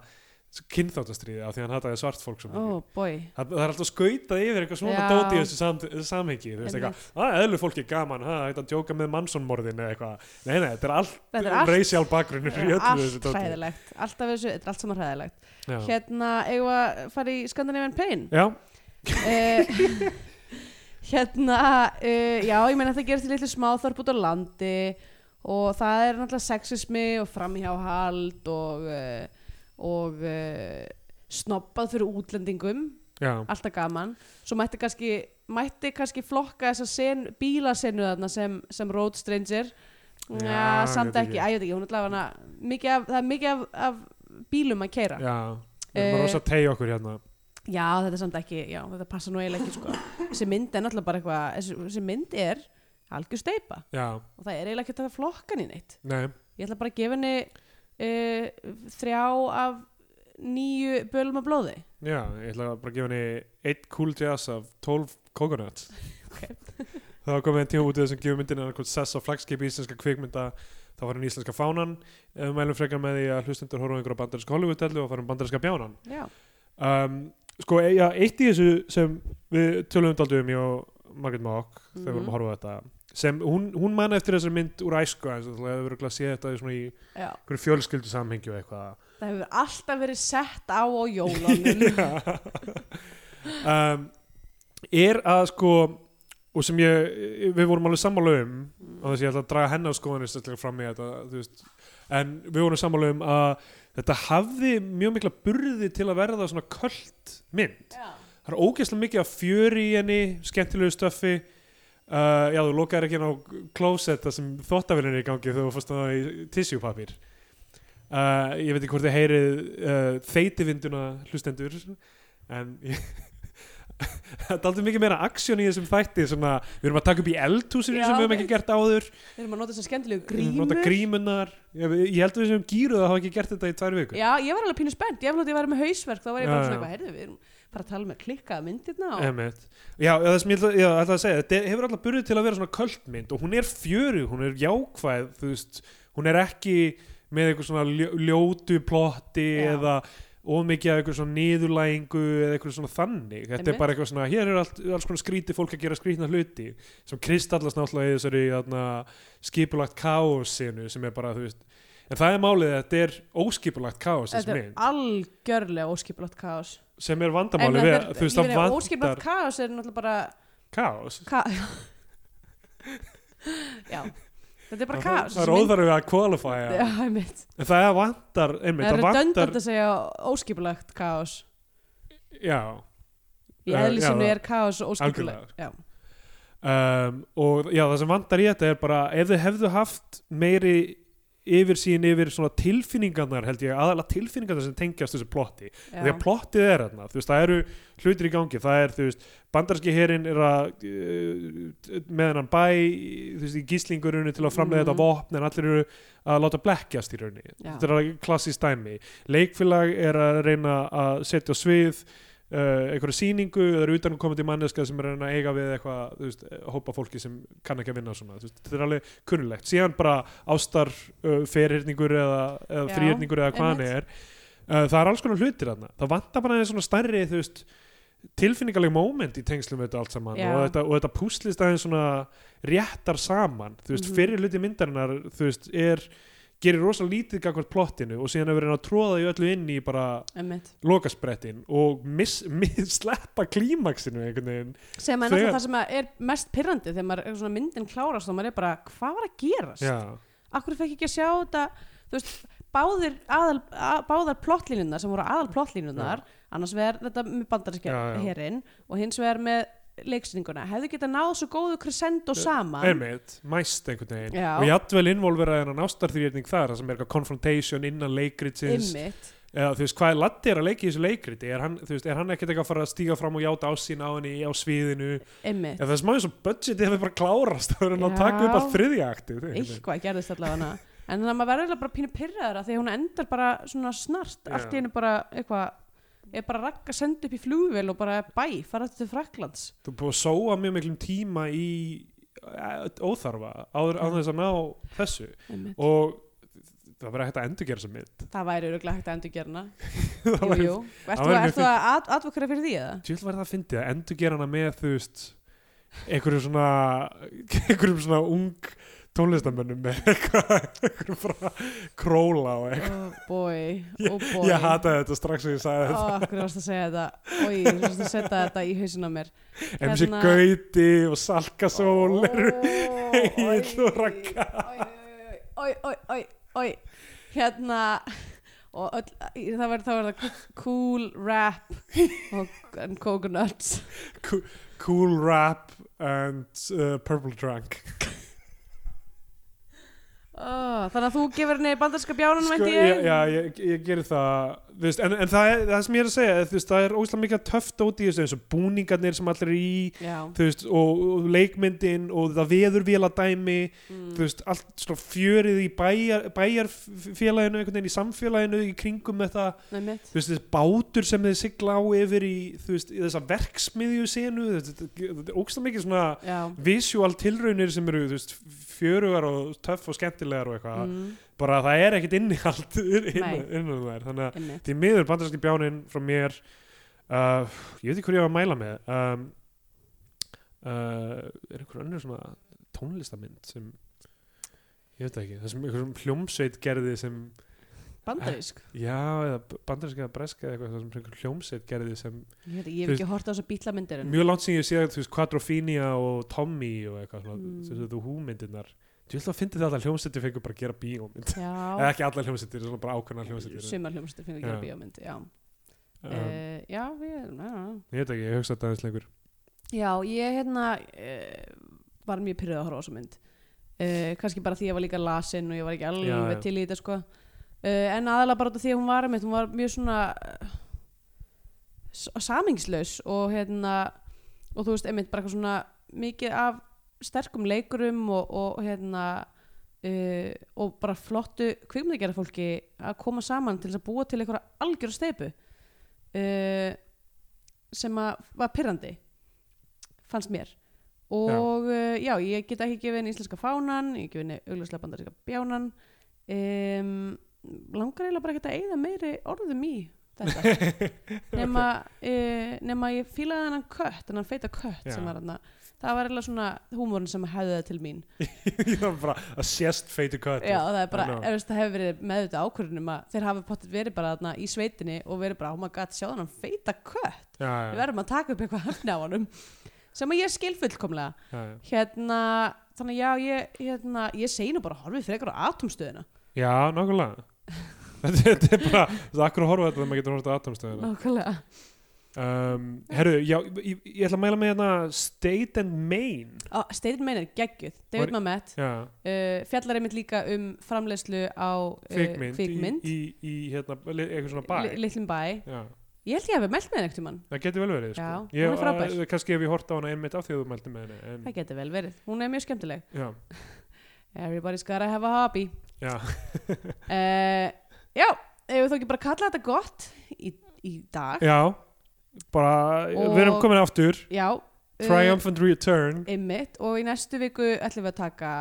[SPEAKER 2] kynþáttastriði af því að hann hataði svart fólk svo mikið
[SPEAKER 3] ó, boi
[SPEAKER 2] Það, það er alltaf skautað yfir eitthvað svona
[SPEAKER 3] Já.
[SPEAKER 2] dót í þessu sam, samhengi þú veist
[SPEAKER 3] Einmitt.
[SPEAKER 2] eitthvað, að eðlu fólki er gaman ha, þetta að djóka með mannsonmorðin eða eitthvað nei, nei, þetta er allt,
[SPEAKER 3] Þetta er
[SPEAKER 2] allt
[SPEAKER 3] allt-
[SPEAKER 2] racial bakgrunnur í öllu þessu
[SPEAKER 3] allt
[SPEAKER 2] dóti
[SPEAKER 3] hræðilegt, alltaf þessu, þetta er allt saman hræðilegt
[SPEAKER 2] já.
[SPEAKER 3] hérna, eigum við að fara í Scandinavian Pain
[SPEAKER 2] já,
[SPEAKER 3] uh, hérna uh, já, ég meina það gerist í litlu smáþorp út á landi og það er náttúrulega sexismi og framhjáhald og uh, og uh, snobbað fyrir útlendingum
[SPEAKER 2] já,
[SPEAKER 3] alltaf gaman svo mætti kannski, mætti kannski flokka þessa sen, bílasenu þarna sem, sem Road Stranger
[SPEAKER 2] Já,
[SPEAKER 3] já,
[SPEAKER 2] ég
[SPEAKER 3] samt
[SPEAKER 2] veit ekki.
[SPEAKER 3] ekki, Æ, ég veit ekki, hún er allavega mikið af, það er mikið af, af bílum að keira já.
[SPEAKER 2] já við erum
[SPEAKER 3] Eh,
[SPEAKER 2] að rosa að tegja okkur hérna
[SPEAKER 3] þetta er samt ekki, já, þetta passa nú eiginlega ekki sko. þessi mynd er náttúrulega bara eitthvað þessi- þessi mynd er algjör steipa
[SPEAKER 2] já,
[SPEAKER 3] og það er eiginlega ekki þetta flokkan í neitt
[SPEAKER 2] nei,
[SPEAKER 3] ég ætla bara að gefa henni uh, þrjá af nýju bölum að blóði
[SPEAKER 2] já, ég ætla bara að gefa henni eitt cool jazz af 12 coconuts
[SPEAKER 3] Ok.
[SPEAKER 2] það var komið en tíma út í þessum gefur myndin annarkot sess á flagskipi íslenska kvikmynda þá var hann íslenska fánan Eh, við mælum frekar með því að hlustendur horfum einhverja bandarinska Hollywood-dellu og farum bandarinska bjánan
[SPEAKER 3] já,
[SPEAKER 2] um, sko, e- já, eitt í þessu sem við tölum daldum um ég og Margaret Mock þegar við vorum
[SPEAKER 3] Mhm.
[SPEAKER 2] að horfa á þetta sem hún, hún man eftir þessar mynd úr æsku eins og það hefur örugglega séð þetta í svona í
[SPEAKER 3] já
[SPEAKER 2] einhverju fjölskyldu samhengi og eitthvað
[SPEAKER 3] það hefur alltaf verið sett á á jólunum
[SPEAKER 2] Já. um, er að sko og sem ég, við vorum alveg sammála um og þess að ég ætla að draga hennar skoðanir stöðlega fram í þetta, þú veist en við vorum sammála um að þetta hafði mjög mikla burði til að verða svona köld mynd
[SPEAKER 3] já
[SPEAKER 2] það er ógeðslega mikið af fjöri í henni skemmtilegu stöffi uh, já, þú lokaðir ekki inn á klósett það sem þóttavélinni í gangi þegar þú fórst á það í tissjúpapír uh, ég veit ekki hvort þið heyrið uh, þeitivinduna hlustendur en ég það er aldrei mikið meira aksjón í þessum þætti svona, við erum að taka upp í eldhúsinu
[SPEAKER 3] Já,
[SPEAKER 2] sem við höfum ekki gert áður
[SPEAKER 3] Við erum að nota þessar skemmtilegu
[SPEAKER 2] við erum að nota
[SPEAKER 3] grímur.
[SPEAKER 2] grímunar ég, ég held að við sem gýruð að hafa ekki gert þetta í tvær vikur
[SPEAKER 3] Já, ég var alveg pínu spennt. Ég var alveg með hausverk, þá var ég
[SPEAKER 2] Já,
[SPEAKER 3] bara
[SPEAKER 2] já.
[SPEAKER 3] svona eitthvað, heyrðu, við erum bara að tala með klikkaða myndirna og...
[SPEAKER 2] Emmett. Já, það sem ég ætla, ég ætla að segja þetta hefur alltaf burðið til að vera svona kvöldmynd og hún er fjöru, hún er jákvæð þú veist, hún er ekki með eitthvað svona ljó, ljótu plotti
[SPEAKER 3] Já.
[SPEAKER 2] eða ómikið af eitthvað svona niðurlægingu eða eitthvað svona þannig þetta
[SPEAKER 3] Einmitt.
[SPEAKER 2] er bara eitthvað svona, hér er allt, alls konar skríti fólk að gera skrítna hluti sem kristallast náttúrulega í þessari þarna, skipulagt káosinu sem er bara, þú veist en það er málið að þetta er óskipulagt káos þessi
[SPEAKER 3] Þetta er
[SPEAKER 2] mynd,
[SPEAKER 3] algjörlega óskiplott kaos.
[SPEAKER 2] sem er
[SPEAKER 3] En
[SPEAKER 2] vandamáli
[SPEAKER 3] þetta
[SPEAKER 2] við,
[SPEAKER 3] er-
[SPEAKER 2] að- þú veist,
[SPEAKER 3] ég
[SPEAKER 2] það
[SPEAKER 3] meina,
[SPEAKER 2] vandar
[SPEAKER 3] Óskiplott kaos er náttúrulega bara...
[SPEAKER 2] káos
[SPEAKER 3] Ka... já, þetta er bara
[SPEAKER 2] Það-
[SPEAKER 3] kaos.
[SPEAKER 2] það er
[SPEAKER 3] þessi mynd-
[SPEAKER 2] óþarfið að qualifya
[SPEAKER 3] Já, einmitt.
[SPEAKER 2] en það er vantar, einmitt,
[SPEAKER 3] Það er
[SPEAKER 2] það vantar
[SPEAKER 3] redundant að segja óskiplagt kaos.
[SPEAKER 2] já,
[SPEAKER 3] Í
[SPEAKER 2] Já, Eh, já,
[SPEAKER 3] eðlisinu
[SPEAKER 2] það-
[SPEAKER 3] er kaos óskiplagt. Já,
[SPEAKER 2] um, og já, það sem vantar í þetta er bara ef þau hefðu haft meiri yfirsýn yfir svona tilfinningarnar held ég, aðalega tilfinningarnar sem tengjast þessu plotti því
[SPEAKER 3] já.
[SPEAKER 2] að plottið er þarna, þú veist, það eru hlutir í gangi, það er, þú veist, bandarski herin er að uh, með hennan bæ, þú veist, í gíslingurunni til að framlega
[SPEAKER 3] Mhm.
[SPEAKER 2] þetta vopn en allir eru að láta blekkjast í rauninni
[SPEAKER 3] Já.
[SPEAKER 2] þetta er klassist dæmi, leikfélag er að reyna að setja á svið uh, einhverja sýningu eða eru utan komandi manneska sem er að reyna að eiga við eitthvað þú veist, eh, hópa fólki sem kann ekki að vinna svona, þú veist, þetta er alveg kunnulegt síðan bara ástar uh, ferhyrningur eða, eða
[SPEAKER 4] Já,
[SPEAKER 2] þrýhyrningur eða hvað hann er uh, það er alls konar hlutir þarna það vantar bara aðeins svona stærri þú veist, tilfinningaleg moment í tengslum við þetta allt saman
[SPEAKER 4] Já.
[SPEAKER 2] og þetta, og þetta púslist aðeins svona réttar saman, þú veist,
[SPEAKER 4] Mhm.
[SPEAKER 2] fyrir hluti myndarinnar þú veist, er gerir rosa lítið gagvart plottinu og síðan hefur hann að tróða í öllu inn í bara
[SPEAKER 3] Einmitt.
[SPEAKER 2] lokasprettin og miss, miss, sleppa klímaksinu einhvern veginn
[SPEAKER 3] sem
[SPEAKER 2] Þegar-
[SPEAKER 3] er náttúrulega það sem er mest pirrandi þegar maður er svona myndin klárast og maður er bara hvað var að gerast?
[SPEAKER 2] já,
[SPEAKER 3] Akkur fekk ég ekki að sjá þetta þú veist, báðir aðal, að, báðar plottlínunar sem voru aðal plottlínunar annars vegar þetta með bandarinskja
[SPEAKER 2] Já, já.
[SPEAKER 3] herinn og hins vegar með leiksýninguna hefðu getað náð svo góðu crescendo saman
[SPEAKER 2] Eh, einmitt, mæst einhvern veginn
[SPEAKER 3] Já.
[SPEAKER 2] og jafnvel innvolverað hennan ástarþrýrning þar þar sem er eitthvað confrontation innan leikritsins
[SPEAKER 3] Einmitt.
[SPEAKER 2] eða þú veist, hvað er Latti er að leika í þessu leikriti er hann, þú veist, er hann ekkert eitthvað að fara að stíga fram og játa á sín á henni á sviðinu
[SPEAKER 3] Einmitt.
[SPEAKER 2] eða það er smá eins og budgetið hefur bara klárast það er hann að taka upp
[SPEAKER 3] Já.
[SPEAKER 2] að þriðja akti
[SPEAKER 3] eitthvað gerðist allavega hana en þannig að maður verður eiginlega bara pínu pyrraður að því að hún endar bara svona snart
[SPEAKER 2] Já.
[SPEAKER 3] allt í hennu bara eitthvað er bara rakka senda upp í flugvél og bara bæ, fara til Fraklands
[SPEAKER 2] þú er búið að sóa mjög miklum tíma í eh, óþarfa áður
[SPEAKER 3] Mhm.
[SPEAKER 2] á þess að ná þessu
[SPEAKER 3] Einmitt.
[SPEAKER 2] og það verður hægt að endurgera þessa mynd
[SPEAKER 3] það væri öruglega hægt að endur gera hana
[SPEAKER 2] Það
[SPEAKER 3] jú,
[SPEAKER 2] væri-
[SPEAKER 3] jú, ertu
[SPEAKER 2] væri
[SPEAKER 3] að,
[SPEAKER 2] mjög
[SPEAKER 3] ertu að ad, advokera fyrir því eða?
[SPEAKER 2] Tjöld var það að fyndi að endurgera hana með þú veist einhverjum svona einhverjum svona ung tónlistamönnum með eitthvað einhverjum frá króla og eitthvað
[SPEAKER 3] oh boy, oh
[SPEAKER 2] ég,
[SPEAKER 3] boy
[SPEAKER 2] ég hataði þetta strax og ég sagði
[SPEAKER 3] Ó, hvernig varst að segja þetta? Ói, þú varst að setja þetta í hausinn á mér.
[SPEAKER 2] þetta emsi
[SPEAKER 3] hérna-
[SPEAKER 2] Gauti og Salkasól eru Egill og Ragga.
[SPEAKER 3] Ói, ói, ói, ói. Hérna, og öll, í- það verður það verður cool rap og and coconuts.
[SPEAKER 2] Cool Rap and uh, Purple Drunk
[SPEAKER 3] Ó, þannig að þú gefur henni bandarska bjánanum,
[SPEAKER 2] Sko,
[SPEAKER 3] veit
[SPEAKER 2] já,
[SPEAKER 3] ég?
[SPEAKER 2] já, ég, ég gerir það þú veist, en, en það, er, það sem ég er að segja er, þú veist, það er óslega mikið töft út í þessu eins og búningarnir sem allir er í
[SPEAKER 3] Já,
[SPEAKER 2] þú veist, og, og leikmyndin og það veður vel að dæmi þú veist, allt svona fjörið í bæjar, bæjarfélaginu, einhvern veginn í samfélaginu í kringum þetta,
[SPEAKER 3] með mitt.
[SPEAKER 2] þú veist, þessi bátur sem þið sigla á yfir í, þú veist, í þessa verksmiðju senu, þetta þetta er ógsta mikið svona
[SPEAKER 3] Já.
[SPEAKER 2] visual tilraunir sem eru, þú veist, fjörugar og töff og skemmtilegar og eitthvað
[SPEAKER 3] Mm,
[SPEAKER 2] bara það er ekkit innihald innan,
[SPEAKER 3] Nei.
[SPEAKER 2] innan þær, þannig að
[SPEAKER 3] einmitt.
[SPEAKER 2] því miður bandarinski bjáninn frá mér uh, ég veit ekki hverju ég á að mæla með um, uh, er einhver önnur svona tónlistamynd sem ég veit það ekki, það sem einhver svona hljómsveit gerði sem,
[SPEAKER 3] Bandarísk.
[SPEAKER 2] já, eða bandarinski eða breska eða eitthvað, það sem einhver hljómsveit gerði sem
[SPEAKER 3] Ég, veit ekki, ég
[SPEAKER 2] Þú
[SPEAKER 3] hef ekki hort á þessa bílamindir en
[SPEAKER 2] mjög langt sem ég sé að, þú veist, Quadrophenia og Tommy og eitthvað svona,
[SPEAKER 3] Mm.
[SPEAKER 2] mm. þú veist, þú húmyndirnar þú veist að fyndi þetta að hljómsveiti fengur bara að gera bíómynd eða
[SPEAKER 3] Já,
[SPEAKER 2] ekki allar hljómsveitir, svona bara ákveðna hljómsveitir
[SPEAKER 3] sumar hljómsveitir fengur að gera
[SPEAKER 2] Já.
[SPEAKER 3] bíómynd Já,
[SPEAKER 2] um,
[SPEAKER 3] Eh, já við erum já.
[SPEAKER 2] ég veit ekki, ég hugsa þetta aðeins lengur
[SPEAKER 3] Já, ég hérna uh, var mjög pyrrið að horfa á þessa mynd uh, kannski bara því ég var líka lasin og ég var ekki alveg
[SPEAKER 2] Já, já.
[SPEAKER 3] til í þetta sko. uh, en aðalega bara út af því að hún var einmitt, hún var mjög svona uh, samingslaus og hérna og þú veist, einmitt bara eitthvað svona mikið af sterkum leikurum og, og hérna Uh, og bara flottu kvikmyndagjara fólki að koma saman til þess að búa til einhverja algjör steipu uh, sem að var pyrrandi fannst mér og já, uh, já ég get ekki gefið henni íslenska fánan ég gefið henni augljóslega bandaríska bjánan um, langar eiginlega bara ekki að eyða meiri orðum í þetta nema, uh, nema ég fílaði hennan kött, hennan feita kött
[SPEAKER 2] Já.
[SPEAKER 3] sem var hann það var eiginlega svona húmórun sem hefði það til mín
[SPEAKER 2] ég var bara að sést feitu kött
[SPEAKER 3] Já, það er bara,
[SPEAKER 2] I know.
[SPEAKER 3] er, veist, það hefur verið með þetta ákvörðunum að þeir hafa pottet verið bara þarna í sveitinni og verið bara, oh my god, sjáðu hann feita kött
[SPEAKER 2] já,
[SPEAKER 3] við
[SPEAKER 2] já,
[SPEAKER 3] verðum að taka upp eitthvað höfni á honum sem að ég skil fullkomlega
[SPEAKER 2] já, já.
[SPEAKER 3] hérna, þannig að já, ég hérna, ég segi nú bara horfið frekar á atomstöðina
[SPEAKER 2] já nákvæmlega þetta, þetta er bara, það er akkur að horfa á þetta þegar maður getur horfa á atomstöðina
[SPEAKER 3] Nákvæmlega
[SPEAKER 2] um, herru, já, ég, ég ætla að mæla með hérna State and Main
[SPEAKER 3] Á, Steirin meinir, geggjuð, David
[SPEAKER 2] Var-
[SPEAKER 3] Mamet uh,
[SPEAKER 2] já,
[SPEAKER 3] fjallar einmitt líka um framleiðslu á uh,
[SPEAKER 2] kvikmynd,
[SPEAKER 3] kvikmynd
[SPEAKER 2] Í, í, í hérna, li- eitthvað svona bæ
[SPEAKER 3] Li- litlum bæ
[SPEAKER 2] já,
[SPEAKER 3] Ég held ég hefði meld með henni einhvern mann
[SPEAKER 2] það getur vel verið sko.
[SPEAKER 3] Já, hún er frábær.
[SPEAKER 2] að- kannski hef ég horta á hana einmitt af því að þú mælti með henni en,
[SPEAKER 3] Það geti vel verið, hún er mjög skemmtileg
[SPEAKER 2] já,
[SPEAKER 3] Everybody's gotta have a hobby
[SPEAKER 2] já,
[SPEAKER 3] Eh, uh, Já, ef við þá ekki bara kalla þetta gott í, í dag
[SPEAKER 2] já bara,
[SPEAKER 3] Og-
[SPEAKER 2] við erum komin aftur
[SPEAKER 3] já eh,
[SPEAKER 2] Triumphant Return
[SPEAKER 3] einmitt og í næstu viku ætlum við að taka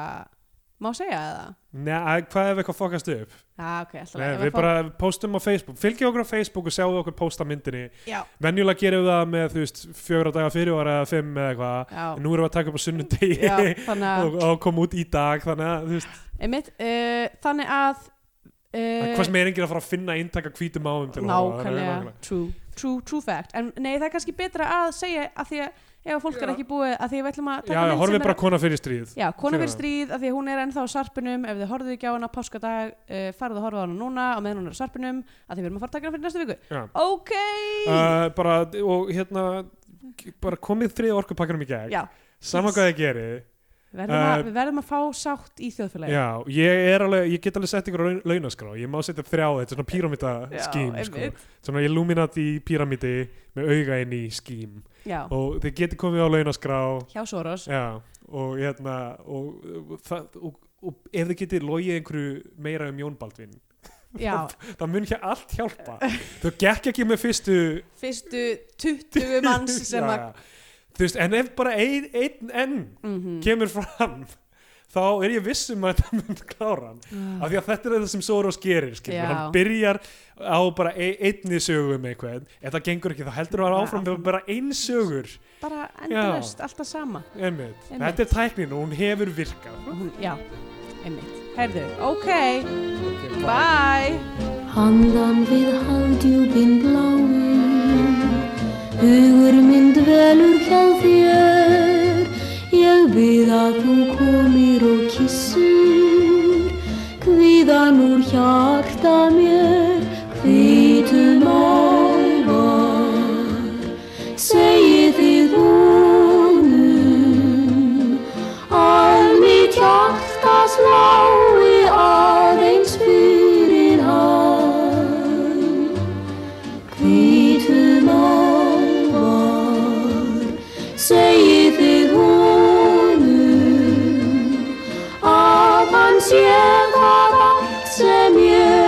[SPEAKER 3] má segja það?
[SPEAKER 2] Nei, hvað ef eitthvað fokast upp?
[SPEAKER 3] Já, ok, alltaf
[SPEAKER 2] Nei, við bara postum á Facebook Fylgjum okkur á Facebook og sjáum okkur posta myndinni
[SPEAKER 3] Já.
[SPEAKER 2] Venjulega gerum við það með, þú veist, fjögra daga fyrir ára eða fimm eða eitthvað En
[SPEAKER 3] já,
[SPEAKER 2] Nú erum við að taka upp á sunnudegi
[SPEAKER 3] já, þannig
[SPEAKER 2] og,
[SPEAKER 3] að
[SPEAKER 2] og koma út í dag Þannig að, þú veist,
[SPEAKER 3] einmitt, uh, þannig að
[SPEAKER 2] uh,
[SPEAKER 3] uh,
[SPEAKER 2] hvað sem er enginn að fara að finna inntaka hvítum áum til að horfa á, þannig að-
[SPEAKER 3] nákvæmlega true, true, true fact en nei, það er kannski betra að segja að því að ef að fólk er
[SPEAKER 2] Já.
[SPEAKER 3] ekki búið að því að við ætlum að
[SPEAKER 2] Já,
[SPEAKER 3] taka
[SPEAKER 2] já,
[SPEAKER 3] mynd sem
[SPEAKER 2] horfið
[SPEAKER 3] er-
[SPEAKER 2] bara á kona fyrir stríð
[SPEAKER 3] Já, kona fyrir
[SPEAKER 2] Fyrir
[SPEAKER 3] stríð af því að hún er ennþá á sarpinum ef þið horfðu ekki á hana páskadag uh, farðu að horfa á hana núna á meðan hún er á sarpinum af því við erum að fara að taka hana fyrir næstu viku
[SPEAKER 2] Já.
[SPEAKER 3] Ok,
[SPEAKER 2] uh, bara, og hérna bara komið þrið orkupakkanum í gegn
[SPEAKER 3] Já.
[SPEAKER 2] sama hvað þið gerir
[SPEAKER 3] verðum að,
[SPEAKER 2] uh,
[SPEAKER 3] við verðum að fá sátt í þjóðfélagi
[SPEAKER 2] já, ég, er alveg, ég get alveg sett ykkur á laun- launaskrá ég má setja þrjá, þetta er svona píramíta skím sko.
[SPEAKER 3] einmitt.
[SPEAKER 2] svona Illuminati píramíti með auga inn í skím
[SPEAKER 3] já.
[SPEAKER 2] og þið geti komið á launaskrá
[SPEAKER 3] hjá Soros
[SPEAKER 2] já, og hérna og, og, það- og, og ef þið getið logið einhverju meira um Jón Baldvin
[SPEAKER 3] Já,
[SPEAKER 2] það mun hér allt hjálpa þau gekk ekki með fyrstu
[SPEAKER 3] fyrstu 20 manns sem að
[SPEAKER 2] Já, já. þú veist, en ef bara einn ein, enn
[SPEAKER 3] Mhm.
[SPEAKER 2] kemur fram þá er ég viss um að þetta mynd klára hann af því að þetta er það sem Soros gerir skilur.
[SPEAKER 3] Já.
[SPEAKER 2] hann byrjar á bara ein, einni sögu um eitthvað ef það gengur ekki þá heldur hann
[SPEAKER 3] Já,
[SPEAKER 2] áfram með bara ein sögur
[SPEAKER 3] bara endalaust, alltaf sama
[SPEAKER 2] einmitt.
[SPEAKER 3] Einmitt.
[SPEAKER 2] þetta er tæknin og hún hefur virkað
[SPEAKER 3] Og hún, Já, einmitt Herðu, ok,
[SPEAKER 2] okay,
[SPEAKER 3] bye
[SPEAKER 5] Handan við haldjúbin bláin Hugur minn dvelur hjá þér Ég bið að þú komir og kissir Kvíðan úr hjarta mér Hvítum álvar Segið þið honum Að mitt hjarta slái aðeins fyrir hann Hvítum álvar Segið þið honum Að hann sé það allt sem ég